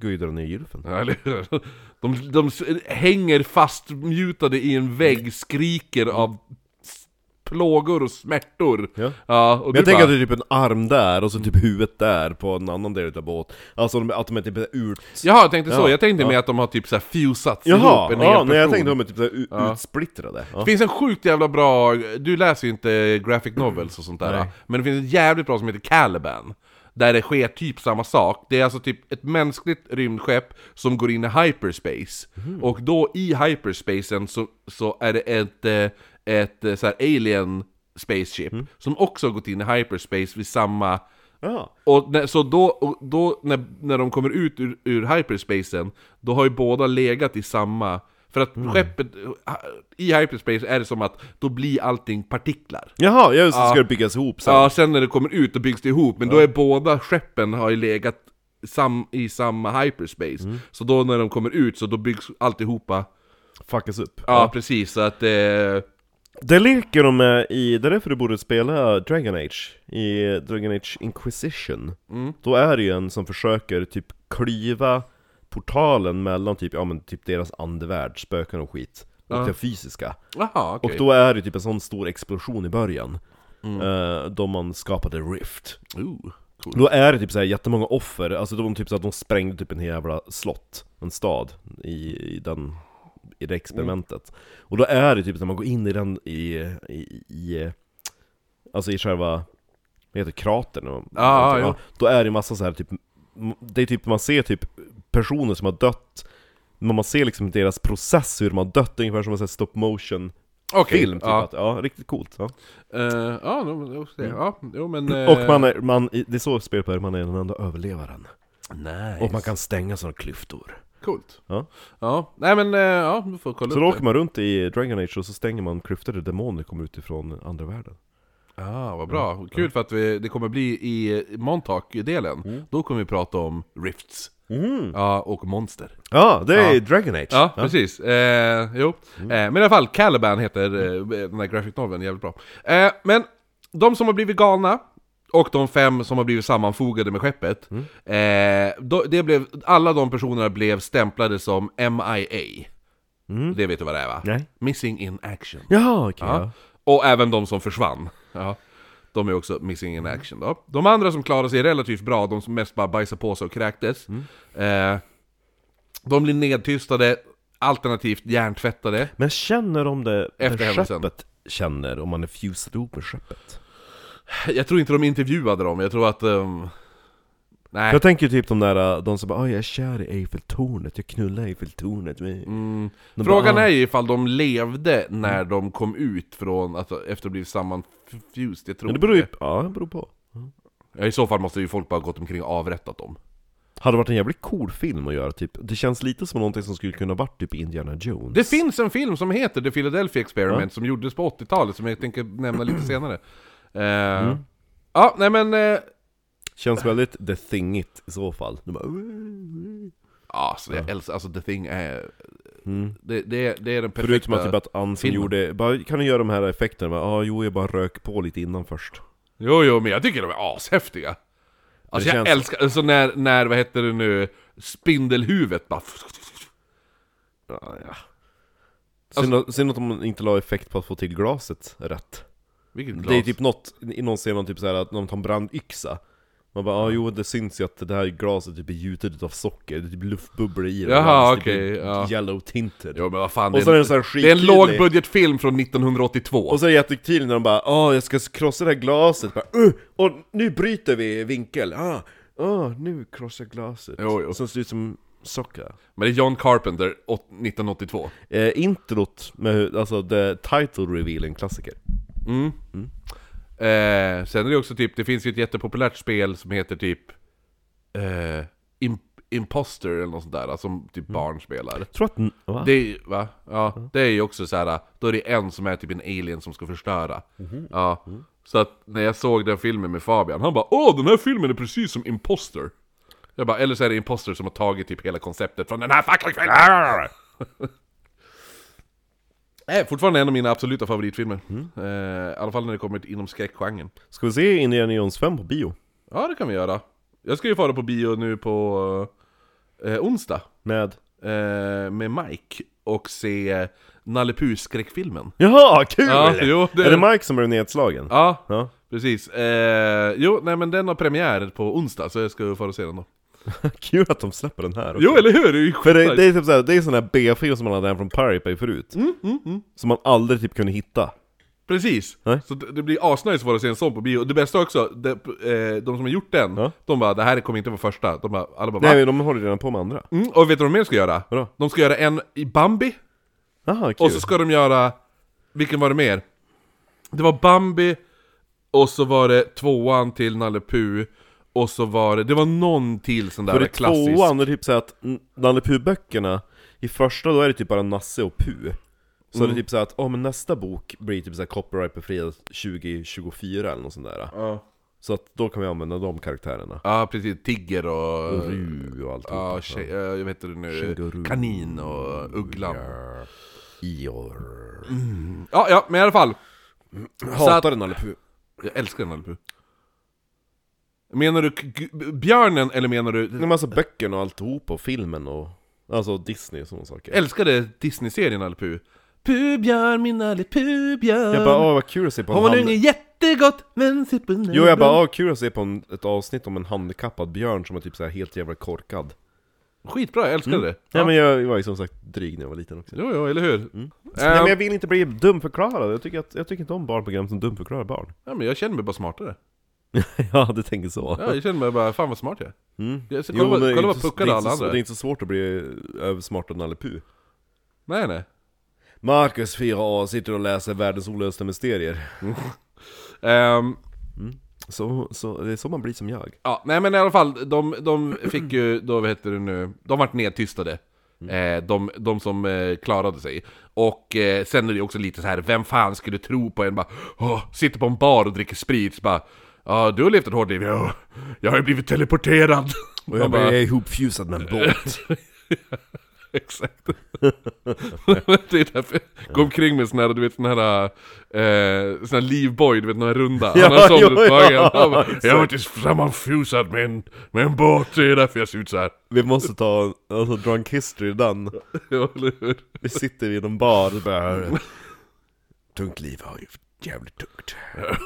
Speaker 2: Guidar ner gylfen.
Speaker 1: Ja, eller hur? [laughs] De, de s- hänger fastmutade i en vägg, skriker av s- plågor och smärtor.
Speaker 2: Ja.
Speaker 1: och
Speaker 2: Men jag
Speaker 1: du
Speaker 2: tänker
Speaker 1: bara,
Speaker 2: att det är typ en arm där och så typ huvudet där på en annan del utav båt. Alltså de- att de är typ ut...
Speaker 1: Jaha, jag tänkte så.
Speaker 2: Ja,
Speaker 1: Jag tänkte
Speaker 2: ja.
Speaker 1: mer att de har typ så här fusats ihop,
Speaker 2: Jaha!
Speaker 1: en
Speaker 2: Ja,
Speaker 1: hel
Speaker 2: nej jag
Speaker 1: person.
Speaker 2: tänkte de är typ så här u- utsplittrade. Ja.
Speaker 1: Det finns en sjukt jävla bra, du läser ju inte graphic novels och sånt där, men det finns en jävligt bra som heter Caliban. Där det sker typ samma sak. Det är alltså typ ett mänskligt rymdskepp som går in i hyperspace. Och då i hyperspacen så, så är det ett, eh, ett eh, så här alien spaceship som också har gått in i hyperspace vid samma
Speaker 2: Ja.
Speaker 1: och när, så då, och då när, när de kommer ut ur, ur hyperspacen, då har ju båda legat i samma... För att
Speaker 2: Mm.
Speaker 1: skeppet, i hyperspace är det som att då blir allting partiklar.
Speaker 2: Jaha, ja, just det, ska det byggas ihop sen.
Speaker 1: Ja, sen när det kommer ut då byggs det ihop, men då är båda skeppen har ju legat sam, i samma hyperspace.
Speaker 2: Mm.
Speaker 1: Så då när de kommer ut så då byggs alltihopa,
Speaker 2: Fuckas upp.
Speaker 1: ja, ja. precis, så att... Eh,
Speaker 2: Det leker de med i, det är därför du borde spela Dragon Age, i Dragon Age Inquisition.
Speaker 1: Mm.
Speaker 2: Då är det ju en som försöker typ klyva portalen mellan typ, ja men typ deras andevärld, spöken och skit, och det fysiska.
Speaker 1: aha, okej. Mm.
Speaker 2: Och då är det typ en sån stor explosion i början, eh, då man skapade Rift.
Speaker 1: Ooh, cool.
Speaker 2: Då är det typ såhär jättemånga offer, alltså de typ så att de sprängde typ en jävla slott, en stad, i, i den i det experimentet. Och då är det typ när man går in i den i, i, i alltså i själva, vad heter det, kratern och,
Speaker 1: Ja, ja,
Speaker 2: och-
Speaker 1: ja.
Speaker 2: Då är det massa så här typ, m- det är typ, man ser typ personer som har dött, men man ser liksom deras process hur de har dött, ungefär som en sån här stop motion
Speaker 1: Okej,
Speaker 2: film typ
Speaker 1: ja.
Speaker 2: att, ja, riktigt coolt. Ja.
Speaker 1: Eh, ja, no, men, ja, jo men... eh,
Speaker 2: Och man är, man, i- det är så spelet börjar, man är den enda överlevaren.
Speaker 1: nice.
Speaker 2: Och man kan stänga sådana klyftor.
Speaker 1: Coolt.
Speaker 2: Ja.
Speaker 1: Ja, nej men eh, ja, vi får kolla
Speaker 2: Så då
Speaker 1: upp
Speaker 2: åker man runt i Dragon Age och så stänger man klyftor där demoner kommer utifrån andra världen.
Speaker 1: det. Ah, vad bra. Kul för att vi, det kommer bli i Montauk-delen,
Speaker 2: Mm.
Speaker 1: då kommer vi prata om Rifts. Ja, och monster.
Speaker 2: Ja, det är Dragon Age!
Speaker 1: Mhm. Ja, precis. Eh, jo.
Speaker 2: Mm.
Speaker 1: Eh, men i alla fall, Caliban heter eh, den här graphic noveln, jävligt bra. Eh, men de som har blivit galna, och de fem som har blivit sammanfogade med skeppet,
Speaker 2: Mm.
Speaker 1: eh, då, det blev, alla de personerna blev stämplade som MIA. Det vet du vad det är va?
Speaker 2: Nej.
Speaker 1: Missing in action.
Speaker 2: Mm. Jaha, okej.
Speaker 1: Ja. Och även de som försvann. Ja. De är också missing in action då. De andra som klarade sig relativt bra, de som mest bara bajsade på sig och kräktes.
Speaker 2: Mm.
Speaker 1: Eh, de blir nedtystade, alternativt hjärntvättade.
Speaker 2: Men känner de det
Speaker 1: Efter
Speaker 2: Efter
Speaker 1: händelsen.
Speaker 2: skeppet känner om man är fused ihop med skeppet?
Speaker 1: Jag tror inte de intervjuade dem, jag tror att... ehm, nej.
Speaker 2: Jag tänker typ de där, de som bara "Aj, jag är kär i Eiffeltornet, jag knullar Eiffeltornet' De
Speaker 1: Mm. Frågan
Speaker 2: bara,
Speaker 1: är
Speaker 2: "Ah."
Speaker 1: ju ifall de levde när de kom ut från, alltså, efter att ha blivit sammanfused, jag tror
Speaker 2: Men det beror ju,
Speaker 1: inte.
Speaker 2: ja det beror på.
Speaker 1: Ja, I så fall måste ju folk bara ha gått omkring och avrättat dem.
Speaker 2: Hade varit en jävligt cool film att göra typ, det känns lite som någonting som skulle kunna varit typ i Indiana Jones.
Speaker 1: Det finns en film som heter The Philadelphia Experiment som gjordes på
Speaker 2: Mm.
Speaker 1: 80-talet som jag tänker nämna lite senare. Eh, Ja, nej men... eh,
Speaker 2: Känns väldigt the thingigt i så fall. De bara, "Uh."
Speaker 1: Mm. Ja, alltså, jag älskar, alltså The Thing är...
Speaker 2: Mm.
Speaker 1: Det, det, det är den
Speaker 2: förutom
Speaker 1: perfekta...
Speaker 2: att typ att Anson
Speaker 1: filmen.
Speaker 2: gjorde, bara, kan du göra de här effekterna? Ja, ah, jo jag bara rök på lite innan först.
Speaker 1: Jo, jo, men jag tycker de är ashäftiga. Alltså
Speaker 2: Det
Speaker 1: jag
Speaker 2: känns-
Speaker 1: älskar, alltså när, när, vad heter det nu, spindelhuvudet bara...
Speaker 2: Ja, ja. Synd,
Speaker 1: Alltså-
Speaker 2: att- synd att de inte la effekt på att få till glaset rätt.
Speaker 1: Vilket glas.
Speaker 2: Det är typ något, i någon scen, någon typ såhär att någon tar en brandyxa Man bara ah, jo det syns ju att det här glaset typ är gjutet av socker, det är typ luftbubblor i det
Speaker 1: Jaha,
Speaker 2: Det blir
Speaker 1: okej, ja.
Speaker 2: Yellow tinted
Speaker 1: Jo men vad fan,
Speaker 2: Och
Speaker 1: det
Speaker 2: så är
Speaker 1: är
Speaker 2: den
Speaker 1: en,
Speaker 2: så här
Speaker 1: det är en
Speaker 2: skitkul-
Speaker 1: lågbudgetfilm från 1982.
Speaker 2: Och så är det jättekul när de bara ah jag ska krossa det här glaset, bara, uh, och nu bryter vi vinkel, ah, ah nu krossar jag glaset
Speaker 1: Jo, jo.
Speaker 2: Som ser ut som socker
Speaker 1: Men det är John Carpenter, åt- 1982.
Speaker 2: eh, Introt med, hur- alltså the title reveal, en klassiker
Speaker 1: Mm. Eh, sen är det också typ, det finns ju ett jättepopulärt spel som heter typ... Eh, Im- Imposter eller något sånt där, som typ barn spelar.
Speaker 2: Tror att, n- va?
Speaker 1: Det är ju- va? Ja, det är ju också så här. då är det en som är typ en alien som ska förstöra. Ja. Så att när jag såg den filmen med Fabian, han bara Åh, den här filmen är precis som Imposter! Jag bara, eller så är det Imposter som har tagit typ hela konceptet från den här fucking filmen! Nej, Eh, fortfarande en av mina absoluta favoritfilmer. Eh, I alla fall när det kommer till- inom skräckgenren.
Speaker 2: Ska vi se Indiana Jones 5 på bio?
Speaker 1: Ja, det kan vi göra. Jag ska ju fara på bio nu på eh, onsdag.
Speaker 2: Med?
Speaker 1: eh, med Mike och se eh, Nalle Puh skräckfilmen
Speaker 2: Jaha, kul!
Speaker 1: Ja, jo, det-
Speaker 2: Är det Mike som blev nedslagen?
Speaker 1: Ja,
Speaker 2: Ja.
Speaker 1: precis. Eh, jo, nej men den har premiär på onsdag så jag ska få se den då.
Speaker 2: [laughs] Kul att de släpper den här också.
Speaker 1: Jo, eller hur? Det är ju
Speaker 2: För det,
Speaker 1: skitnice.
Speaker 2: det är typ såhär, det är sån här B-film som man hade hem från Pirate Bay förut
Speaker 1: Mm,
Speaker 2: Som man aldrig typ kunde hitta
Speaker 1: Precis!
Speaker 2: Nej.
Speaker 1: Så det det blir asnice för att se en sån på bio. Det bästa också, det, eh, de som har gjort den,
Speaker 2: Ja.
Speaker 1: de bara 'Det här kommer inte vara första' De bara, alla bara
Speaker 2: Nej
Speaker 1: Nej,
Speaker 2: men de håller redan på med andra
Speaker 1: mm, Och vet du vad de mer ska göra?
Speaker 2: Vadå?
Speaker 1: De ska göra en i Bambi,
Speaker 2: Jaha, kul!
Speaker 1: och så ska de göra... Vilken var det mer? Det var Bambi, och så var det tvåan till Nalle Puh, och så var det... Det var någon till sån där
Speaker 2: För i
Speaker 1: klassisk...
Speaker 2: tvåan, det är typ såhär att mm, Nalle Puh-böckerna I första då är det typ bara Nasse och Puh Så är det typ såhär att, åh men nästa bok blir typ såhär copyright-befriad 2024 eller något sånt där
Speaker 1: Ja.
Speaker 2: Så att då kan vi använda de karaktärerna
Speaker 1: Ja, precis. Tigger och...
Speaker 2: Ru och allt
Speaker 1: Eh, Ja, tjej, eh, jag vet inte det nu,
Speaker 2: Känguru.
Speaker 1: kanin och ugglan.
Speaker 2: Ior
Speaker 1: Ja, ja, men i alla fall.
Speaker 2: Hatar den Nalle Puh
Speaker 1: Jag älskar den Nalle Menar du k- g- björnen eller menar du...
Speaker 2: Nej men alltså böckerna och alltihop och filmen och Alltså Disney och sådana saker
Speaker 1: Älskade Disney-serien Nalle Puh. Puh björn, min Nalle Puh björn.
Speaker 2: Jag bara, åh vad kul att se på en
Speaker 1: Hon
Speaker 2: hand...
Speaker 1: sjunger jättegott, men sitt på
Speaker 2: Jo jag bara, åh kul att se på en, ett avsnitt om en handikappad björn som är typ så här helt jävla korkad
Speaker 1: Skitbra, jag älskade det.
Speaker 2: Nej
Speaker 1: Ja.
Speaker 2: Mm. men jag var ju som sagt dryg när jag var liten också
Speaker 1: Jo, jo, eller hur? Ehm,
Speaker 2: Nej men jag vill inte bli dumförklarad, jag tycker, att, jag tycker inte om barnprogram som dumförklarar barn [laughs]
Speaker 1: ja, men jag känner mig bara smartare.
Speaker 2: Ja du tänker så
Speaker 1: Ja, jag känner mig bara, fan vad smart jag är.
Speaker 2: Mm.
Speaker 1: Jag ser-
Speaker 2: Jo,
Speaker 1: Kolla,
Speaker 2: men det
Speaker 1: vad-
Speaker 2: är
Speaker 1: kolla
Speaker 2: inte
Speaker 1: vad
Speaker 2: så-
Speaker 1: puckade
Speaker 2: det är inte
Speaker 1: alla
Speaker 2: så-
Speaker 1: andra
Speaker 2: Det är
Speaker 1: är.
Speaker 2: inte så svårt att bli översmartad Nalle Puh
Speaker 1: Nej, nej.
Speaker 2: Marcus 4A sitter och läser världens olösta mysterier
Speaker 1: Ehm,
Speaker 2: så, så, det är så man blir som jag
Speaker 1: Ja, nej men i alla fall, de, de fick
Speaker 2: [clears throat]
Speaker 1: ju, då vad heter det nu, de vart nedtystade.
Speaker 2: Mm.
Speaker 1: Eh, de, de som eh, klarade sig. Och eh, sen är det också lite så här, vem fan skulle tro på en bara, åh, sitter på en bar och dricker sprit, så bara, ja du har levt ett hårt liv, ja, jag har ju blivit teleporterad. [laughs]
Speaker 2: Och
Speaker 1: Man
Speaker 2: jag, bara, jag är ihopfjusad med en båt
Speaker 1: [laughs] Exakt. [laughs] det är därför jag går omkring med sån här, du vet sån här, eh, sån här livboj, du vet den här runda.
Speaker 2: Ja,
Speaker 1: Han har sån
Speaker 2: jo,
Speaker 1: runt
Speaker 2: ja,
Speaker 1: magen. Han bara,
Speaker 2: exakt.
Speaker 1: Jag har varit sammanfusad med en, med en båt, det är därför jag ser ut så här. [laughs]
Speaker 2: Vi måste ta, alltså drunk history done
Speaker 1: Ja, eller hur?
Speaker 2: Vi sitter vid en bar och bara Tungt liv har ju jävligt tungt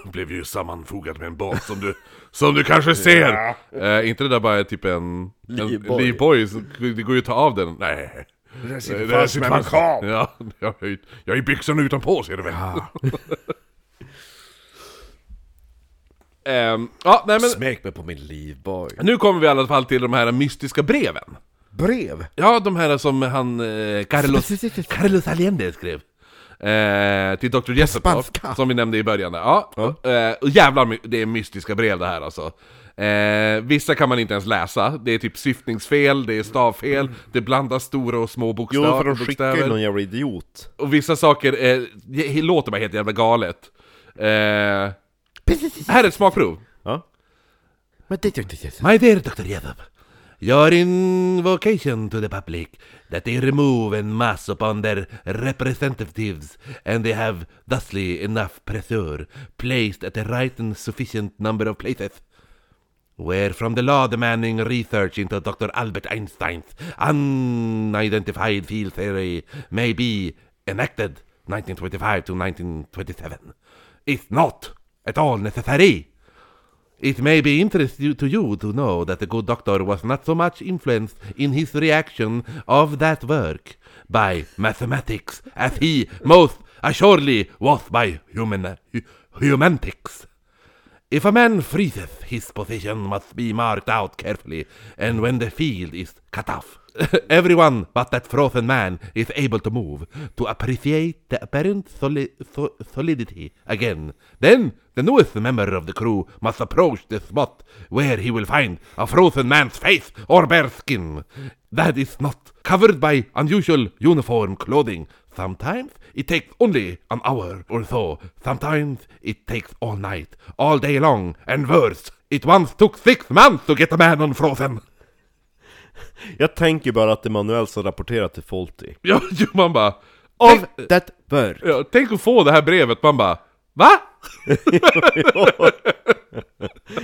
Speaker 1: Jag blev ju sammanfogad med en båt som du, som du kanske ser! Eh, inte det där bara är typ en... en
Speaker 2: Livboj.
Speaker 1: livboj, så det går ju att ta av den. Nej. Det där sitter fast. Ja, jag har ju- jag har ju byxorna utanpå ser du väl. [laughs] Ehm, ja, nej men...
Speaker 2: Smek mig på min livboj
Speaker 1: Nu kommer vi i alla fall till de här mystiska breven.
Speaker 2: Brev!
Speaker 1: Ja, de här som han... Eh, Carlos, Carlos Allende skrev. Eh, till Dr. Jesselpov,
Speaker 2: spanska.
Speaker 1: som vi nämnde i början där. Ja, Och, eh, och jävlar, my- det är mystiska brev det här alltså. Eh, vissa kan man inte ens läsa, det är typ syftningsfel, det är stavfel, det blandas stora och små
Speaker 2: Jo
Speaker 1: bokstav,
Speaker 2: för de skickar ju
Speaker 1: bokstäver.
Speaker 2: någon jävla idiot
Speaker 1: Och vissa saker eh, det låter bara helt jävla galet. Eh, här är ett smakprov.
Speaker 2: Ja Men det, det, det, det.
Speaker 1: My dear Dr. Yevov, your invocation to the public that they remove en mass upon their representatives and they have thusly enough pressure placed at the right and sufficient number of places. Where from the law demanding research into Dr. Albert Einstein's unidentified field theory may be enacted 1925 to 1927 is not at all necessary. It may be interest you, to you to know that the good doctor was not so much influenced in his reaction of that work by mathematics as he most assuredly was by human hu- humantics. If a man freezes, his position must be marked out carefully, and when the field is cut off, [laughs] everyone but that frozen man is able to move, to appreciate the apparent soli- so- solidity again. Then the newest member of the crew must approach the spot where he will find a frozen man's face or bare skin. That is not covered by unusual uniform clothing. Sometimes it takes only an hour or so. Sometimes it takes all night, all day long, and worse. It once took six months to get a man unfrozen.
Speaker 2: Jag tänker bara att det är manuellt som rapporterar till Folti.
Speaker 1: [laughs] Ja, jo, man bara...
Speaker 2: Av
Speaker 1: Tänk,
Speaker 2: det bör.
Speaker 1: ja, tänk att få det här brevet, man bara... Va? [laughs]
Speaker 2: ja,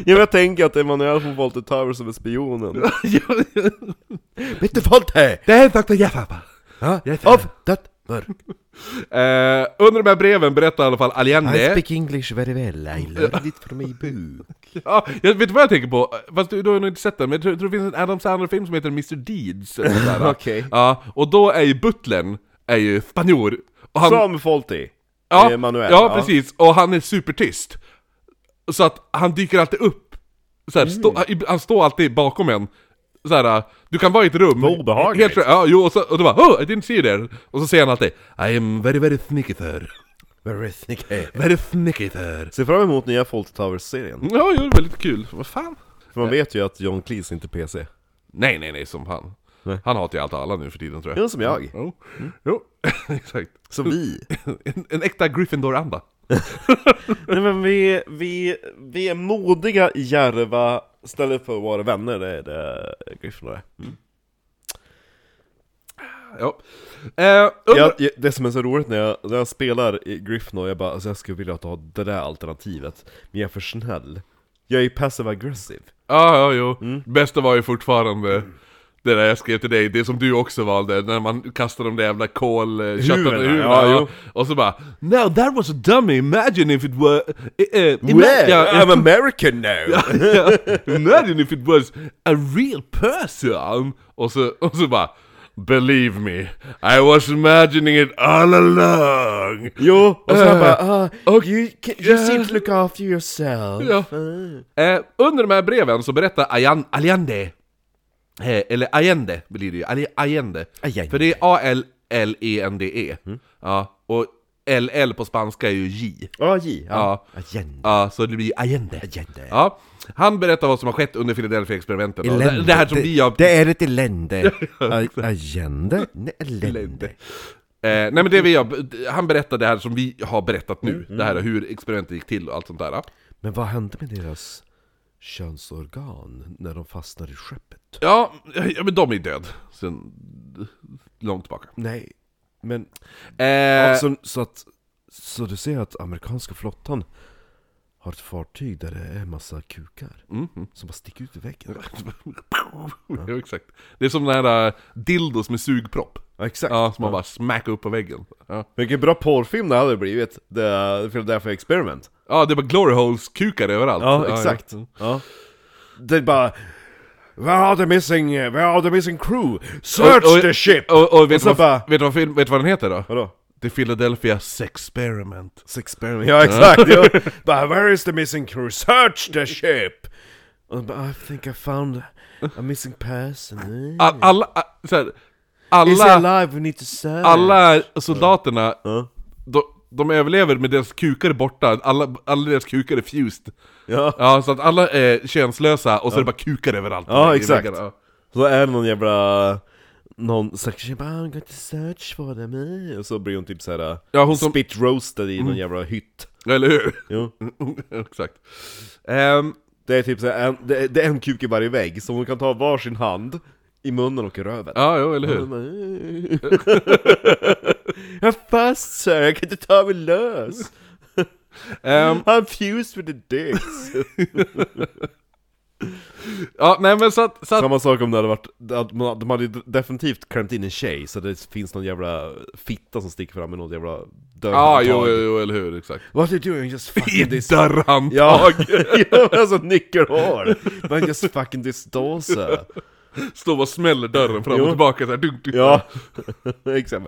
Speaker 2: men jag tänker att det är manuellt från Folti Tower som är spionen. Vet du Folti?
Speaker 1: det är Dr. Jeffab.
Speaker 2: Ja,
Speaker 1: Yes,
Speaker 2: av det bör.
Speaker 1: Eh, under de här breven berättar i alla fall Allende...
Speaker 2: English very well, I learned it from a book.
Speaker 1: Ja, jag vet du vad jag tänker på? Fast du, du har nog inte sett den, men jag tror, tror det finns en Adam Sandler-film som heter Mr Deeds eller sånt [laughs] där.
Speaker 2: [laughs] Okej.
Speaker 1: Ja, och då är ju butlern, är ju spanjor och han,
Speaker 2: Som Folti.
Speaker 1: ja,
Speaker 2: eh, Manuel,
Speaker 1: ja,
Speaker 2: ja.
Speaker 1: precis, och han är supertyst Så att han dyker alltid upp så här, stå,
Speaker 2: Mm.
Speaker 1: han- Han står alltid bakom en så här, du kan vara i ett rum
Speaker 2: Vad obehagligt.
Speaker 1: helt, Ja, jo, och, så, och du bara 'Oh, I didn't see you there' Och så säger han alltid 'I am very very sneaky sir'
Speaker 2: [laughs] Very thick hair.
Speaker 1: Very sneaky sir
Speaker 2: Ser fram emot nya Fawlty Towers-serien.
Speaker 1: Ja, jo, väldigt kul, vad fan?
Speaker 2: För man vet ju att John Cleese inte är PC.
Speaker 1: Nej, nej, nej, som han.
Speaker 2: Nej.
Speaker 1: Han hatar ju allt och alla nu för tiden tror jag.
Speaker 2: Ja, som jag.
Speaker 1: Jo, jo. [laughs] exakt.
Speaker 2: Som vi.
Speaker 1: En, en äkta Gryffindor-anda.
Speaker 2: Nej men vi, vi, vi är modiga, djärva, istället för att vara vänner, det är det Gryffindor är.
Speaker 1: Ja. Eh, under...
Speaker 2: jag, jag, Det som är så roligt när jag, när jag spelar i Gryffindor, jag bara alltså jag skulle vilja ta det där alternativet, men jag är för snäll. Jag är passive aggressive.
Speaker 1: Ja, ja, jo.
Speaker 2: Mm.
Speaker 1: Bästa var ju fortfarande det där jag skrev till dig, det som du också valde, när man kastade de där jävla eh, kolköttet
Speaker 2: Huvorna,
Speaker 1: och huvorna.
Speaker 2: ja,
Speaker 1: ja.
Speaker 2: jo.
Speaker 1: Och så bara No, that was a dummy, imagine if it were... eh, eh, ima-
Speaker 2: Well,
Speaker 1: ja,
Speaker 2: [laughs] I'm American [laughs] now!
Speaker 1: ja, [laughs] imagine if it was a real person! Och så, och så bara Believe me, I was imagining it all along!
Speaker 2: Jo, och så
Speaker 1: Eh,
Speaker 2: jag bara ah,
Speaker 1: och-
Speaker 2: you, can, you
Speaker 1: eh.
Speaker 2: seem to look after yourself. Uh,
Speaker 1: Ja. Eh, under de här breven så berättar Ayan, Allende, eh, eller Allende blir det ju, Alli- Allende.
Speaker 2: Allende.
Speaker 1: För det är E A-L-L-E-N-D-E. Ja, och LL på spanska är ju J.
Speaker 2: Ah, J,
Speaker 1: Ja.
Speaker 2: ja. Agenda.
Speaker 1: Ja, så det blir Allende.
Speaker 3: Agenda.
Speaker 1: Ja. Han berättar vad som har skett under Philadelphia-experimenten. då. Det,
Speaker 3: Elände.
Speaker 1: det här som
Speaker 3: det,
Speaker 1: vi har...
Speaker 3: det är ett elände.
Speaker 2: [laughs]
Speaker 3: A- Agenda? Nej, elände.
Speaker 1: Eh, nej men det vi har, han berättar det här som vi har berättat nu, det här hur experimentet gick till och allt sånt där.
Speaker 3: Men vad hände med deras könsorgan när de fastnade i skeppet?
Speaker 1: Ja, ja men de är död sen långt tillbaka.
Speaker 3: Nej, men...
Speaker 1: Eh,
Speaker 3: så, så att... Så du ser att amerikanska flottan har ett fartyg där det är en massa kukar
Speaker 1: Mhm.
Speaker 3: som bara sticker ut i väggen?
Speaker 1: Ja, exakt. Det är som den här äh, dildos med sugpropp.
Speaker 3: Ja, exakt.
Speaker 1: Ja, som man bara smackar upp på väggen. Ja,
Speaker 2: Vilken bra porrfilm det hade blivit, The Philadelphia Experiment.
Speaker 1: ja det är bara glory holes kukar överallt.
Speaker 2: Ja, exakt.
Speaker 1: Mm.
Speaker 2: Ja. Det är bara... Where are the missing, where are the missing crew? Search
Speaker 1: Och- och-
Speaker 2: the ship!
Speaker 1: Och, och vet,
Speaker 2: Och
Speaker 1: du
Speaker 2: så
Speaker 1: vad,
Speaker 2: bara-
Speaker 1: vet, du vad, film- vet du vad den heter då?
Speaker 2: Vadå?
Speaker 1: The Philadelphia Sexperiment.
Speaker 3: Sexperiment.
Speaker 2: Ja exakt! [laughs] ja. bara where is the missing crew? Search the ship!
Speaker 3: Och bara, I think I found a missing person. Mm.
Speaker 1: All, alla, a- så här,
Speaker 3: Is he
Speaker 1: alla,
Speaker 3: alive? We need to search.
Speaker 1: alla soldaterna,
Speaker 2: Ja.
Speaker 1: de, de överlever med deras kukar borta, alla, alla deras kukar är fused.
Speaker 2: Ja.
Speaker 1: Ja, så att alla är könslösa och så är det bara kukar överallt.
Speaker 2: Ja,
Speaker 1: i
Speaker 2: exakt.
Speaker 1: väggarna. Ja.
Speaker 2: Så är det någon jävla... Någon
Speaker 3: Säkert känner bara, I'm going to search for them. eh."
Speaker 2: och så blir hon typ såhär
Speaker 1: Ja, hon som- Mm.
Speaker 2: spit roasted i någon jävla hytt
Speaker 1: [laughs] Eller hur?
Speaker 2: Jo.
Speaker 1: Exakt. Ehm,
Speaker 2: Det är typ så här, en, det, är- det är en kuk i varje vägg, så hon kan ta varsin hand i munnen och i röven.
Speaker 1: Ja, jo, eller
Speaker 2: Och
Speaker 1: hur?
Speaker 2: hon [laughs] bara, Jag är fast sir, jag kan inte ta mig lös! [laughs]
Speaker 1: Ehm,
Speaker 2: I'm fused with the dicks!
Speaker 1: ja, nej men så att... Så att
Speaker 2: [laughs] Samma sak om det hade varit, att man, de hade ju definitivt klämt in en tjej, så det finns någon jävla fitta som sticker fram med något jävla
Speaker 1: ja,
Speaker 2: dörrhandtag.
Speaker 1: jo, jo, jo, eller hur? Exakt.
Speaker 2: What are you doing? Just
Speaker 1: I
Speaker 2: fucking this...
Speaker 1: dörrhandtag!
Speaker 2: Ja, [laughs] ja, alltså nyckelhår! Men just fucking this dåse!
Speaker 1: [laughs] Står och smäller dörren fram
Speaker 2: Jo.
Speaker 1: och tillbaka såhär, dunk, dunk.
Speaker 2: Ja, [laughs] exakt.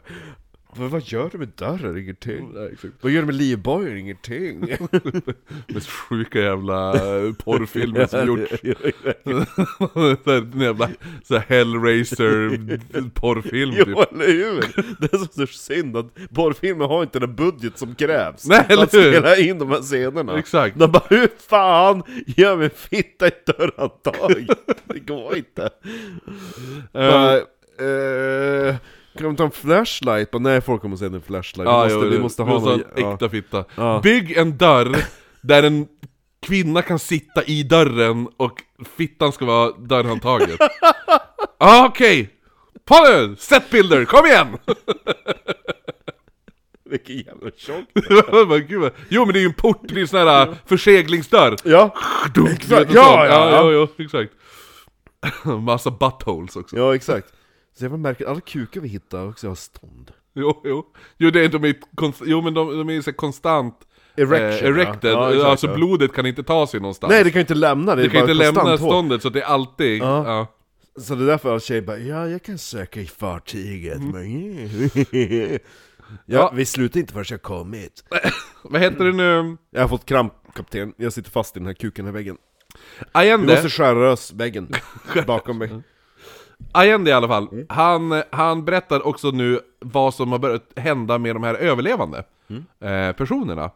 Speaker 2: Vad, vad gör du med dörren? Ingenting.
Speaker 1: Ja, exakt.
Speaker 2: Vad gör du med livbojen? Ingenting.
Speaker 1: Mest sjuka jävla eh, porrfilmer som gjorts. [laughs]
Speaker 2: [laughs]
Speaker 1: Såhär jävla så här hellraiser-porrfilm
Speaker 2: [laughs] Jo,
Speaker 1: typ.
Speaker 2: eller hur? Det är så, så synd att porrfilmer har inte den budget som krävs
Speaker 1: Nej, eller
Speaker 2: att
Speaker 1: hur?
Speaker 2: spela in de här scenerna.
Speaker 1: Exakt.
Speaker 2: De bara, hur fan gör vi en fitta i ett dörrhandtag? [laughs] Det går inte. Bara, eh, kan de ta en flashlight? Bara, nej, folk kommer säga att det är en flashlight.
Speaker 1: Ja,
Speaker 2: vi, måste,
Speaker 1: jo,
Speaker 2: vi
Speaker 1: det-
Speaker 2: måste
Speaker 1: vi
Speaker 2: ha någon...
Speaker 1: en
Speaker 2: ja.
Speaker 1: äkta fitta.
Speaker 2: Ja.
Speaker 1: Bygg en dörr där en kvinna kan sitta i dörren och fittan ska vara dörrhandtaget.
Speaker 2: [laughs]
Speaker 1: ah, Okej! På nu! Setbilder, kom igen! [laughs]
Speaker 2: Vilken jävla tjock.
Speaker 1: Jag bara, Gud, vad- jo men det är ju en port, det är ju en sån här förseglingsdörr.
Speaker 2: Ja,
Speaker 1: Du vet,
Speaker 2: exakt.
Speaker 1: och
Speaker 2: Ja,
Speaker 1: sånt.
Speaker 2: ja,
Speaker 1: ja,
Speaker 2: ja.
Speaker 1: ja, exakt. [laughs] Massa buttholes också.
Speaker 2: Ja, exakt. Så jävla märkligt, alla kukar vi hittar också har stånd.
Speaker 1: Jo, jo. Jo, det är, de är konst, jo men de, de är ju så här konstant eh,
Speaker 2: Erection, ja.
Speaker 1: erected,
Speaker 2: Ja, exakt,
Speaker 1: alltså
Speaker 2: ja.
Speaker 1: blodet kan inte ta sig någonstans.
Speaker 2: Nej, det kan ju inte lämna, det är
Speaker 1: Alltså. du kan
Speaker 2: bara
Speaker 1: inte lämna
Speaker 2: konstant hål.
Speaker 1: ståndet så att det är alltid...
Speaker 2: Ja.
Speaker 1: Ja.
Speaker 2: Så det är därför alla tjejer bara 'Ja, jag kan söka i fartyget' men...
Speaker 1: [laughs]
Speaker 2: ja,
Speaker 1: Mm. Ja.
Speaker 2: vi slutar inte förrän jag kommit.
Speaker 1: Vad heter det nu?
Speaker 2: Jag har fått kramp, kapten. Jag sitter fast i den här kuken, den här väggen. Vi
Speaker 1: Allende,
Speaker 2: måste skära oss
Speaker 1: [laughs]
Speaker 2: väggen bakom mig.
Speaker 1: Allende i alla fall, han, han berättar också nu vad som har börjat hända med de här överlevande eh, personerna.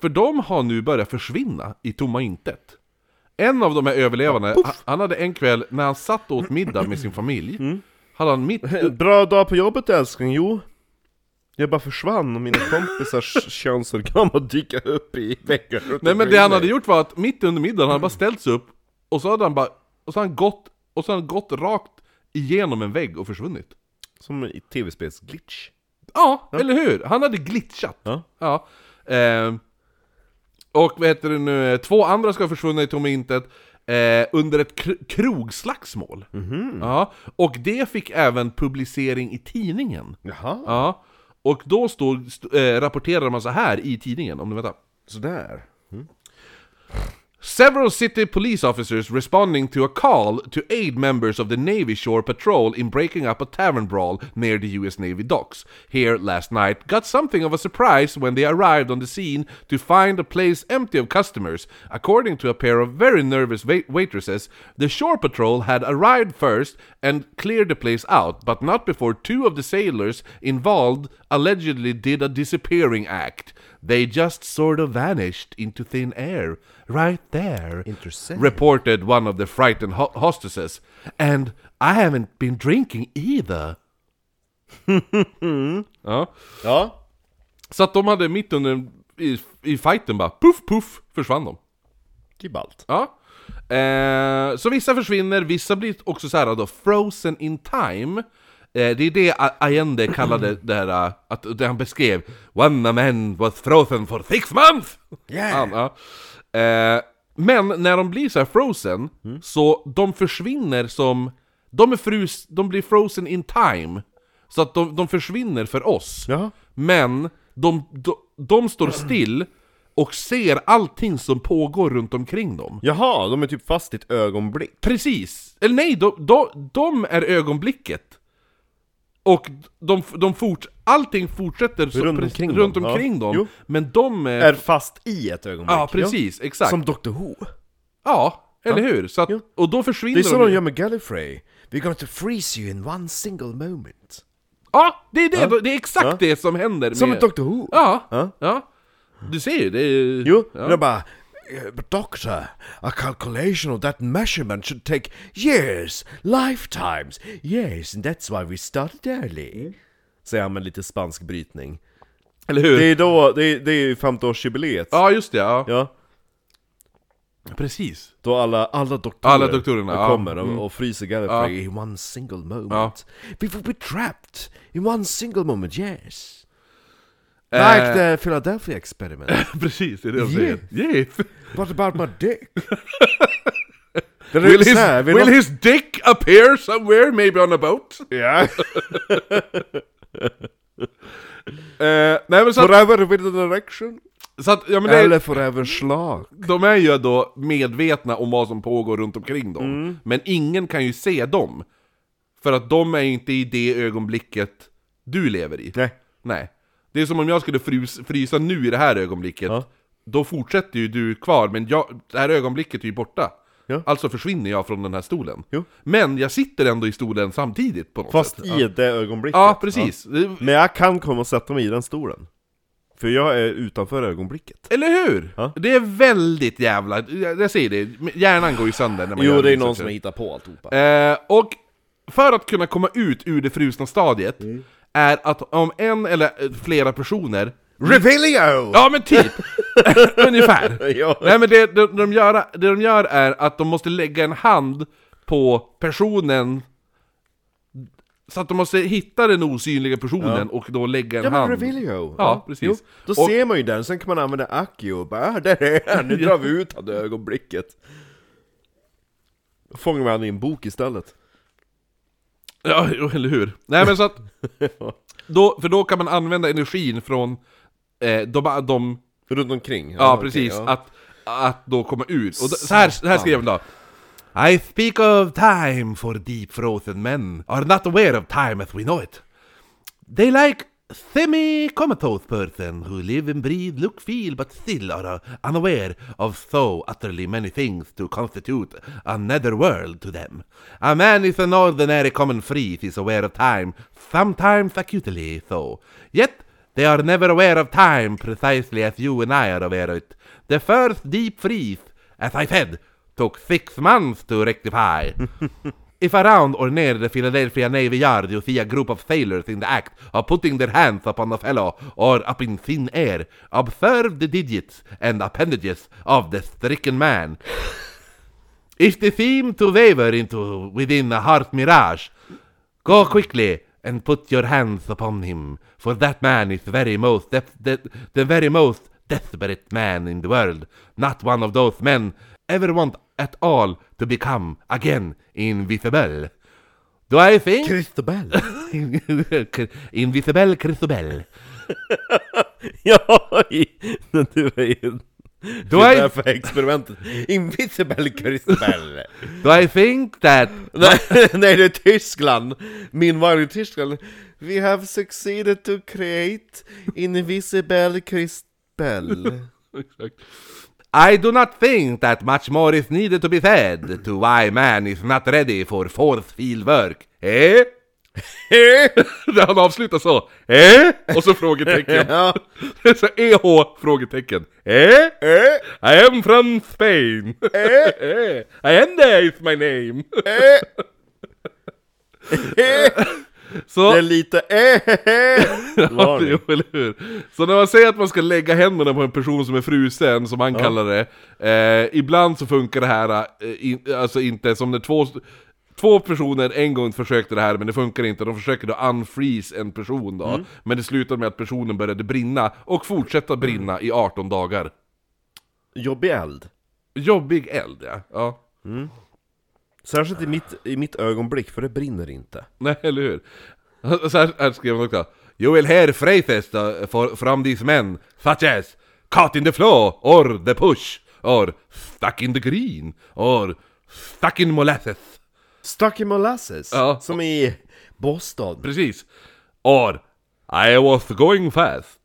Speaker 1: För de har nu börjat försvinna i tomma intet. En av de här överlevande, han, han hade en kväll när han satt och åt middag med sin familj, hade han mitt...
Speaker 2: Bra dag på jobbet älskling, jo. Jag bara försvann och mina
Speaker 1: [laughs]
Speaker 2: kompisars könsorgan bara dyka upp i väggen.
Speaker 1: Nej men det han hade gjort var att mitt under middagen, han hade bara ställt sig upp och så hade han bara, och så hade han gått, och så hade han gått rakt igenom en vägg och försvunnit.
Speaker 2: Som i tv-spels-glitch.
Speaker 1: Ja, eller hur? Han hade glitchat.
Speaker 2: Ja.
Speaker 1: Ehm, och vad heter det nu, eh, två andra ska ha försvunnit i tomma intet eh, under ett kr- krogslagsmål. Ja, och det fick även publicering i tidningen.
Speaker 2: Jaha,
Speaker 1: Ja, och då stod, st- eh, rapporterade man så här i tidningen, om du väntar.
Speaker 2: sådär.
Speaker 1: Several city police officers responding to a call to aid members of the Navy Shore Patrol in breaking up a tavern brawl near the US Navy docks here last night got something of a surprise when they arrived on the scene to find the place empty of customers. According to a pair of very nervous wait- waitresses, the Shore Patrol had arrived first and cleared the place out, but not before two of the sailors involved allegedly did a disappearing act. They just sort of vanished into thin air, right there.
Speaker 2: Interesting.
Speaker 1: Reported one of the frightened ho- hostesses. And I haven't been drinking either. ja.
Speaker 2: Ja.
Speaker 1: Så att de hade mitt under i, i fighten bara, puff puff, försvann de.
Speaker 2: Gibalt.
Speaker 1: Ja. Eh, så vissa försvinner, vissa blir också så här då, frozen in time. Eh, det är det A- Allende kallade det här, eh, att, det han beskrev. One man was frozen for six months!
Speaker 2: Yeah.
Speaker 1: Han, ja. eh, men när de blir så här frozen, så de försvinner som... De, är frus, de blir frozen in time. Så att de, de försvinner för oss.
Speaker 2: Jaha.
Speaker 1: Men de, de, de står still och ser allting som pågår runt omkring dem.
Speaker 2: Jaha, de är typ fast i ett ögonblick.
Speaker 1: Precis! Eller nej, de, de, de är ögonblicket. Och de, de fort, allting fortsätter så,
Speaker 2: Runt
Speaker 1: pre-
Speaker 2: omkring dem,
Speaker 1: runt
Speaker 2: ja.
Speaker 1: omkring dem.
Speaker 2: Jo.
Speaker 1: Men de är...
Speaker 2: Är fast i ett ögonblick.
Speaker 1: ja, precis.
Speaker 2: Ja.
Speaker 1: Exakt.
Speaker 2: Som Dr Who.
Speaker 1: Ja, eller hur? Så att,
Speaker 2: Ja.
Speaker 1: och då
Speaker 2: Det är
Speaker 1: försvinner
Speaker 2: så
Speaker 1: de
Speaker 2: de
Speaker 1: ju.
Speaker 2: gör med Gallifrey. We're going to freeze you in one single moment.
Speaker 1: Ja, det är, det, det är exakt
Speaker 2: Ja.
Speaker 1: det som händer
Speaker 2: Som
Speaker 1: med...
Speaker 2: ett Dr Who.
Speaker 1: Ja,
Speaker 2: Ja.
Speaker 1: ja. Du ser ju, det är ju...
Speaker 2: Jo,
Speaker 1: ja.
Speaker 2: de bara... "Eh, But doctor, a calculation of that measurement should take years, lifetimes, yes, and that's why we started
Speaker 1: Mm.
Speaker 2: early. Säger han med lite spansk brytning.
Speaker 1: Eller hur?
Speaker 2: Det är då, det är, det är ju 50-årsjubileet.
Speaker 1: Ja, just det, ja.
Speaker 2: Ja.
Speaker 1: Precis.
Speaker 2: Då alla, alla doktorer,
Speaker 1: Alla doktorerna, ja. Mm.
Speaker 2: kommer och, och fryser Gallifrey
Speaker 3: In one single moment.
Speaker 1: Ja.
Speaker 3: We will be trapped in one single moment, yes.
Speaker 1: Eh.
Speaker 3: Like the
Speaker 1: [laughs]
Speaker 3: Philadelphia experiment.
Speaker 1: Precis, det är det de säger. Yes.
Speaker 3: What about my dick?
Speaker 1: Will, his,
Speaker 3: här, vill
Speaker 1: will
Speaker 3: någon-
Speaker 1: his dick appear somewhere, maybe on a boat?
Speaker 2: Ja.
Speaker 1: Eh, nej men så att,
Speaker 3: Forever with an erection?
Speaker 1: så att ja, men det,
Speaker 3: Eller forever slag?
Speaker 1: de är ju då medvetna om vad som pågår runt omkring dem.
Speaker 2: Mm.
Speaker 1: Men ingen kan ju se dem. För att de är ju inte i det ögonblicket du lever i.
Speaker 2: Nej.
Speaker 1: Nej. Det är som om jag skulle frys, frysa nu i det här ögonblicket.
Speaker 2: Ja.
Speaker 1: Då fortsätter ju du kvar, men jag, det här ögonblicket är ju borta.
Speaker 2: Ja.
Speaker 1: Alltså försvinner jag från den här stolen.
Speaker 2: Jo.
Speaker 1: Men jag sitter ändå i stolen samtidigt på något
Speaker 2: Fast
Speaker 1: sätt.
Speaker 2: i det ögonblicket.
Speaker 1: Ja, precis. Det-
Speaker 2: Men jag kan komma och sätta mig i den stolen. För jag är utanför ögonblicket.
Speaker 1: Eller hur?
Speaker 2: Ja.
Speaker 1: Det är väldigt jävla... Jag jag säger det, hjärnan går ju sönder när man gör researcher.
Speaker 2: hittar på alltihopa.
Speaker 1: Eh, och för att kunna komma ut ur det frusna stadiet
Speaker 2: Mm.
Speaker 1: är att om en eller eh, flera personer...
Speaker 2: Revelio!
Speaker 1: Ja men typ! [laughs] Ungefär!
Speaker 2: [laughs] Ja.
Speaker 1: Nej men det, de, de gör, det de gör är att de måste lägga en hand på personen Så att de måste hitta den osynliga personen och då lägga en
Speaker 2: Ja men
Speaker 1: hand
Speaker 2: Revelio!
Speaker 1: Ja, precis.
Speaker 2: Jo, då
Speaker 1: Och-
Speaker 2: ser man ju den, sen kan man använda Aki och bara "Ah, där
Speaker 1: [laughs]
Speaker 2: är han, nu drar vi ut han i ögonblicket. Då fångar man han i en bok istället.
Speaker 1: Ja, jo, eller hur? Nej men så [laughs] att... då, för då kan man använda energin från eh, de, de
Speaker 2: Runt omkring.
Speaker 1: Ja,
Speaker 2: okej,
Speaker 1: precis. Ah.
Speaker 2: ja.
Speaker 1: Att, att då komma ut. Och d- så här, så här skrev han då. I speak of time for deep frozen men are not aware of time as we know it. They like semi-comatose person who live and breathe, look, feel, but still are uh, unaware of so utterly many things to constitute another world to them. A man is an ordinary common freak is aware of time, sometimes acutely so. Yet they are never aware of time precisely as you and I are aware of it. The first deep freeze, as I said, took six months to rectify. If around or near the Philadelphia Navy Yard you see a group of sailors in the act of putting their hands upon a fellow or up in thin air, observe the digits and appendages of the stricken man. If they seem to waver into within a heart mirage, go quickly and put your hands upon him, for that man is very most de- de- the very most desperate man in the world, not one of those men ever want at all to become again invisible. Do I think [laughs]
Speaker 3: Christobel!
Speaker 1: invisible Cristobal?
Speaker 2: [laughs] Ja, i, du är ju...
Speaker 1: Do
Speaker 2: det är
Speaker 1: I
Speaker 2: därför experimentet.
Speaker 1: [laughs]
Speaker 2: Invisible Crystal.
Speaker 1: do I think that
Speaker 2: nej, nej, det är Tyskland. Min var i Tyskland. We have succeeded to create invisible crystal.
Speaker 1: [laughs] I do not think that much more is needed to be said to why man is not ready for fourth field work. Eh? [laughs] Eh? [laughs] Han avslutar så. Eh? Och så [laughs] frågetecken.
Speaker 2: ja.
Speaker 1: så EH? Frågetecken. Eh? Eh? I am from Spain. Eh? [laughs] eh? Allende is my name. [laughs]
Speaker 2: Det
Speaker 1: så,
Speaker 2: är lite [laughs] eh,
Speaker 1: ja, det, eller hur? så när man säger att man ska lägga händerna på en person som är frusen, som han kallar det eh, Ibland så funkar det här eh, in, alltså inte som när två, två personer en gång försökte det här men det funkar inte De försöker då unfreeze en person då Men det slutade med att personen började brinna och fortsätta brinna i 18 dagar
Speaker 2: Jobbig eld.
Speaker 1: Jobbig eld ja, ja.
Speaker 2: Särskilt i mitt, i mitt ögonblick, för det brinner inte.
Speaker 1: [laughs] Nej, eller hur? Så här, här skrev han också. You will hear phrases uh, for, from these men, such as Caught in the flow, or the push, or stuck in the green, or stuck in molasses.
Speaker 2: Stuck in molasses,
Speaker 1: Ja.
Speaker 2: som i Boston.
Speaker 1: Precis. Or I was going fast.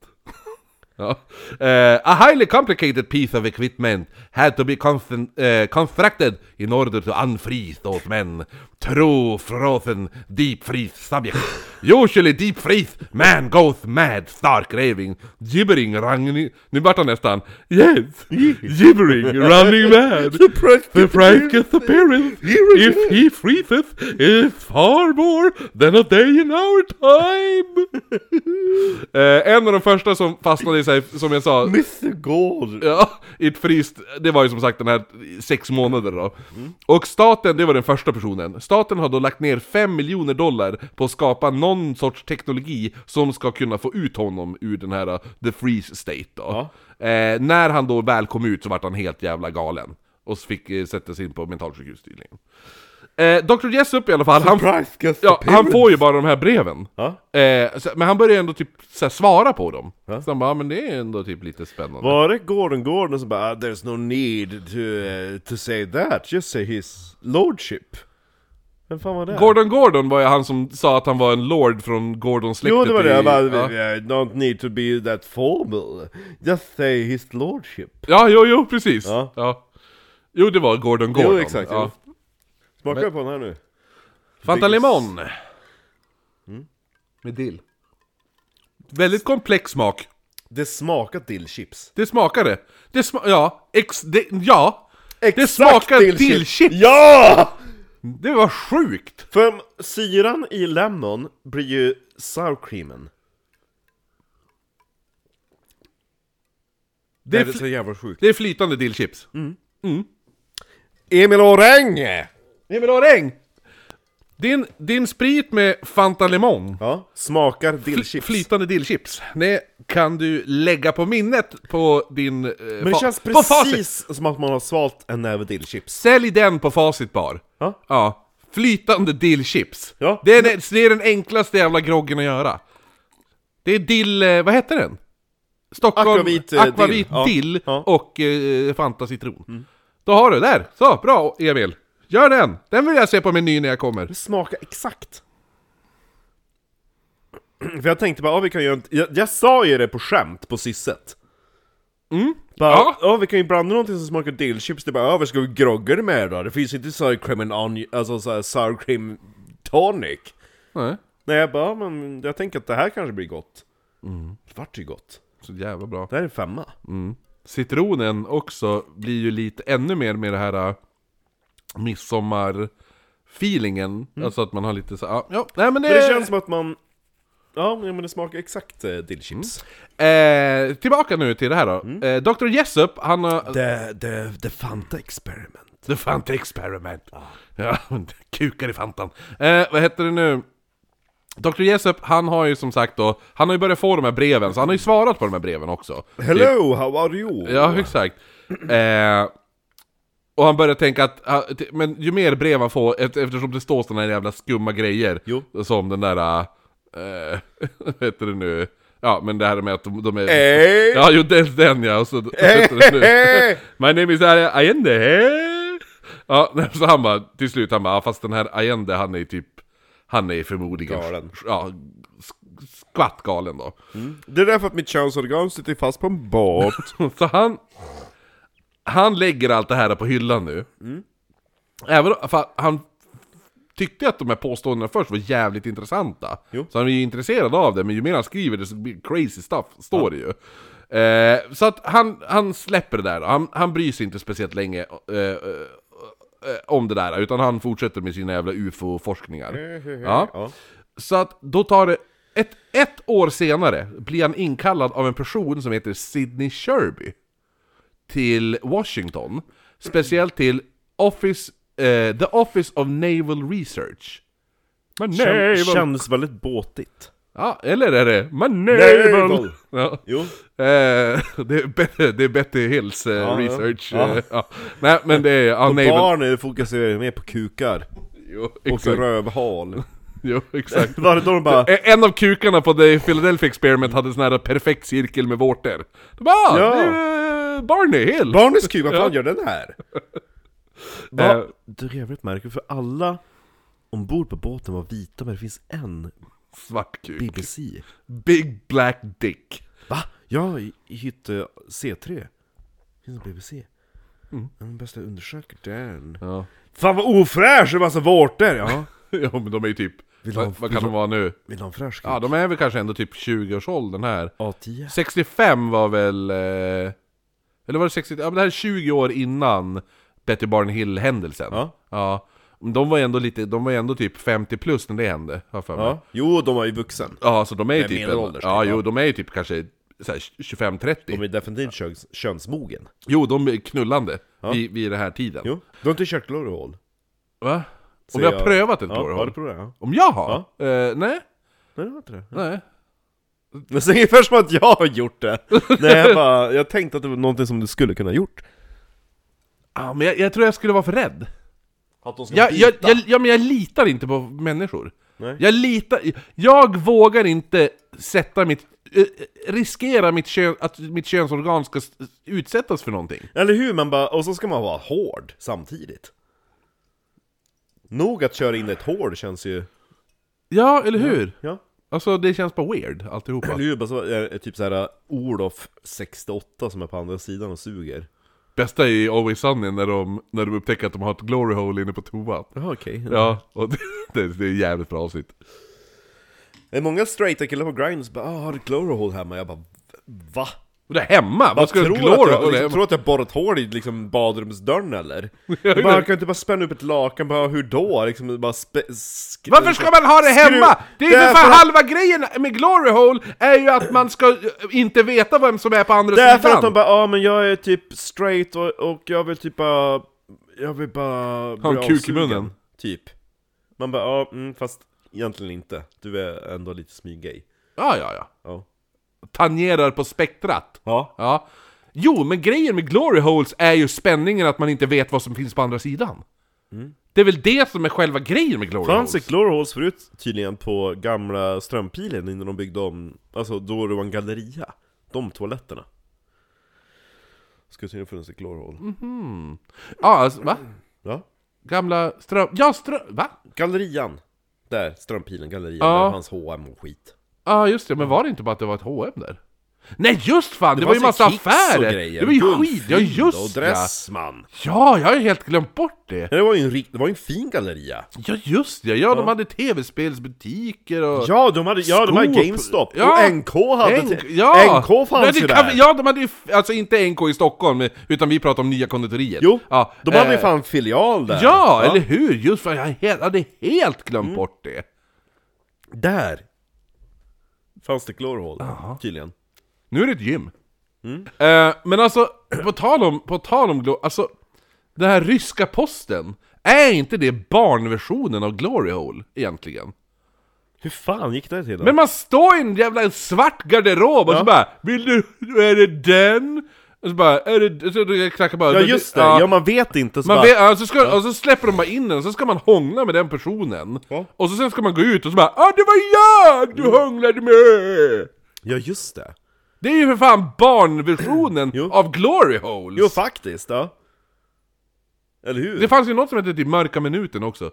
Speaker 1: Ja. Eh, a highly complicated piece of equipment had to be constant, eh, constructed in order to unfreeze those men. True frozen deep freeze subject Usually deep freeze, man goes mad, stark raving, gibbering, running... Nu vart han nästan... Yes! Gibbering, running mad! The frankest appearance, if he freezes, is far more than a day in our time! eh, en av de första som fastnade i sig, som jag sa,
Speaker 2: Mr Gård!
Speaker 1: Ja, i ett fryst, det var ju som sagt den här sex månader då. Och staten, det var den första personen, staten har då lagt ner 5 miljoner dollar på att skapa någon sorts teknologi som ska kunna få ut honom ur den här uh, the freeze state då. Eh, när han då väl kom ut så vart han helt jävla galen. Och så fick eh, sättas in på mentalsjukhus tydligen. Eh, Dr. Jessup i alla fall, han,
Speaker 2: Surprise guest
Speaker 1: ja, han får ju bara de här breven.
Speaker 2: Ja.
Speaker 1: Eh, så, men han börjar ändå typ så här, svara på dem. Så han bara, "Ja, men det är ändå typ lite spännande.
Speaker 2: Var det Gordon Gordon som bara "Ah, 'There's no need to, eh, to say that, just say his lordship' Vem fan var det?
Speaker 1: Gordon Gordon var ju han som sa att han var en lord från Gordon-släktet
Speaker 2: Jo det var det,
Speaker 1: i-
Speaker 2: jag bara,
Speaker 1: ja.
Speaker 2: "Eh, 'Don't need to be that formal, just say his lordship'
Speaker 1: ja, jo, jo, precis! Ja.
Speaker 2: Ja.
Speaker 1: Jo, det var Gordon
Speaker 2: Jo,
Speaker 1: Gordon
Speaker 2: exakt,
Speaker 1: ja.
Speaker 2: Smakar jag på den här nu?
Speaker 1: Fanta Limon! Mm. Med dill Väldigt komplex smak,
Speaker 2: Det smakar till chips
Speaker 1: det smakar det! Det sma ja, ex det, ja! det
Speaker 2: Exakt
Speaker 1: smakar
Speaker 2: till
Speaker 1: till
Speaker 2: chips.
Speaker 1: chips!
Speaker 2: Ja!
Speaker 1: Det var sjukt!
Speaker 2: För syran i lemon blir ju sour creamen
Speaker 1: Det är, fl-
Speaker 2: så jävla sjukt
Speaker 1: det är flytande dillchips
Speaker 2: Mm. Emil Orange!
Speaker 1: Emil Oräng! Din, din sprit med Fanta Limon
Speaker 2: Ja, smakar dillchips
Speaker 1: Flytande dillchips. Det kan du lägga på minnet på din... Eh,
Speaker 2: Men det
Speaker 1: fa-
Speaker 2: känns
Speaker 1: På facit!
Speaker 2: precis som att man har svalt en näve dillchips
Speaker 1: Sälj den på Facit Bar.
Speaker 2: Ja.
Speaker 1: Ja. Flytande dillchips.
Speaker 2: Ja.
Speaker 1: Det, är, den- det är den enklaste jävla groggen att göra. Det är dill... eh, Vad heter den? Stockholm...
Speaker 2: Akvavit, eh, dill.
Speaker 1: Akvavit
Speaker 2: Ja.
Speaker 1: dill
Speaker 2: Ja. Mm.
Speaker 1: och eh, Fanta citron. Då har du, där! Så, bra Emil! Gör den! Den vill jag se på menyn när jag kommer.
Speaker 2: Det smakar exakt För jag tänkte bara, ja vi kan göra en... jag, jag sa ju det på skämt på sysset Bara,
Speaker 1: Mm. Ja.
Speaker 2: ja. vi kan ju blanda någonting som smakar dillchips, det är bara, ja vad ska vi grogga det med då? Det finns inte sour cream and onion, alltså så här sour cream tonic
Speaker 1: Nej.
Speaker 2: Nej jag bara, ja, men jag tänker att det här kanske blir gott Det vart ju gott
Speaker 1: Så jävla bra.
Speaker 2: Det här är en femma
Speaker 1: citronen också blir ju lite ännu mer med det här äh, midsommar-feelingen. Alltså att man har lite så ja, ja, nej men det...
Speaker 2: Men det känns som att man... Ja, men det smakar exakt eh, dillchips.
Speaker 1: eh, tillbaka nu till det här då. Eh, Dr. Jessup, han har...
Speaker 2: The, the, the Fanta experiment.
Speaker 1: The Fanta Experiment. Ja, [laughs] kukar i Fantan. Eh, vad heter det nu? Dr. Jessup, han har ju som sagt då, han har ju börjat få de här breven, så han har ju svarat på de här breven också.
Speaker 2: Hello, how are you?
Speaker 1: Ja, exakt. Eh, och han börjar tänka att, ah, t- men ju mer brev han får, eft- eftersom det står sådana här jävla skumma grejer,
Speaker 2: Jo.
Speaker 1: som den där, ah, eh, [laughs] vad heter det nu? Ja, men det här med att de, de
Speaker 2: Eh,
Speaker 1: är...
Speaker 2: Hey.
Speaker 1: Ja, jo, den, den ja, och så... vad heter det nu?
Speaker 2: Hey.
Speaker 1: My name is Ari- Allende, hey. Ja, nej, så han bara, till slut han bara, "Ja, fast den här Allende, han är typ, han är förmodligen...
Speaker 2: Galen.
Speaker 1: Ja, sk- skvatt galen då.
Speaker 2: Det är därför att mitt könsorgan sitter fast på en [laughs] båt.
Speaker 1: [laughs] Så han, han lägger allt det här på hyllan nu. Även om- för han tyckte att de här påståendena först var jävligt intressanta.
Speaker 2: Jo.
Speaker 1: Så han är ju intresserad av det, men ju mer han skriver desto mer crazy stuff står det ju. Eh, så att han, han släpper det där, då. han, han bryr sig inte speciellt länge eh, eh, om det där, utan han fortsätter med sina jävla ufo-forskningar. Ja.
Speaker 2: Ja.
Speaker 1: Så att då tar det... Ett, ett år senare blir han inkallad av en person som heter Sidney Sherby till Washington. Speciellt till Office, eh, The Office of Naval Research. Men
Speaker 2: Kän, känns väldigt båtigt.
Speaker 1: Ja, eller är det... Men naval!
Speaker 2: Naval.
Speaker 1: Ja.
Speaker 2: Jo.
Speaker 1: Eh, [laughs] det, är Betty, det är Betty Hills eh,
Speaker 2: ja.
Speaker 1: research.
Speaker 2: Ja.
Speaker 1: eh, Ja. Nej, men det är...
Speaker 2: [laughs]
Speaker 1: Ja, naval...
Speaker 2: Barn är fokuserade mer på kukar
Speaker 1: Jo,
Speaker 2: och
Speaker 1: exakt.
Speaker 2: rövhal.
Speaker 1: Jo, exakt.
Speaker 2: Var det då de bara...
Speaker 1: Eh, En av kukarna på The Philadelphia Experiment hade sån här perfekt cirkel med vårtor. De bara, ah,
Speaker 2: Ja.
Speaker 1: det är eh, Barney Hill!
Speaker 2: Barnens kuk, vad fan gör den
Speaker 1: [laughs]
Speaker 2: här?
Speaker 1: Eh.
Speaker 2: Va? Det är jävligt märkligt, för alla ombord på båten var vita, men det finns en
Speaker 1: Svart kuk.
Speaker 2: BBC.
Speaker 1: Big Black Dick. [laughs]
Speaker 2: Va? Jag i- hittade C3. Finns det BBC? Mm. Den bästa undersöker den.
Speaker 1: Ja.
Speaker 2: Fan vad ofräsch, det är massa vårtor! Ja.
Speaker 1: ja, men de är ju typ
Speaker 3: Vill du ha,
Speaker 1: Vad, vad kan de vara nu?
Speaker 3: vill du ha en fräsch kuk?
Speaker 1: Ja, de är väl kanske ändå typ 20-årsåldern här.
Speaker 3: A10?
Speaker 1: 65 var väl... Eh, eller var det 60? Ja, men det här är 20 år innan Betty Barn Hill-händelsen.
Speaker 2: Ja.
Speaker 1: ja. De var ju ändå lite, de var ju ändå typ 50 plus när det hände, har jag för mig.
Speaker 2: Ja. Jo, de var ju vuxen.
Speaker 1: Ja, så de är ju
Speaker 2: Men
Speaker 1: typ... En,
Speaker 2: medelålders,
Speaker 1: ja,
Speaker 2: typ,
Speaker 1: jo,
Speaker 2: va?
Speaker 1: de är ju typ kanske så här 25-30.
Speaker 2: De är definitivt köns, könsmogen.
Speaker 1: Jo, de är knullande vid, vid den här tiden.
Speaker 2: Jo. Du har inte kört glory hole?
Speaker 1: Va? Om
Speaker 2: Ser
Speaker 1: jag har
Speaker 2: jag.
Speaker 1: prövat en
Speaker 2: Ja, har du
Speaker 1: Torhåll?
Speaker 2: provat? Ja.
Speaker 1: Om jag har? Eh, nej,
Speaker 2: Nej, det var inte det.
Speaker 1: nej.
Speaker 2: Men så är det ungefär som att jag har gjort det! Nej, jag bara, jag tänkte att det var någonting som du skulle kunna ha gjort.
Speaker 1: Ja, men jag, jag tror jag skulle vara för rädd.
Speaker 2: Att de ska
Speaker 1: Jag, jag, jag, ja, men jag litar inte på människor.
Speaker 2: Nej.
Speaker 1: Jag litar... Jag vågar inte sätta mitt... eh, riskera mitt kön, att mitt könsorgan ska s- utsättas för någonting.
Speaker 2: Eller hur? Man bara, och så ska man vara hård samtidigt. Nog att köra in ett hål känns ju...
Speaker 1: Ja, eller hur?
Speaker 2: Ja.
Speaker 1: Alltså, det känns bara weird, alltihopa.
Speaker 2: Eller hur? Bara så, är det typ såhär Olof 68 som är på andra sidan och suger.
Speaker 1: Bästa är ju Always Sunny när de, när de upptäcker att de har ett glory hole inne på toan.
Speaker 2: Jaha, okej.
Speaker 1: Ja, och det, [laughs] det, det är ett jävligt bra avsnitt.
Speaker 2: Det är många straighta killar på grind som bara ah, har du ett glory hole hemma? Jag bara va?
Speaker 1: Och det är hemma! Vad ska du ha ett
Speaker 2: tror att
Speaker 1: glory
Speaker 2: jag,
Speaker 1: hole
Speaker 2: liksom,
Speaker 1: hemma?
Speaker 2: tror att jag borrat hål i liksom
Speaker 1: [laughs]
Speaker 2: badrumsdörren eller? Jag bara, kan jag inte bara spänna upp ett lakan? Bara, hur då? Liksom, bara spe, sk-
Speaker 1: Varför ska man ha det
Speaker 2: Skru-
Speaker 1: hemma? Det är ju för fan
Speaker 2: Därför att-
Speaker 1: halva grejen med glory hole är ju att man ska eh, inte veta vem som är på andra
Speaker 2: Därför
Speaker 1: sidan.
Speaker 2: att de bara, ja ah, men jag är typ straight och, och jag vill typ bara, jag vill bara
Speaker 1: Ha en
Speaker 2: bli
Speaker 1: kuk i
Speaker 2: avsugen,
Speaker 1: munnen.
Speaker 2: Typ Man bara, ja ah, mm, fast egentligen inte, du är ändå lite smyggay
Speaker 1: Ja, ja, ja.
Speaker 2: Ja
Speaker 1: Tangerar på spektrat.
Speaker 2: Ja
Speaker 1: Ja. Jo, men grejen med glory holes är ju spänningen att man inte vet vad som finns på andra sidan.
Speaker 2: Mm.
Speaker 1: Det är väl det som är själva grejen med glory
Speaker 2: Fanns det
Speaker 1: holes?
Speaker 2: glory holes förut tydligen på gamla strömpilen innan de byggde om, alltså då det var en galleria De toaletterna Skulle tydligen funnits ett glory hole
Speaker 1: Mm. Ja, alltså, va?
Speaker 2: Ja
Speaker 1: Gamla ström... Ja, ström... Va?
Speaker 2: Gallerian Där, strömpilen, gallerian,
Speaker 1: Ja.
Speaker 2: där fanns H&M och skit
Speaker 1: Ja ah, just det, men var det inte bara att det var ett H&M där? Nej just fan, det, var ju
Speaker 2: fanns
Speaker 1: massa
Speaker 2: Kicks och
Speaker 1: affärer!
Speaker 2: grejer,
Speaker 1: Det var ju
Speaker 2: guldfynd
Speaker 1: skit, ja
Speaker 2: och
Speaker 1: just ja!
Speaker 2: Dressman
Speaker 1: Ja, jag har ju helt glömt bort det!
Speaker 2: Ja, det var ju en, rikt- det var ju en fin galleria!
Speaker 1: Ja just det, ja, de hade tv-spelsbutiker och...
Speaker 2: Ja, de hade, ja, de hade
Speaker 1: Coop.
Speaker 2: GameStop!
Speaker 1: Ja.
Speaker 2: Och NK hade...
Speaker 1: NK,
Speaker 2: till-
Speaker 1: ja.
Speaker 2: NK
Speaker 1: Men
Speaker 2: fanns
Speaker 1: det
Speaker 2: ju
Speaker 1: kan-
Speaker 2: där!
Speaker 1: Ja, de hade ju, f- alltså inte NK i Stockholm, utan vi pratar om nya konditoriet
Speaker 2: Jo,
Speaker 1: ja,
Speaker 2: de hade ju
Speaker 1: eh,
Speaker 2: fan filial där!
Speaker 1: Ja, eller hur! Just fan, jag he- hade helt glömt
Speaker 2: Mm.
Speaker 1: bort det!
Speaker 2: Där! Fanns det klorhål, tydligen.
Speaker 1: Nu är det ett gym.
Speaker 2: Mm.
Speaker 1: Eh, men alltså, [clears throat] på tal om, på tal om glo- alltså, den här ryska posten, är inte det barnversionen av Glory Hole egentligen?
Speaker 2: Hur fan gick det till då?
Speaker 1: Men man står i en jävla svart garderob och så
Speaker 2: Ja.
Speaker 1: bara Vill du, är det den? Och så bara, är det, så det knackar bara
Speaker 2: ja just det, ja, man vet inte så
Speaker 1: man
Speaker 2: bara,
Speaker 1: vet, alltså ska, Och så släpper de bara in den, och så ska man hångla med den personen
Speaker 2: Ja.
Speaker 1: Och så sen ska man gå ut och så bara ah, det var jag du hånglade med!'
Speaker 2: Ja just det!
Speaker 1: Det är ju för fan barnversionen
Speaker 2: Jo.
Speaker 1: av Glory Holes!
Speaker 2: Jo faktiskt, ja! Eller hur?
Speaker 1: Det fanns ju något som hette typ Mörka Minuten också.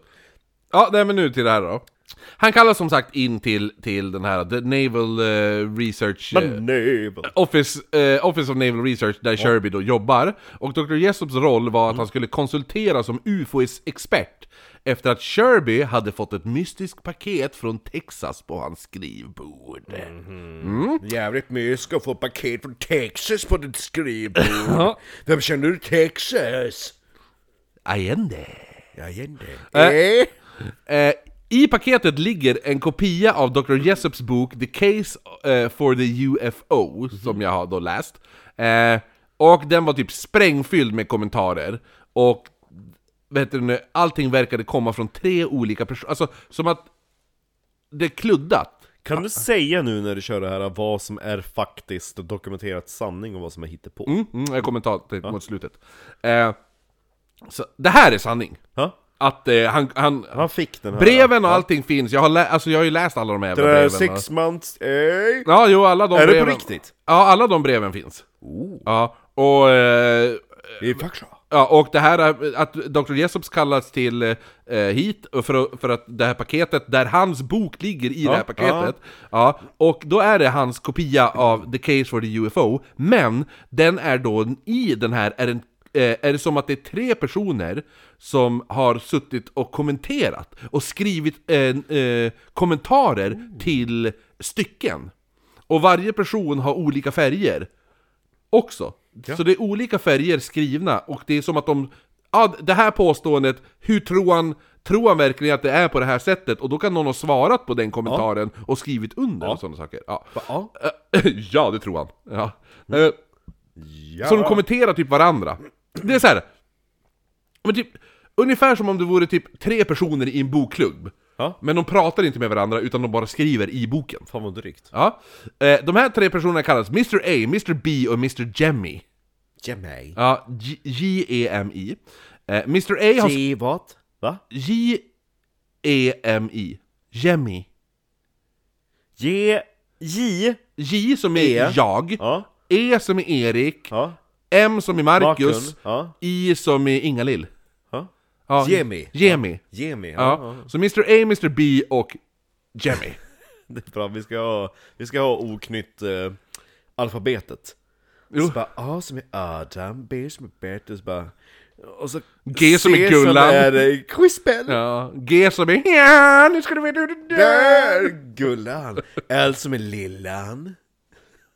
Speaker 1: Ja, nej men nu till det här då. Han kallas som sagt in till, till den här The Naval eh, Research... eh,
Speaker 2: Men nej! va-
Speaker 1: Office, eh, Office of Naval Research där Sherby då jobbar. Och Dr. Jessops roll var att han skulle konsultera som UFO-expert efter att Sherby hade fått ett mystiskt paket från Texas på hans skrivbord.
Speaker 3: [laughs] Jävligt mycket ska få paket från Texas på ditt skrivbord. Vem känner du Texas?
Speaker 1: Allende.
Speaker 3: Jag känner
Speaker 1: Eh. Eh, I paketet ligger en kopia av Dr. Jessops bok The Case eh, for the UFO, som jag har då läst. Eh, och den var typ sprängfylld med kommentarer. Och vet du, nu, allting verkade komma från tre olika personer. Alltså, som att det är kluddat.
Speaker 2: Kan du säga nu när du kör det här vad som är faktiskt dokumenterat sanning och vad som är hittepå?
Speaker 1: Mm, mm, jag kommer ta det mot slutet. Eh, så, det här är sanning.
Speaker 2: Ja?
Speaker 1: Att eh, han, han,
Speaker 2: Han fick den här
Speaker 1: breven och allting finns. Jag har, lä- alltså, jag har ju läst alla de här
Speaker 2: Det
Speaker 1: jävla
Speaker 2: där
Speaker 1: breven.
Speaker 2: six months, ey!
Speaker 1: Ja, jo, alla de
Speaker 2: Är det på
Speaker 1: breven...
Speaker 2: riktigt? Oh.
Speaker 1: Ja, alla de breven finns. Ja, och... eh,
Speaker 2: I Faxa?
Speaker 1: Ja, och det här är- att Dr. Jessops kallas till eh, hit för, att- för att det här paketet, där hans bok ligger i det här paketet, ja. och då är det hans kopia av The Case for the UFO, men den är då i den här, är en eh, är det som att det är tre personer som har suttit och kommenterat och skrivit eh, eh, kommentarer till stycken. Och varje person har olika färger också. Så det är olika färger skrivna och det är som att de... Ja, det här påståendet, hur tror han, tror han verkligen att det är på det här sättet? Och då kan någon ha svarat på den kommentaren och skrivit under och sådana saker. Ja.
Speaker 2: Ja.
Speaker 1: Eh, [clears throat] ja, det tror han. Ja. Eh, Så de kommenterar typ varandra. Det är så här. Men typ, ungefär som om det vore typ tre personer i en bokklubb.
Speaker 2: Ja.
Speaker 1: Men de pratar inte med varandra utan de bara skriver i boken.
Speaker 2: Fan vad drygt.
Speaker 1: Ja. Eh, De här tre personerna kallas Mr A, Mr B och Mr Jemmy.
Speaker 2: Jemmy.
Speaker 1: Ja, J- J-E-M-I. Eh, Mr A har...
Speaker 2: G vad? Va?
Speaker 1: J-E-M-I. Jemmy.
Speaker 2: G... J?
Speaker 1: J som är
Speaker 2: E.
Speaker 1: jag,
Speaker 2: Ja.
Speaker 1: E som är Erik,
Speaker 2: Ja.
Speaker 1: M som är Marcus,
Speaker 2: Bakgrund. Ja.
Speaker 1: I som är Inga-Lill.
Speaker 2: Ja.
Speaker 1: Ja,
Speaker 2: Jemmy.
Speaker 1: Jemmy.
Speaker 2: Jemmy. Ja.
Speaker 1: Ja. Så Mr A, Mr B och Jemmy.
Speaker 2: [laughs] Det är bra. Vi ska ha, vi ska ha oknytt eh, alfabetet.
Speaker 1: Jo.
Speaker 2: Så bara A som är Adam, B som är Bertus, bara... Och så
Speaker 1: G som är
Speaker 2: C som
Speaker 1: Gullan.
Speaker 2: är eh, Quispen.
Speaker 1: Ja. G som är ja, nu ska du veta hur du dör!
Speaker 2: Där! Gullan! L som är Lillan.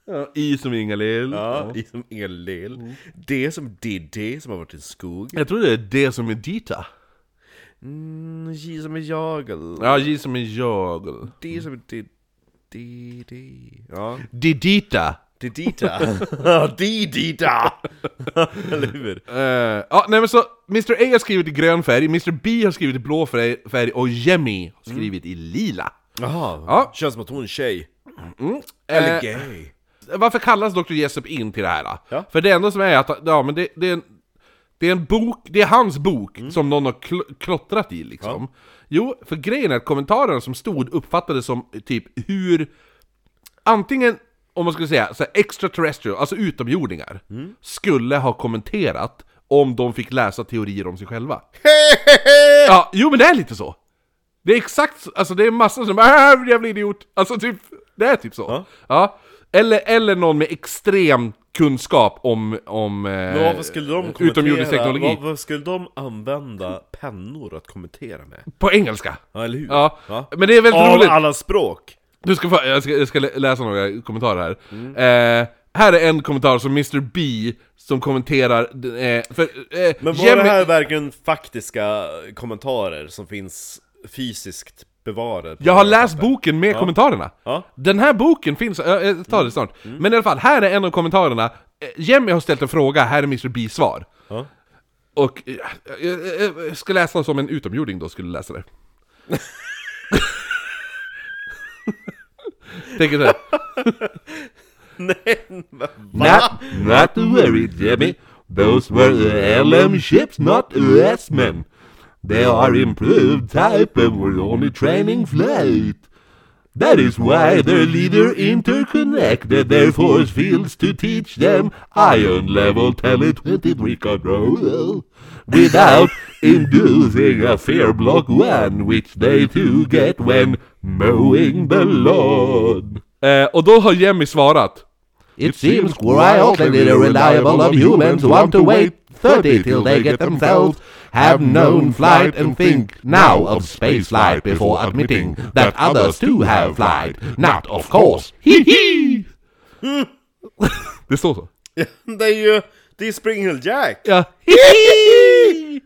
Speaker 1: Ja, I som är Inga-Lill.
Speaker 2: Ja, I som är Lill.
Speaker 1: Mm.
Speaker 2: D som Diddy, som har varit i en skog.
Speaker 1: Jag tror det är D som är Dita.
Speaker 2: Mm, J som är Jagel.
Speaker 1: Ja, J som är jag.
Speaker 2: D som är Did... Diddy.
Speaker 1: [laughs]
Speaker 2: Ja.
Speaker 1: Didita.
Speaker 2: Didita. [laughs] Ja, Didita! [laughs] Eller hur?
Speaker 1: Uh, ja, nej men så Mr A har skrivit i grön färg, Mr B har skrivit i blå färg, färg och Jemmy har skrivit i lila.
Speaker 2: Jaha,
Speaker 1: Ja.
Speaker 2: känns som att hon är tjej.
Speaker 1: Eh,
Speaker 2: Eller gay.
Speaker 1: varför kallas Dr. Jessup in till det här? då?
Speaker 2: Ja.
Speaker 1: För det enda som är att, ja men det, det är en det är en bok, det är hans bok som någon har kl- klottrat i liksom. Jo, för grejen är att kommentarerna som stod uppfattades som typ hur... Antingen, om man skulle säga så här, extraterrestrial, alltså utomjordingar, skulle ha kommenterat om de fick läsa teorier om sig själva. ja, jo men det är lite så. Det är exakt så, alltså det är massor som bara äh, jävla idiot. Alltså typ, det är typ så. Ja.
Speaker 2: Ja.
Speaker 1: Eller, eller någon med extrem kunskap om, om
Speaker 2: Men
Speaker 1: eh,
Speaker 2: varför skulle de kommentera?
Speaker 1: utomjordisk teknologi.
Speaker 2: Varför skulle de använda pennor att kommentera med?
Speaker 1: På engelska!
Speaker 2: Ja, eller hur?
Speaker 1: Ja,
Speaker 2: Va?
Speaker 1: men det är väldigt
Speaker 2: Av
Speaker 1: roligt.
Speaker 2: alla språk!
Speaker 1: Du ska få, jag, ska, jag ska lä- läsa några kommentarer här.
Speaker 2: Mm.
Speaker 1: Eh, här är en kommentar som Mr. B som kommenterar... Eh, för, eh,
Speaker 2: Men var
Speaker 1: Jemmy-
Speaker 2: det här verkligen faktiska kommentarer som finns fysiskt bevarade? på
Speaker 1: Jag har
Speaker 2: våra
Speaker 1: läst
Speaker 2: papper?
Speaker 1: boken med kommentarerna.
Speaker 2: Ja. Mm.
Speaker 1: Den här boken finns, jag jag tar det snart. Men i alla fall, här är en av kommentarerna. Eh, Jemmy har ställt en fråga, här är Mr. B's svar.
Speaker 2: Ja.
Speaker 1: Och eh, jag, jag, jag ska läsa som en utomjording då, skulle
Speaker 2: [laughs]
Speaker 1: läsa det. Tänker så här.
Speaker 4: Not, not to worry, Jimmy. Those were the LM ships, not US-men. They are improved type and were only training flight. That is why their leader interconnected their force fields to teach them ion level tele-23 control without inducing a fear block one, which they too get when mowing the lawn.
Speaker 1: Eh, och då har Jemmy svarat.
Speaker 4: It seems wildly reliable on humans want to wait 30 till they get themselves have known flight and think now of space flight before admitting that others too have flight. Not of course. Hee hee!
Speaker 1: [laughs] Det står så.
Speaker 2: Det är ju... Det är Spring Hill Jack!
Speaker 1: Ja. Hihi!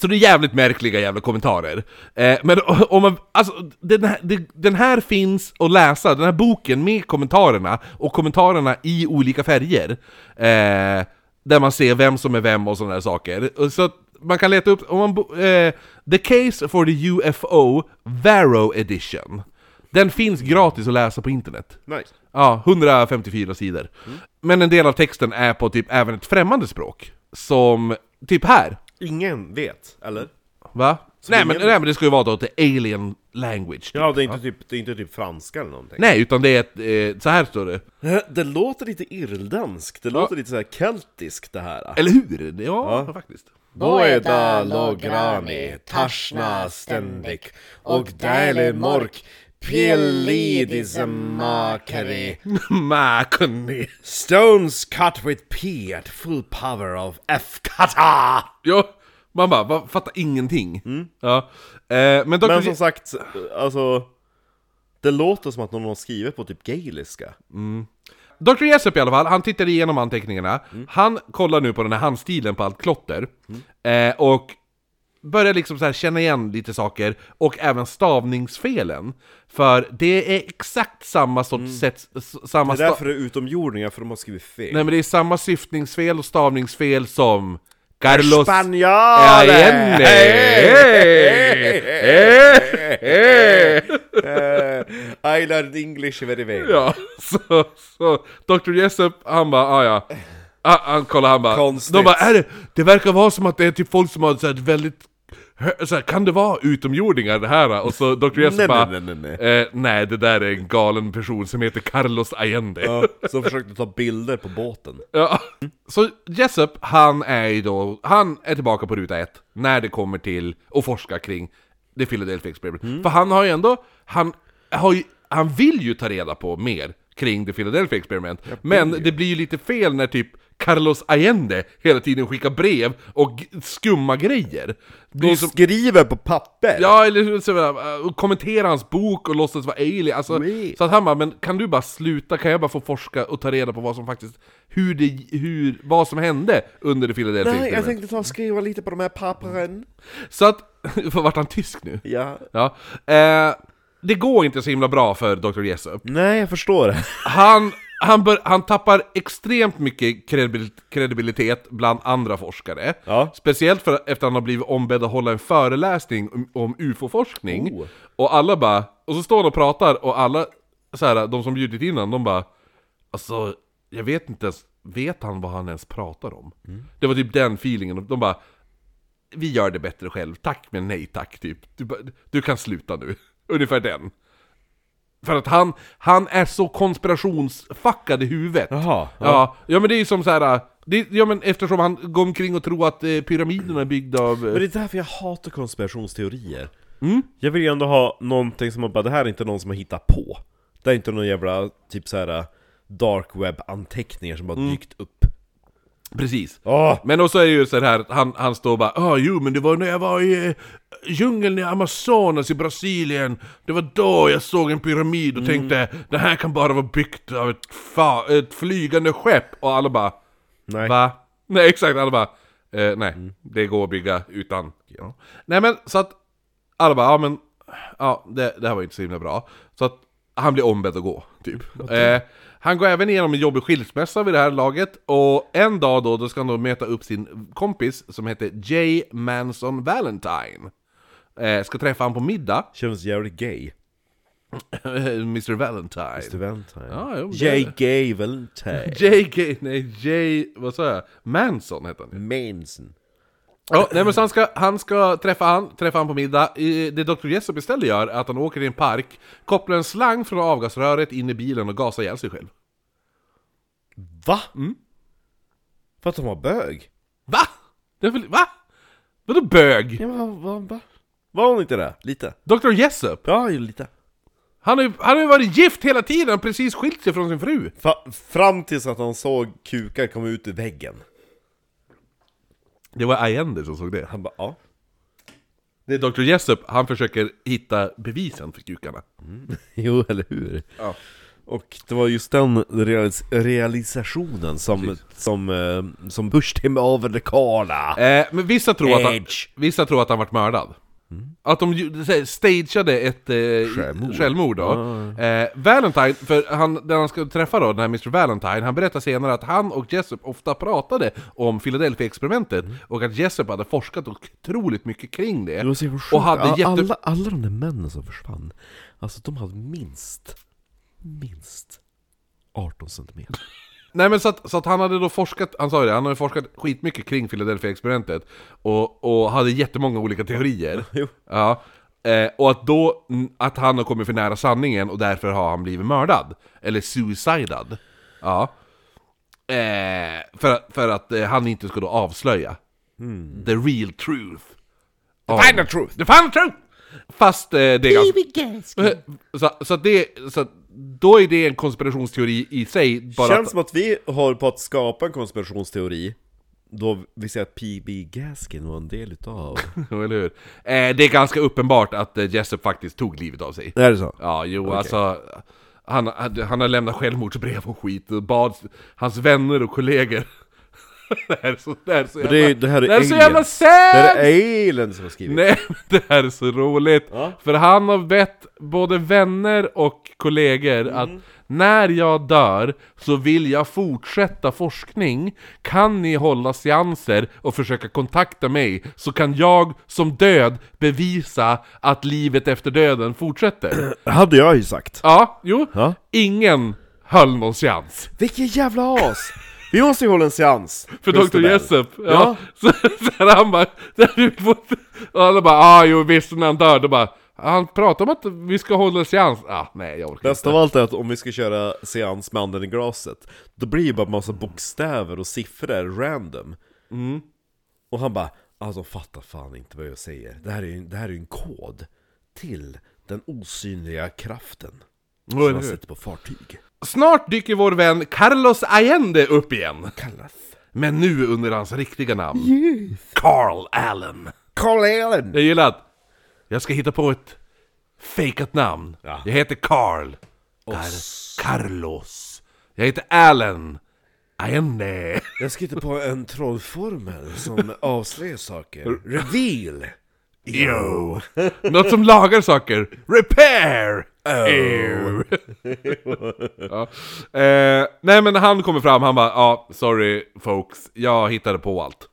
Speaker 1: Så det är jävligt märkliga jävla kommentarer. Eh, men om man, alltså, den, här, det- den här finns att läsa, den här boken med kommentarerna, och kommentarerna i olika färger. Eh, där man ser vem som är vem och sådana där saker. Och Så att man kan leta upp, om man, bo- eh, The Case for the UFO Varro Edition. Den finns gratis att läsa på internet.
Speaker 2: Nice.
Speaker 1: Ja, 154 sidor. Men en del av texten är på typ även ett främmande språk. Som, typ här.
Speaker 2: Ingen vet, eller?
Speaker 1: Va? Nej men,
Speaker 2: ingen-
Speaker 1: nej men det ska ju vara då the alien language.
Speaker 2: Ja, det är inte, Typ, det är inte typ franska eller någonting.
Speaker 1: Nej, utan det är ett, eh, så här står det.
Speaker 2: Det låter lite irländskt, det låter lite så här keltiskt det här.
Speaker 1: Eller hur? Ja, faktiskt. [laughs]
Speaker 2: Båda lograni, tarsna ständig och dälig mork
Speaker 5: Pillid is a mockery.
Speaker 1: Makoni.
Speaker 5: Stones cut with P at full power of F-kata!
Speaker 1: Jo, man bara, va- fattar ingenting. Ja. Eh, men Dr.
Speaker 2: Mm. Men som
Speaker 1: J-
Speaker 2: sagt, alltså... Det låter som att någon har skrivit på typ gaeliska.
Speaker 1: Dr. Jessup i alla fall, han tittar igenom anteckningarna.
Speaker 2: Mm.
Speaker 1: Han kollar nu på den här handstilen på allt klotter.
Speaker 2: Mm.
Speaker 1: Eh, och börjar liksom så här känna igen lite saker, och även stavningsfelen. För det är exakt samma sorts sätt, s- samma
Speaker 2: Mm. Det är
Speaker 1: sta-
Speaker 2: därför det är utomjordingar, för de har skrivit fel.
Speaker 1: Alltså- Nej men det är samma syftningsfel och stavningsfel som Carlos... Ja, igen,
Speaker 5: Spanjare!
Speaker 2: Eh,
Speaker 5: I learned English very well.
Speaker 1: [laughs] Ja, så, så Dr. Jessup, han bara, ah, ja. Ah, han kollar, han bara.
Speaker 5: Konstigt.
Speaker 1: De bara, är det, det verkar vara som att det är typ folk som har så här, väldigt hö- så här, kan det vara utomjordingar det här? Och så Dr. Jessup
Speaker 2: Nej,
Speaker 1: bara,
Speaker 2: nej, nej, nej,
Speaker 1: Eh, nej det där är en galen person som heter Carlos Allende. Ja.
Speaker 2: Ja, Så de försökte ta bilder på båten.
Speaker 1: Så Jessup, han är ju då, han är tillbaka på ruta ett när det kommer till att forska kring det Philadelphia Experiment. För han har ju ändå, han, har ju, han vill ju ta reda på mer kring det Philadelphia Experiment. Men det blir ju lite fel när typ Carlos Allende hela tiden skickar brev och g- skumma grejer. Det blir
Speaker 2: De
Speaker 1: som,
Speaker 2: skriver på papper!
Speaker 1: ja, eller så, eh, och kommentera hans bok och låtsas vara alien. Alltså,
Speaker 2: Oui.
Speaker 1: så att han bara, men kan du bara sluta? Kan jag bara få forska och ta reda på vad som faktiskt, hur det, hur, vad som hände under det Philadelphia
Speaker 2: Nej, jag
Speaker 1: Experiment?
Speaker 2: tänkte ta och skriva lite på de här pappren.
Speaker 1: Så att, [laughs] för vart han tysk nu?
Speaker 2: Ja.
Speaker 1: Ja. Eh, det går inte så himla bra för Dr. Jessup.
Speaker 2: Nej, jag förstår det.
Speaker 1: Han, han, bör, han tappar extremt mycket kredibil- kredibilitet bland andra forskare.
Speaker 2: Ja.
Speaker 1: Speciellt för, efter att han har blivit ombedd att hålla en föreläsning om, om UFO-forskning. Och alla bara, och så står han och pratar och alla, så här, de som bjudit in honom, de bara Alltså, jag vet inte ens, vet han vad han ens pratar om? Det var typ den feelingen, de bara Vi gör det bättre själv, tack men nej tack typ Du, bara, du kan sluta nu, [laughs] ungefär den för att han, han är så konspirationsfuckad i huvudet.
Speaker 2: Jaha,
Speaker 1: Ja, ja. men det är ju som så här. Det, ja men eftersom han går omkring och tror att eh, pyramiderna är byggda av... eh,
Speaker 2: Men det är därför jag hatar konspirationsteorier. Jag vill ju ändå ha någonting som man bara, det här är inte någon som har hittat på. Det här är inte någon jävla, typ så här dark web-anteckningar som bara dykt upp.
Speaker 1: Precis.
Speaker 2: Åh!
Speaker 1: Men och så är det ju så här, att han, han står och bara ah, jo men det var när jag var i eh, djungeln i Amazonas i Brasilien Det var då jag såg en pyramid och tänkte
Speaker 2: Mm.
Speaker 1: det här kan bara vara byggt av ett, fa- ett flygande skepp Och alla bara
Speaker 2: Nej.
Speaker 1: Va? Nej exakt, alla bara eh, Nej, det går att bygga utan ja. Nej men så att alla bara, ja men Ja, det, det här var ju inte så himla bra Så att han blir ombedd att gå, typ eh, Han går även igenom en jobbig skilsmässa vid det här laget Och en dag då, då ska han då möta upp sin kompis Som heter J. Manson Valentine eh, Ska träffa han på [laughs] middag
Speaker 2: Känns jävligt gay.
Speaker 1: Mr Valentine
Speaker 2: Mr. Valentine.
Speaker 1: Ja, jo, det-
Speaker 2: J. Gay [laughs] Valentine.
Speaker 1: J.K. Nej, J... Vad sa jag? Manson heter han ju.
Speaker 2: Manson.
Speaker 1: Ja, nej men så han ska, han ska träffa han, träffa han på middag. I- Det Dr. Jessup istället gör är att han åker i en park, kopplar en slang från avgasröret in i bilen och gasar ihjäl sig själv.
Speaker 2: Va? För att de var bög?
Speaker 1: Va? Det är väl, va? Vadå bög?
Speaker 2: Ja, men vad, vad, va? Var hon inte det? Lite?
Speaker 1: Dr. Jessup?
Speaker 2: Ja, ju lite.
Speaker 1: Han har ju han har ju varit gift hela tiden, precis skilt sig från sin fru.
Speaker 2: Fa- fram tills att han såg kukar komma ut ur väggen.
Speaker 1: Det var Allende som såg det.
Speaker 2: Han bara, ja.
Speaker 1: Det är Dr. Jessup, han försöker hitta bevisen för kukarna.
Speaker 2: [laughs] Jo, eller hur?
Speaker 1: Ja.
Speaker 2: Och det var just den realis realisationen som, som, eh, som Bush him över the Kala.
Speaker 1: Eh, men vissa tror, att han,
Speaker 2: Edge.
Speaker 1: vissa tror att han varit mördad. Att de ju- så här, stageade ett eh, självmord. då. Eh, Valentine, för han, den han ska träffa då, den här Mr Valentine, han berättar senare att han och Jessup ofta pratade om Philadelphia-experimentet
Speaker 2: Mm.
Speaker 1: och att Jessup hade forskat otroligt mycket kring det.
Speaker 2: Det var så jävla sjukt.
Speaker 1: och hade
Speaker 2: Ja,
Speaker 1: jätte...
Speaker 2: alla, alla de där männen som försvann, alltså de hade minst, minst 18 centimeter.
Speaker 1: Nej men så att, så att han hade då forskat, han sa ju det, han hade forskat skitmycket kring Philadelphia-experimentet och, och hade jättemånga olika teorier. Ja. Eh, och att då, mm, att han har kommit för nära sanningen och därför har han blivit mördad. Eller suicidad. Ja. Eh, för, att- för att eh, han inte ska då avslöja the real truth. The final truth! The final truth! Fast eh, det är ganska... Eh, Så, så, att det, så att då är det en konspirationsteori i sig, bara
Speaker 2: Känns
Speaker 1: att,
Speaker 2: som att vi håller på att skapa en konspirationsteori då vi ser att P.B. Gaskin var en del utav...
Speaker 1: [laughs] eller hur? Eh, det är ganska uppenbart att eh, Jessup faktiskt tog livet av sig.
Speaker 2: [laughs] är det så?
Speaker 1: Ja, jo alltså... Han, han, han har lämnat självmordsbrev och skit och bad hans vänner och kollegor... [laughs] det här är så, det här är så jävla...
Speaker 2: Det, är, det här är
Speaker 1: det här är så jävla
Speaker 2: aliens! Det
Speaker 1: sad!
Speaker 2: här är aliens som har skrivit!
Speaker 1: Nej, [laughs] men det här är så roligt!
Speaker 2: Ja.
Speaker 1: För han har bett både vänner och kollegor att
Speaker 2: Mhm.
Speaker 1: när jag dör så vill jag fortsätta forskning. Kan ni hålla seanser och försöka kontakta mig så kan jag som död bevisa att livet efter döden fortsätter. [clears throat]
Speaker 2: Hade jag ju sagt!
Speaker 1: ja, jo.
Speaker 2: Ja.
Speaker 1: Ingen höll någon seans.
Speaker 2: Vilken jävla as! Vi måste ju hålla en seans!
Speaker 1: För
Speaker 2: Just
Speaker 1: Dr.
Speaker 2: det där.
Speaker 1: Jessup, ja.
Speaker 2: Ja.
Speaker 1: [laughs] Så, så här, han bara, så här, vi får, och alla bara, ah jo visst när han dör, då bara, han pratar om att vi ska hålla seans, ah nej jag orkar
Speaker 2: Bäst av allt är att om vi ska köra seans med anden i glaset Då blir det bara massa bokstäver och siffror random
Speaker 1: Mm.
Speaker 2: Och han bara Alltså fattar fan inte vad jag säger Det här är ju det här är ju en kod Till den osynliga kraften
Speaker 1: eller
Speaker 2: Som man
Speaker 1: hur?
Speaker 2: sätter på fartyg
Speaker 1: Snart dyker vår vän Carlos Allende upp igen,
Speaker 2: Kallas
Speaker 1: men nu under hans riktiga namn. Carl Allen.
Speaker 2: Carl Allen!
Speaker 1: Jag gillar att jag ska hitta på ett fejkat namn.
Speaker 2: Ja.
Speaker 1: Jag heter Carl. Car Carlos. Jag heter Allen. Allende.
Speaker 2: Jag ska hitta på en trollformel
Speaker 1: [laughs]
Speaker 2: som avslöjar saker Reveal! [laughs]
Speaker 1: Yo! Något som lagar saker. Repair!
Speaker 2: Oh.
Speaker 1: Ew. [laughs] ja. eh, nej men han kommer fram, han bara ja, sorry folks, jag hittade på allt.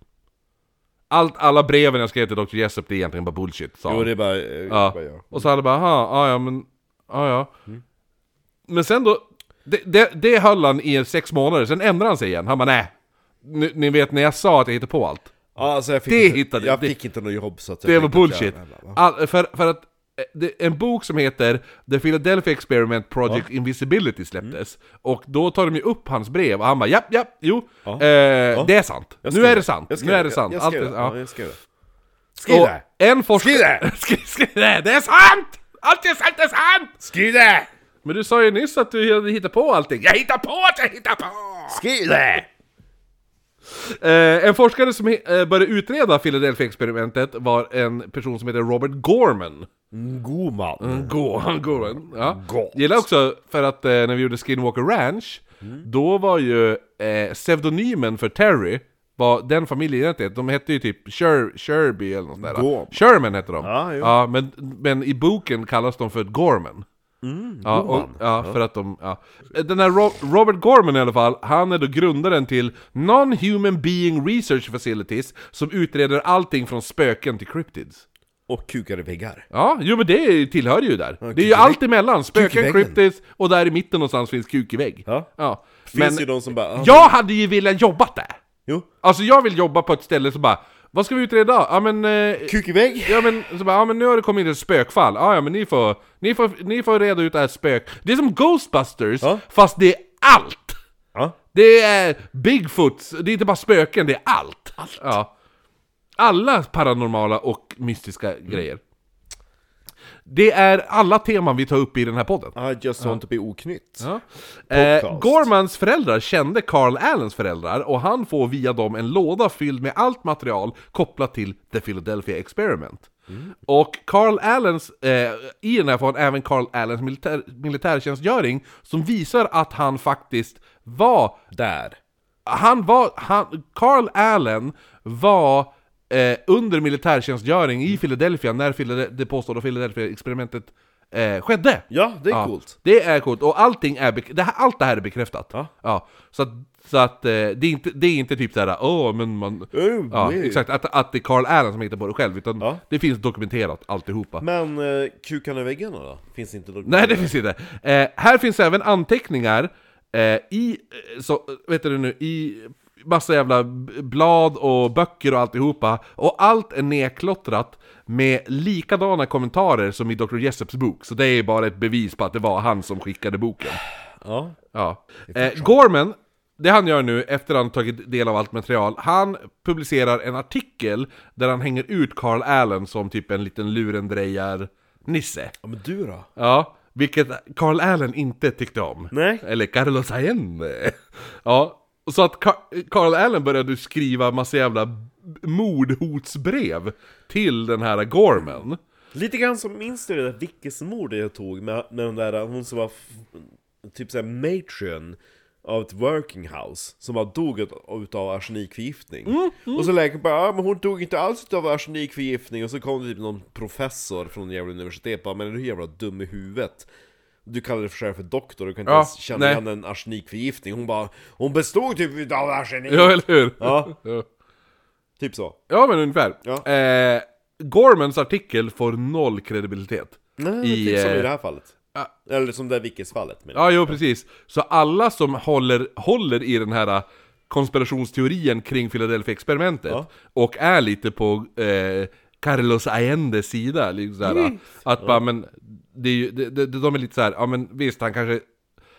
Speaker 1: Allt, alla breven jag skrev till Dr. Jessup det är egentgen bara bullshit, sa
Speaker 2: Jo
Speaker 1: han.
Speaker 2: det är bara,
Speaker 1: ja.
Speaker 2: ja. bara jag Mm.
Speaker 1: Och så hade bara, aha, ja ja men, ja ja. Men sen då, det, det, det höll han i sex månader, sen ändrade han sig igen. Han bara nej, ni, ni vet när jag sa att jag hittade på allt.
Speaker 2: Ja, Alltså jag fick,
Speaker 1: Det
Speaker 2: inte,
Speaker 1: hittade-
Speaker 2: jag
Speaker 1: det-
Speaker 2: fick inte något jobb så att jag
Speaker 1: Det var
Speaker 2: tänkte att
Speaker 1: bullshit.
Speaker 2: jag-
Speaker 1: All, för, för att eh, det, en bok som heter The Philadelphia Experiment Project Invisibility
Speaker 2: Mm.
Speaker 1: släpptes. Och då tar de ju upp hans brev och han bara japp, japp, jo, Eh, det är sant.
Speaker 2: Jag
Speaker 1: Nu
Speaker 2: skrev
Speaker 1: är det sant.
Speaker 2: Jag skrev
Speaker 1: Nu är det sant.
Speaker 2: Jag, jag
Speaker 1: Allt
Speaker 2: skrev
Speaker 1: är,
Speaker 2: det.
Speaker 1: ja.
Speaker 2: Ja, jag skrev det. Skriv
Speaker 1: Och
Speaker 2: det!
Speaker 1: en forskare...
Speaker 2: Skriv
Speaker 1: [laughs]
Speaker 2: det!
Speaker 1: Skriv, skriv det! Det är sant! Allt är sant, det är sant!
Speaker 2: Skriv det!
Speaker 1: Men du sa ju nyss att du hade hittat på allting. Jag hittar på att jag hittar på!
Speaker 2: Skriv det!
Speaker 1: Eh, en forskare som he- eh, började utreda Philadelphia-experimentet var en person som heter Robert Gorman.
Speaker 2: God man.
Speaker 1: Gå, han går [laughs] en. Ja.
Speaker 2: Gott.
Speaker 1: Gillar också för att eh, när vi gjorde Skinwalker Ranch, då var ju eh, pseudonymen för Terry, var den familjen egentligen, de hette ju typ Sher, Sherby eller något sånt där.
Speaker 2: Gorm.
Speaker 1: Sherman hette de.
Speaker 2: Ja, jo.
Speaker 1: ja, men, men i boken kallas de för Gorman.
Speaker 2: Mm,
Speaker 1: ja, och, ja, för att de... Ja. Den här Ro- Robert Gorman i alla fall, han är då grundaren till Non-Human Being Research Facilities, som utreder allting från spöken till cryptids.
Speaker 2: Och kukade väggar.
Speaker 1: Ja, jo men det tillhör ju där. det är ju
Speaker 2: kuk i
Speaker 1: allt emellan, spöken,
Speaker 2: väggen.
Speaker 1: kryptis och där i mitten någonstans finns kuk i vägg.
Speaker 2: Ja.
Speaker 1: ja.
Speaker 2: Finns
Speaker 1: Men
Speaker 2: ju de som bara... ah,
Speaker 1: jag hade ju velat jobbat där!
Speaker 2: Jo.
Speaker 1: Alltså jag vill jobba på ett ställe som bara, vad ska vi utreda? Ja men... Eh,
Speaker 2: Kuk i vägg.
Speaker 1: ja men, så bara, ja men nu har det kommit in ett spökfall, ja ja men ni får, ni får, ni får reda ut det här spök... Det är som Ghostbusters,
Speaker 2: Ja.
Speaker 1: fast det är allt!
Speaker 2: Ja.
Speaker 1: Det är Bigfoots, det är inte bara spöken, det är allt! Allt! Ja. Alla paranormala och mystiska grejer. Det är alla teman vi tar upp i den här podden.
Speaker 2: I just want to be typ oknytt.
Speaker 1: Ja. Eh,
Speaker 2: Podcast.
Speaker 1: Gormans föräldrar kände Carl Allens föräldrar och han får via dem en låda fylld med allt material kopplat till The Philadelphia Experiment. Och Carl Allens, eh, i den här får han även Carl Allens militär, militärtjänstgöring som visar att han faktiskt var
Speaker 2: Där.
Speaker 1: han var, han, Carl Allen var eh, under militärtjänstgöring i Philadelphia när Philade- det påstådda Philadelphia-experimentet eh, skedde.
Speaker 2: Ja, det är coolt.
Speaker 1: Det är coolt, och allting är bek- det här, allt det här är bekräftat.
Speaker 2: Ja.
Speaker 1: så att, så att eh, det, är inte, det är inte typ såhär åh men man...
Speaker 2: Oh,
Speaker 1: ja,
Speaker 2: nej.
Speaker 1: exakt, att, att det är Carl Allen som hittar på det själv, utan
Speaker 2: Ja.
Speaker 1: det finns dokumenterat alltihopa.
Speaker 2: Men eh, kukarna i väggarna då? Finns inte något...
Speaker 1: Nej, det finns inte. Eh, här finns även anteckningar eh, i, eh, så, vet du nu, i massa jävla b- blad och böcker och alltihopa. Och allt är nedklottrat med likadana kommentarer som i Dr. Jessups bok. Så det är bara ett bevis på att det var han som skickade boken.
Speaker 2: Ja.
Speaker 1: Ja. Eh, Gorman det han gör nu, efter han tagit del av allt material, han publicerar en artikel där han hänger ut Carl Allen som typ en liten lurendrejar-nisse.
Speaker 5: Ja, men du då?
Speaker 1: Ja, vilket Carl Allen inte tyckte om.
Speaker 2: Nej.
Speaker 1: Eller Carlos Allende. Ja, så att Ka- Carl Allen började skriva massa jävla b- mordhotsbrev till den här Gorman.
Speaker 2: Lite grann som, minns du det där Vickesmordet jag tog med, med den där, hon som var f- typ såhär matron av ett working house Som bara dog ut- utav arsenikförgiftning
Speaker 1: Mm,
Speaker 2: Och så läkaren bara ah, men hon dog inte alls utav arsenikförgiftning Och så kom det typ någon professor från jävla universitet bara Men är du jävla dum i huvudet? Du kallar dig för själv för doktor, du kan inte
Speaker 1: Ja,
Speaker 2: ens känna
Speaker 1: nej.
Speaker 2: igen en arsenikförgiftning Hon bara Hon bestod typ utav arsenik!
Speaker 1: Ja, eller hur?
Speaker 2: Ja,
Speaker 1: Ja.
Speaker 2: typ så
Speaker 1: Ja, men ungefär.
Speaker 2: Ja.
Speaker 1: Eh, Gormans artikel får noll kredibilitet.
Speaker 2: Nej,
Speaker 1: I,
Speaker 2: typ som i
Speaker 1: eh,
Speaker 2: det här fallet
Speaker 1: ja.
Speaker 2: Eller som det här Vickesfallet men
Speaker 1: Ja, jo precis. Så alla som håller, håller i den här äh, konspirationsteorin kring Philadelphia-experimentet
Speaker 2: Ja.
Speaker 1: och är lite på eh, Carlos Allendes sida, liksom såhär, att bara, men, det är ju, det, det, de är lite så här, ja men visst, han kanske,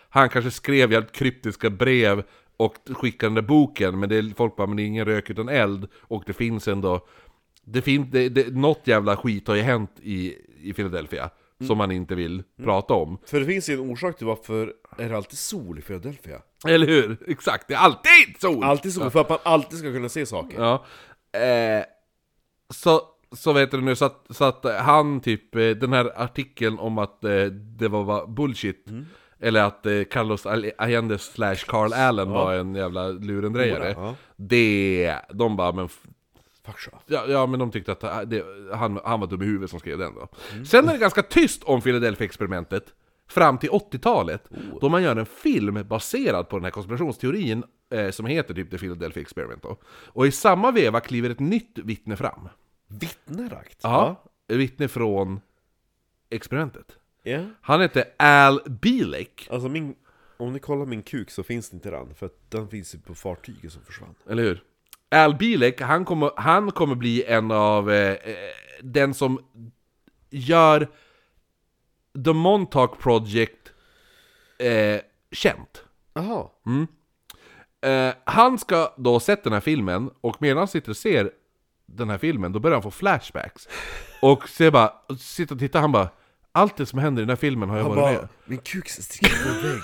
Speaker 1: han kanske skrev jävligt kryptiska brev och skickade den där boken, men det är, folk bara, men det är ingen rök utan eld, och det finns ändå, det finns, det, det, något jävla skit har ju hänt i, i Philadelphia, som
Speaker 2: Mm.
Speaker 1: man inte vill prata om.
Speaker 2: För det finns ju en orsak till varför är det alltid sol i Philadelphia?
Speaker 1: Eller hur? Exakt, det är alltid sol!
Speaker 2: Alltid sol, för att man alltid ska kunna se saker.
Speaker 1: Ja. Eh, så, så vet du nu, så att, så att han typ, eh, den här artikeln om att eh, det var, var bullshit, eller att eh, Carlos Al- Allende slash Carl Allen var en jävla lurendrejare, det, de bara men f-
Speaker 2: Fuck så.
Speaker 1: Ja, ja, men de tyckte att eh, det, han, han var dum i huvudet som skrev den då. Sen är det ganska tyst om Philadelphia-experimentet fram till 80-talet, då man gör en film baserad på den här konspirationsteorin eh, som heter typ The Philadelphia Experiment då. Och i samma veva kliver ett nytt vittne fram.
Speaker 2: Vittnerakt?
Speaker 1: Ja, vittne från experimentet.
Speaker 2: Ja.
Speaker 1: Han heter Al Bielek,
Speaker 2: Alltså min... Om ni kollar min kuk så finns det inte den, för att den finns ju på fartyget som försvann.
Speaker 1: eller hur? Al Bielek, han kommer, han kommer bli en av eh, eh, den som gör The Montauk Project eh, känt.
Speaker 2: Jaha.
Speaker 1: Eh, han ska då ha sett den här filmen, och medan han sitter och ser den här filmen, då börjar han få flashbacks. Och ser bara, och sitter och tittar, han bara Allt det som händer i den här filmen har jag
Speaker 2: Han
Speaker 1: varit med om.
Speaker 2: bara, min kuk sticker på en vägg.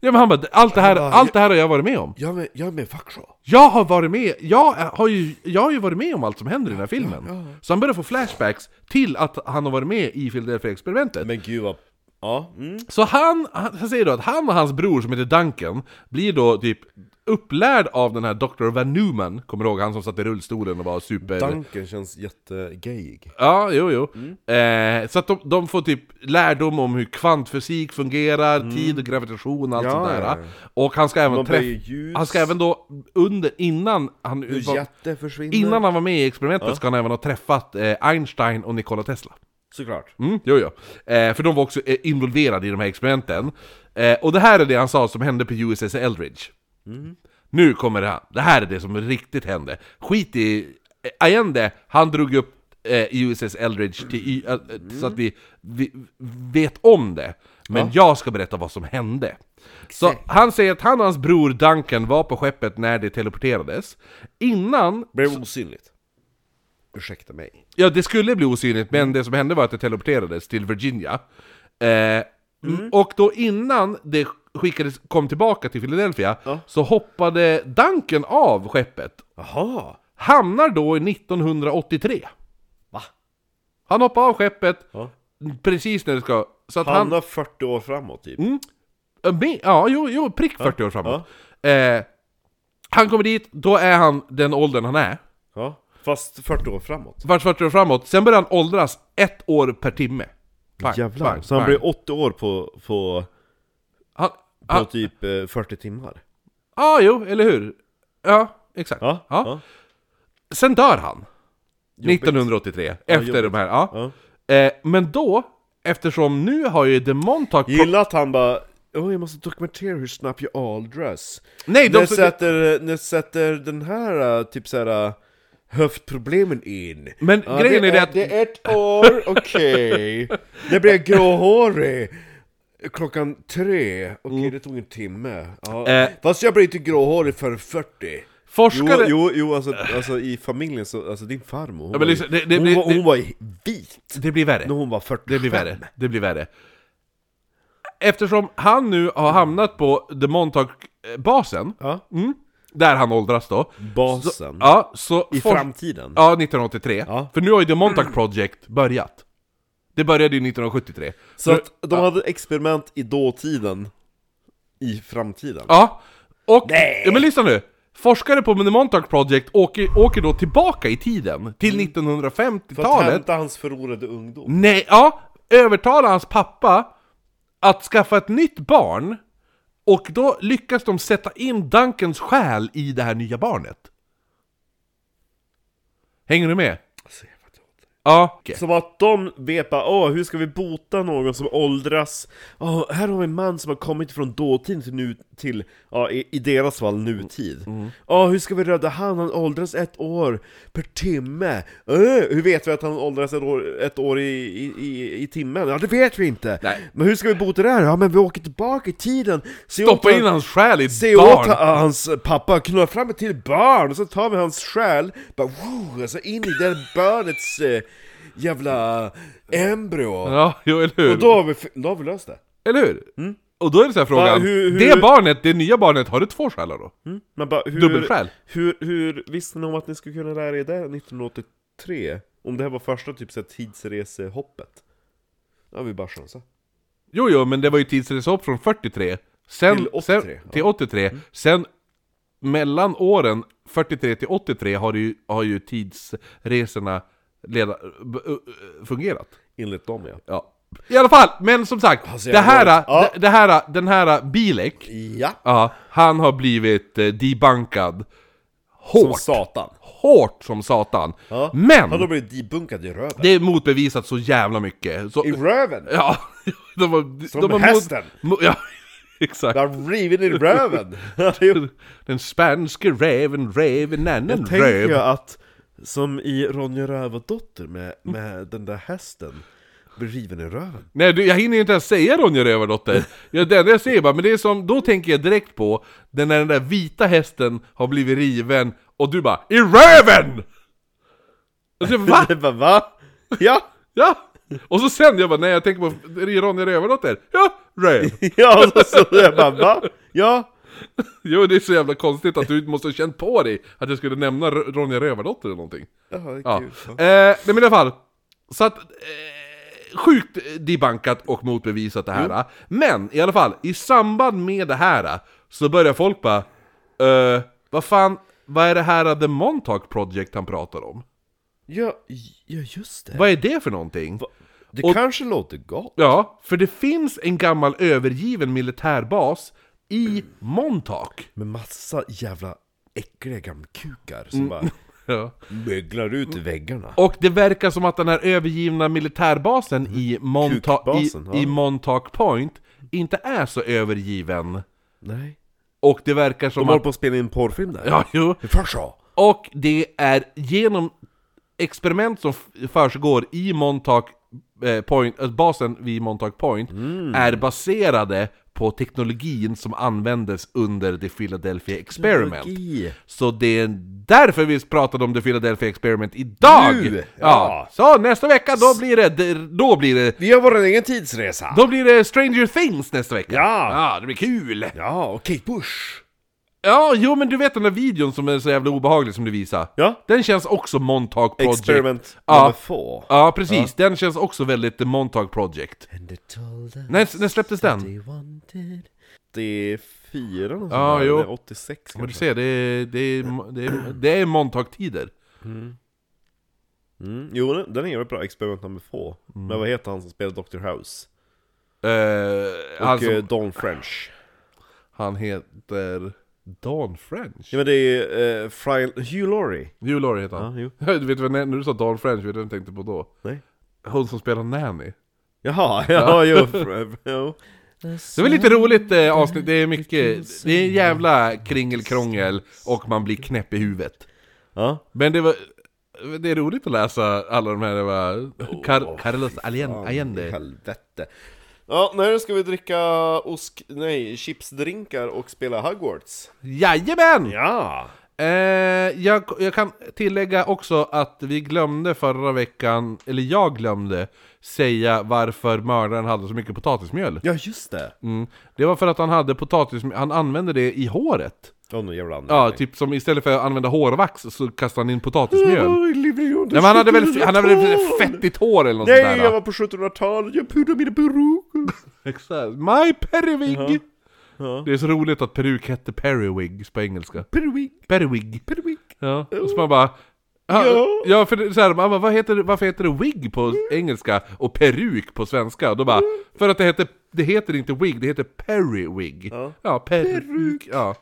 Speaker 1: Ja men han bara, allt det här,
Speaker 2: bara,
Speaker 1: allt det här har jag varit med om.
Speaker 2: Jag är med, jag är med fuck så.
Speaker 1: Jag har varit med, jag har ju, jag har ju varit med om allt som händer i den här filmen. Så han börjar få flashbacks till att han har varit med i Philadelphia-experimentet.
Speaker 2: Men gud vad... Ja. Mm.
Speaker 1: Så han, han han säger då att han och hans bror som heter Duncan blir då typ upplärd av den här Dr. Van Newman, kommer du ihåg han som satt i rullstolen och var super...
Speaker 2: Danken känns jättegayig.
Speaker 1: Ja, jo, jo.
Speaker 2: Mm.
Speaker 1: Eh, så att de, de får typ lärdom om hur kvantfysik fungerar, tid och gravitation och allt
Speaker 2: Mm. Ja,
Speaker 1: sånt där.
Speaker 2: ja,
Speaker 1: Och han ska även
Speaker 2: Man blir ju
Speaker 1: träffa...
Speaker 2: ljus.
Speaker 1: Han ska även då, under, innan han...
Speaker 2: Hur jätte försvinner.
Speaker 1: Innan han var med i experimentet ska han även ha träffat eh, Einstein och Nikola Tesla.
Speaker 2: Såklart.
Speaker 1: Mm, jo, jo. Eh, för de var också eh, involverade i de här experimenten. Eh, och det här är det han sa som hände på USS Eldridge. Nu kommer det här. Det här är det som riktigt hände. Skit i... Eh, Allende, han drog upp eh, USS Eldridge till, y- eh, eh, så att vi, vi vet om det. Men jag ska berätta vad som hände. Så han säger att han och hans bror Duncan var på skeppet när det teleporterades. Innan
Speaker 2: Blev osynligt. Ursäkta mig.
Speaker 1: Ja, det skulle bli osynligt, men det som hände var att det teleporterades till Virginia. Eh,
Speaker 2: Mm.
Speaker 1: Och då innan det skickades, kom tillbaka till Philadelphia, så hoppade Duncan av skeppet.
Speaker 2: Jaha.
Speaker 1: Hamnar då i 1983.
Speaker 2: Va?
Speaker 1: Han hoppade av skeppet
Speaker 2: Ja.
Speaker 1: precis när det ska... Så att han...
Speaker 2: Hamnar 40 år framåt typ.
Speaker 1: Ja, men- Ja, jo, jo prick 40 år framåt. Eh, han kommer dit, då är han den åldern han är.
Speaker 2: Ja. Fast 40 år framåt.
Speaker 1: Vart 40 år framåt, sen börjar han åldras ett år per timme. Bang,
Speaker 2: Jävlar.
Speaker 1: bang,
Speaker 2: så han
Speaker 1: bang.
Speaker 2: blir 80 år på, på,
Speaker 1: Han,
Speaker 2: på
Speaker 1: han,
Speaker 2: typ eh, 40 timmar.
Speaker 1: Ja, jo, eller hur? Ja, exakt.
Speaker 2: Ja,
Speaker 1: Ja.
Speaker 2: ja.
Speaker 1: Sen dör han. 1983, efter
Speaker 2: jobbigt.
Speaker 1: de här. Ja. Eh, men då, eftersom nu har ju The Montauk... Pro-
Speaker 2: Gillar att han bara Åh, jag måste dokumentera hur snabbt jag åldras.
Speaker 1: Nej, de-
Speaker 2: nu, sätter, nu sätter den här eh, typ såhär eh, höftproblemen in.
Speaker 1: Men
Speaker 2: Ja, [laughs]
Speaker 1: grejen är det att-
Speaker 2: Det är ett år, okej. Det blir gråhårig.
Speaker 5: Klockan tre, okej
Speaker 1: Mm.
Speaker 5: det tog en timme. Ja.
Speaker 1: Eh.
Speaker 5: Fast jag blir inte gråhårig förrän 40.
Speaker 2: Jo,
Speaker 1: Forskare...
Speaker 2: jo, jo alltså, alltså i familjen så, alltså din farmor, hon,
Speaker 1: Ja, men
Speaker 2: var, ju-
Speaker 1: lyssna, det- det
Speaker 2: hon,
Speaker 1: blir-
Speaker 2: var, hon
Speaker 1: det-
Speaker 2: var ju vit
Speaker 1: Det blir värre.
Speaker 2: när hon var 45.
Speaker 1: Det blir värre. Det blir värre. Eftersom han nu har hamnat på The Montauk-basen,
Speaker 2: Ja.
Speaker 1: mm, där han åldras då.
Speaker 2: Basen.
Speaker 1: Så, ja, så
Speaker 2: I
Speaker 1: for-
Speaker 2: framtiden.
Speaker 1: Ja, 1983.
Speaker 2: Ja.
Speaker 1: För nu har ju The Montauk Project börjat. Det började ju 1973.
Speaker 2: Så
Speaker 1: Nu-
Speaker 2: att de hade experiment i dåtiden, i framtiden.
Speaker 1: Ja, och... Ja, men lyssna nu! Forskare på The Montauk Project åker, åker då tillbaka i tiden, till
Speaker 2: För att
Speaker 1: 1950-talet.
Speaker 2: Mm. hämta hans förlorade ungdom.
Speaker 1: Nej, ja! Övertala hans pappa att skaffa ett nytt barn och då lyckas de sätta in Dunkens själ i det här nya barnet. Hänger du med?
Speaker 2: Alltså,
Speaker 1: Ja. okej.
Speaker 2: Som att de vet bara, åh, hur ska vi bota någon som åldras? Åh, här har vi en man som har kommit från dåtid till nu, till, ja, i, i deras fall nutid.
Speaker 1: Mm.
Speaker 2: Åh, hur ska vi rädda han? Han åldras ett år per timme. Äh, hur vet vi att han åldras ett år, ett år i, i, i, i timmen? Ja, det vet vi inte.
Speaker 1: Nej.
Speaker 2: Men hur ska vi bota det här? Ja, men vi åker tillbaka i tiden. Se
Speaker 1: Stoppa
Speaker 2: åt-
Speaker 1: in hans själ i ett
Speaker 2: Se åt
Speaker 1: barn!
Speaker 2: ha- hans pappa, knulla fram ett till barn, och så tar vi hans själ, bara woo, alltså in i det barnets eh, jävla embryo.
Speaker 1: Ja, jo, eller hur?
Speaker 2: Och då har vi, f- då har vi löst det.
Speaker 1: Eller hur? Och då är det så här frågan,
Speaker 2: Va, hur- hur-
Speaker 1: det barnet, det nya barnet, har det två själar då?
Speaker 2: Men bara, hur,
Speaker 1: Dubbelsjäl?
Speaker 2: Hur, hur visste ni om att ni skulle kunna lära er det 1983? Om det här var första typ så här, tidsresehoppet? Då har vi bara chansat.
Speaker 1: Jo, jo, men det var ju tidsreshopp från 43 sen,
Speaker 2: Till 83,
Speaker 1: sen,
Speaker 2: ja. Mm.
Speaker 1: till 83. sen mellan åren 43 till 83 har ju, har ju tidsresorna leda, b- ö- ö- fungerat.
Speaker 2: Enligt dem ja.
Speaker 1: Ja. I alla fall, men som sagt,
Speaker 2: Alltså,
Speaker 1: det
Speaker 2: jag
Speaker 1: här,
Speaker 2: vet. Ja.
Speaker 1: det, det här, den här Bilek,
Speaker 2: Ja.
Speaker 1: ja, han har blivit eh, debunkad
Speaker 2: Som
Speaker 1: hårt,
Speaker 2: satan.
Speaker 1: hårt som satan.
Speaker 2: Ja.
Speaker 1: Men!
Speaker 2: Han har blivit debunkad i röven.
Speaker 1: Det är motbevisat så jävla mycket. Så,
Speaker 2: I röven?
Speaker 1: [laughs] ja, de har,
Speaker 2: Som
Speaker 1: de har
Speaker 2: hästen.
Speaker 1: Mot, mo- [laughs] ja, exakt.
Speaker 2: Han har rivit i röven! [laughs] Han har gjort
Speaker 1: [laughs] Den spanske räven rev en annan
Speaker 2: Tänker
Speaker 1: räv.
Speaker 2: jag att, som i Ronja Rövardotter med, med den där hästen, blir riven i röven.
Speaker 1: Nej, du, jag hinner inte ens säga Ronja Rövardotter. Ja, det enda jag säger bara, men det är som, då tänker jag direkt på den när den där vita hästen har blivit riven och du bara I RÖVEN! Och så, va?
Speaker 2: [laughs] [laughs] Jag bara, va? Ja!
Speaker 1: Ja! Och så sen, jag bara nej jag tänker på Ronja Rövardotter. Ja, röv!
Speaker 2: Ja, och så, så jag bara, va? Ja!
Speaker 1: Jo, det är så jävla konstigt att du måste ha känt på dig att jag skulle nämna R- Ronja Rövardotter eller någonting.
Speaker 2: Ja, det är
Speaker 1: Ja.
Speaker 2: kul.
Speaker 1: Eh, nej men i alla fall. Så att... Eh, sjukt debankat och motbevisat det här.
Speaker 2: Mm.
Speaker 1: Men i alla fall, i samband med det här så börjar folk bara... Eh, vad fan, vad är det här The Montauk Project han pratar om?
Speaker 2: Ja, ja just det.
Speaker 1: Vad är det för någonting?
Speaker 2: Det
Speaker 1: Och-
Speaker 2: kanske låter gott.
Speaker 1: Ja, för det finns en gammal övergiven militärbas i Montauk.
Speaker 2: Med massa jävla äckliga gamkukar som
Speaker 1: Mm.
Speaker 2: bara
Speaker 1: Ja.
Speaker 2: möglar ut i väggarna.
Speaker 1: Och det verkar som att den här övergivna militärbasen i, Monta- i,
Speaker 2: Kukbasen,
Speaker 1: i
Speaker 2: ja.
Speaker 1: Montauk Point inte är så övergiven.
Speaker 2: Nej.
Speaker 1: Och det verkar
Speaker 2: De
Speaker 1: som
Speaker 2: håller
Speaker 1: att...
Speaker 2: på att spela in en porrfilm där.
Speaker 1: [laughs] Ja, jo.
Speaker 2: Farsa!
Speaker 1: Och det är genom experiment som f- försiggår i Montauk eh, Point, eh, basen vid Montauk Point,
Speaker 2: Mm.
Speaker 1: är baserade på teknologin som användes under The Philadelphia Experiment.
Speaker 2: Teknologi.
Speaker 1: Så det är därför vi pratade om The Philadelphia Experiment idag!
Speaker 2: Nu!
Speaker 1: Ja.
Speaker 2: Ja.
Speaker 1: Så nästa vecka, då blir det... Då blir det
Speaker 2: Vi gör vår egen tidsresa!
Speaker 1: då blir det Stranger Things nästa vecka!
Speaker 2: Ja.
Speaker 1: ja det blir kul!
Speaker 2: Ja, och Kate Bush!
Speaker 1: Ja, jo men du vet den där videon som är så jävla obehaglig som du visade?
Speaker 2: Ja.
Speaker 1: Den känns också Montauk Project.
Speaker 2: Experiment
Speaker 1: ja.
Speaker 2: nummer four.
Speaker 1: ja, precis. Den känns också väldigt The Montauk Project.
Speaker 5: And it told us
Speaker 1: När, när släpptes den?
Speaker 5: they wanted
Speaker 2: 84 något
Speaker 1: Ja,
Speaker 2: sånt där,
Speaker 1: jo.
Speaker 2: eller 86
Speaker 1: Men du
Speaker 2: kanske.
Speaker 1: ser, det är, det är, det är, det är Montauk-tider.
Speaker 2: Mm. Jo, den- den är jävligt bra, Experiment number four.
Speaker 1: Mm.
Speaker 2: Men vad heter han som spelar Dr. House?
Speaker 1: Eh,
Speaker 2: Och
Speaker 1: han, som,
Speaker 2: eh, Don French.
Speaker 1: han heter Don French.
Speaker 2: Ja men det är eh, Fry- Hugh Laurie.
Speaker 1: Hugh Laurie heter han.
Speaker 2: Ja,
Speaker 1: [laughs]
Speaker 2: jo.
Speaker 1: Du vet vad, när du sa Don French, vet du vad jag tänkte på då?
Speaker 2: Nej.
Speaker 1: Hon som spelar Nanny.
Speaker 2: Jaha, [laughs] ja, jo. fr- [laughs] jo.
Speaker 1: Det var lite roligt eh, avsnitt, det är mycket, det är jävla kringelkrångel och man blir knäpp i huvudet.
Speaker 2: Ja.
Speaker 1: Men det var... Det är roligt att läsa alla de här, det var... Car- Carlos Allende.
Speaker 2: Helvete. Ja, nu ska vi dricka osk... Nej, chipsdrinkar och spela Hogwarts.
Speaker 1: Jajamän!
Speaker 2: Ja!
Speaker 1: Eh, jag, jag kan tillägga också att vi glömde förra veckan, eller jag glömde, säga varför mördaren hade så mycket potatismjöl.
Speaker 2: Ja, just det!
Speaker 1: Mm. Det var för att han hade potatismjöl, han använde det i håret.
Speaker 2: Åh, nu jävla anledning.
Speaker 1: Ja, typ som istället för att använda hårvax så kastade han in potatismjöl.
Speaker 2: [laughs] Oj, Livrion, du
Speaker 1: Nej men han hade väl,
Speaker 2: sitter
Speaker 1: han hade väl fettigt hår eller något sånt
Speaker 2: Nej,
Speaker 1: där.
Speaker 2: jag var på 1700-talet, jag pudrade mina peruker!
Speaker 1: Exakt. My Periwig! Det är så roligt att peruk hette Periwigs på engelska.
Speaker 2: Peruvik,
Speaker 1: Periwig.
Speaker 2: peruvik.
Speaker 1: Ja. Och så man bara... Ja,
Speaker 2: Ja.
Speaker 1: ja för det- så här, man bara, vad heter, det- varför heter det wig på engelska och peruk på svenska? Och Då bara, för att det heter, det heter inte wig, det heter periwig. Ja, ja peruk. Ja.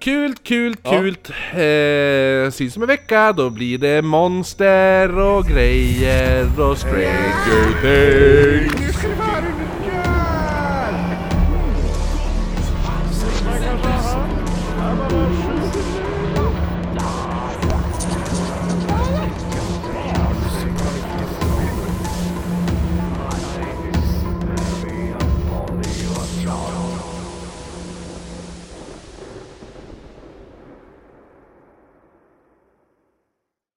Speaker 1: Kul, kul, kul. Eh, syns om en vecka, då blir det monster och grejer och stranger things.
Speaker 5: Nu ska det vara en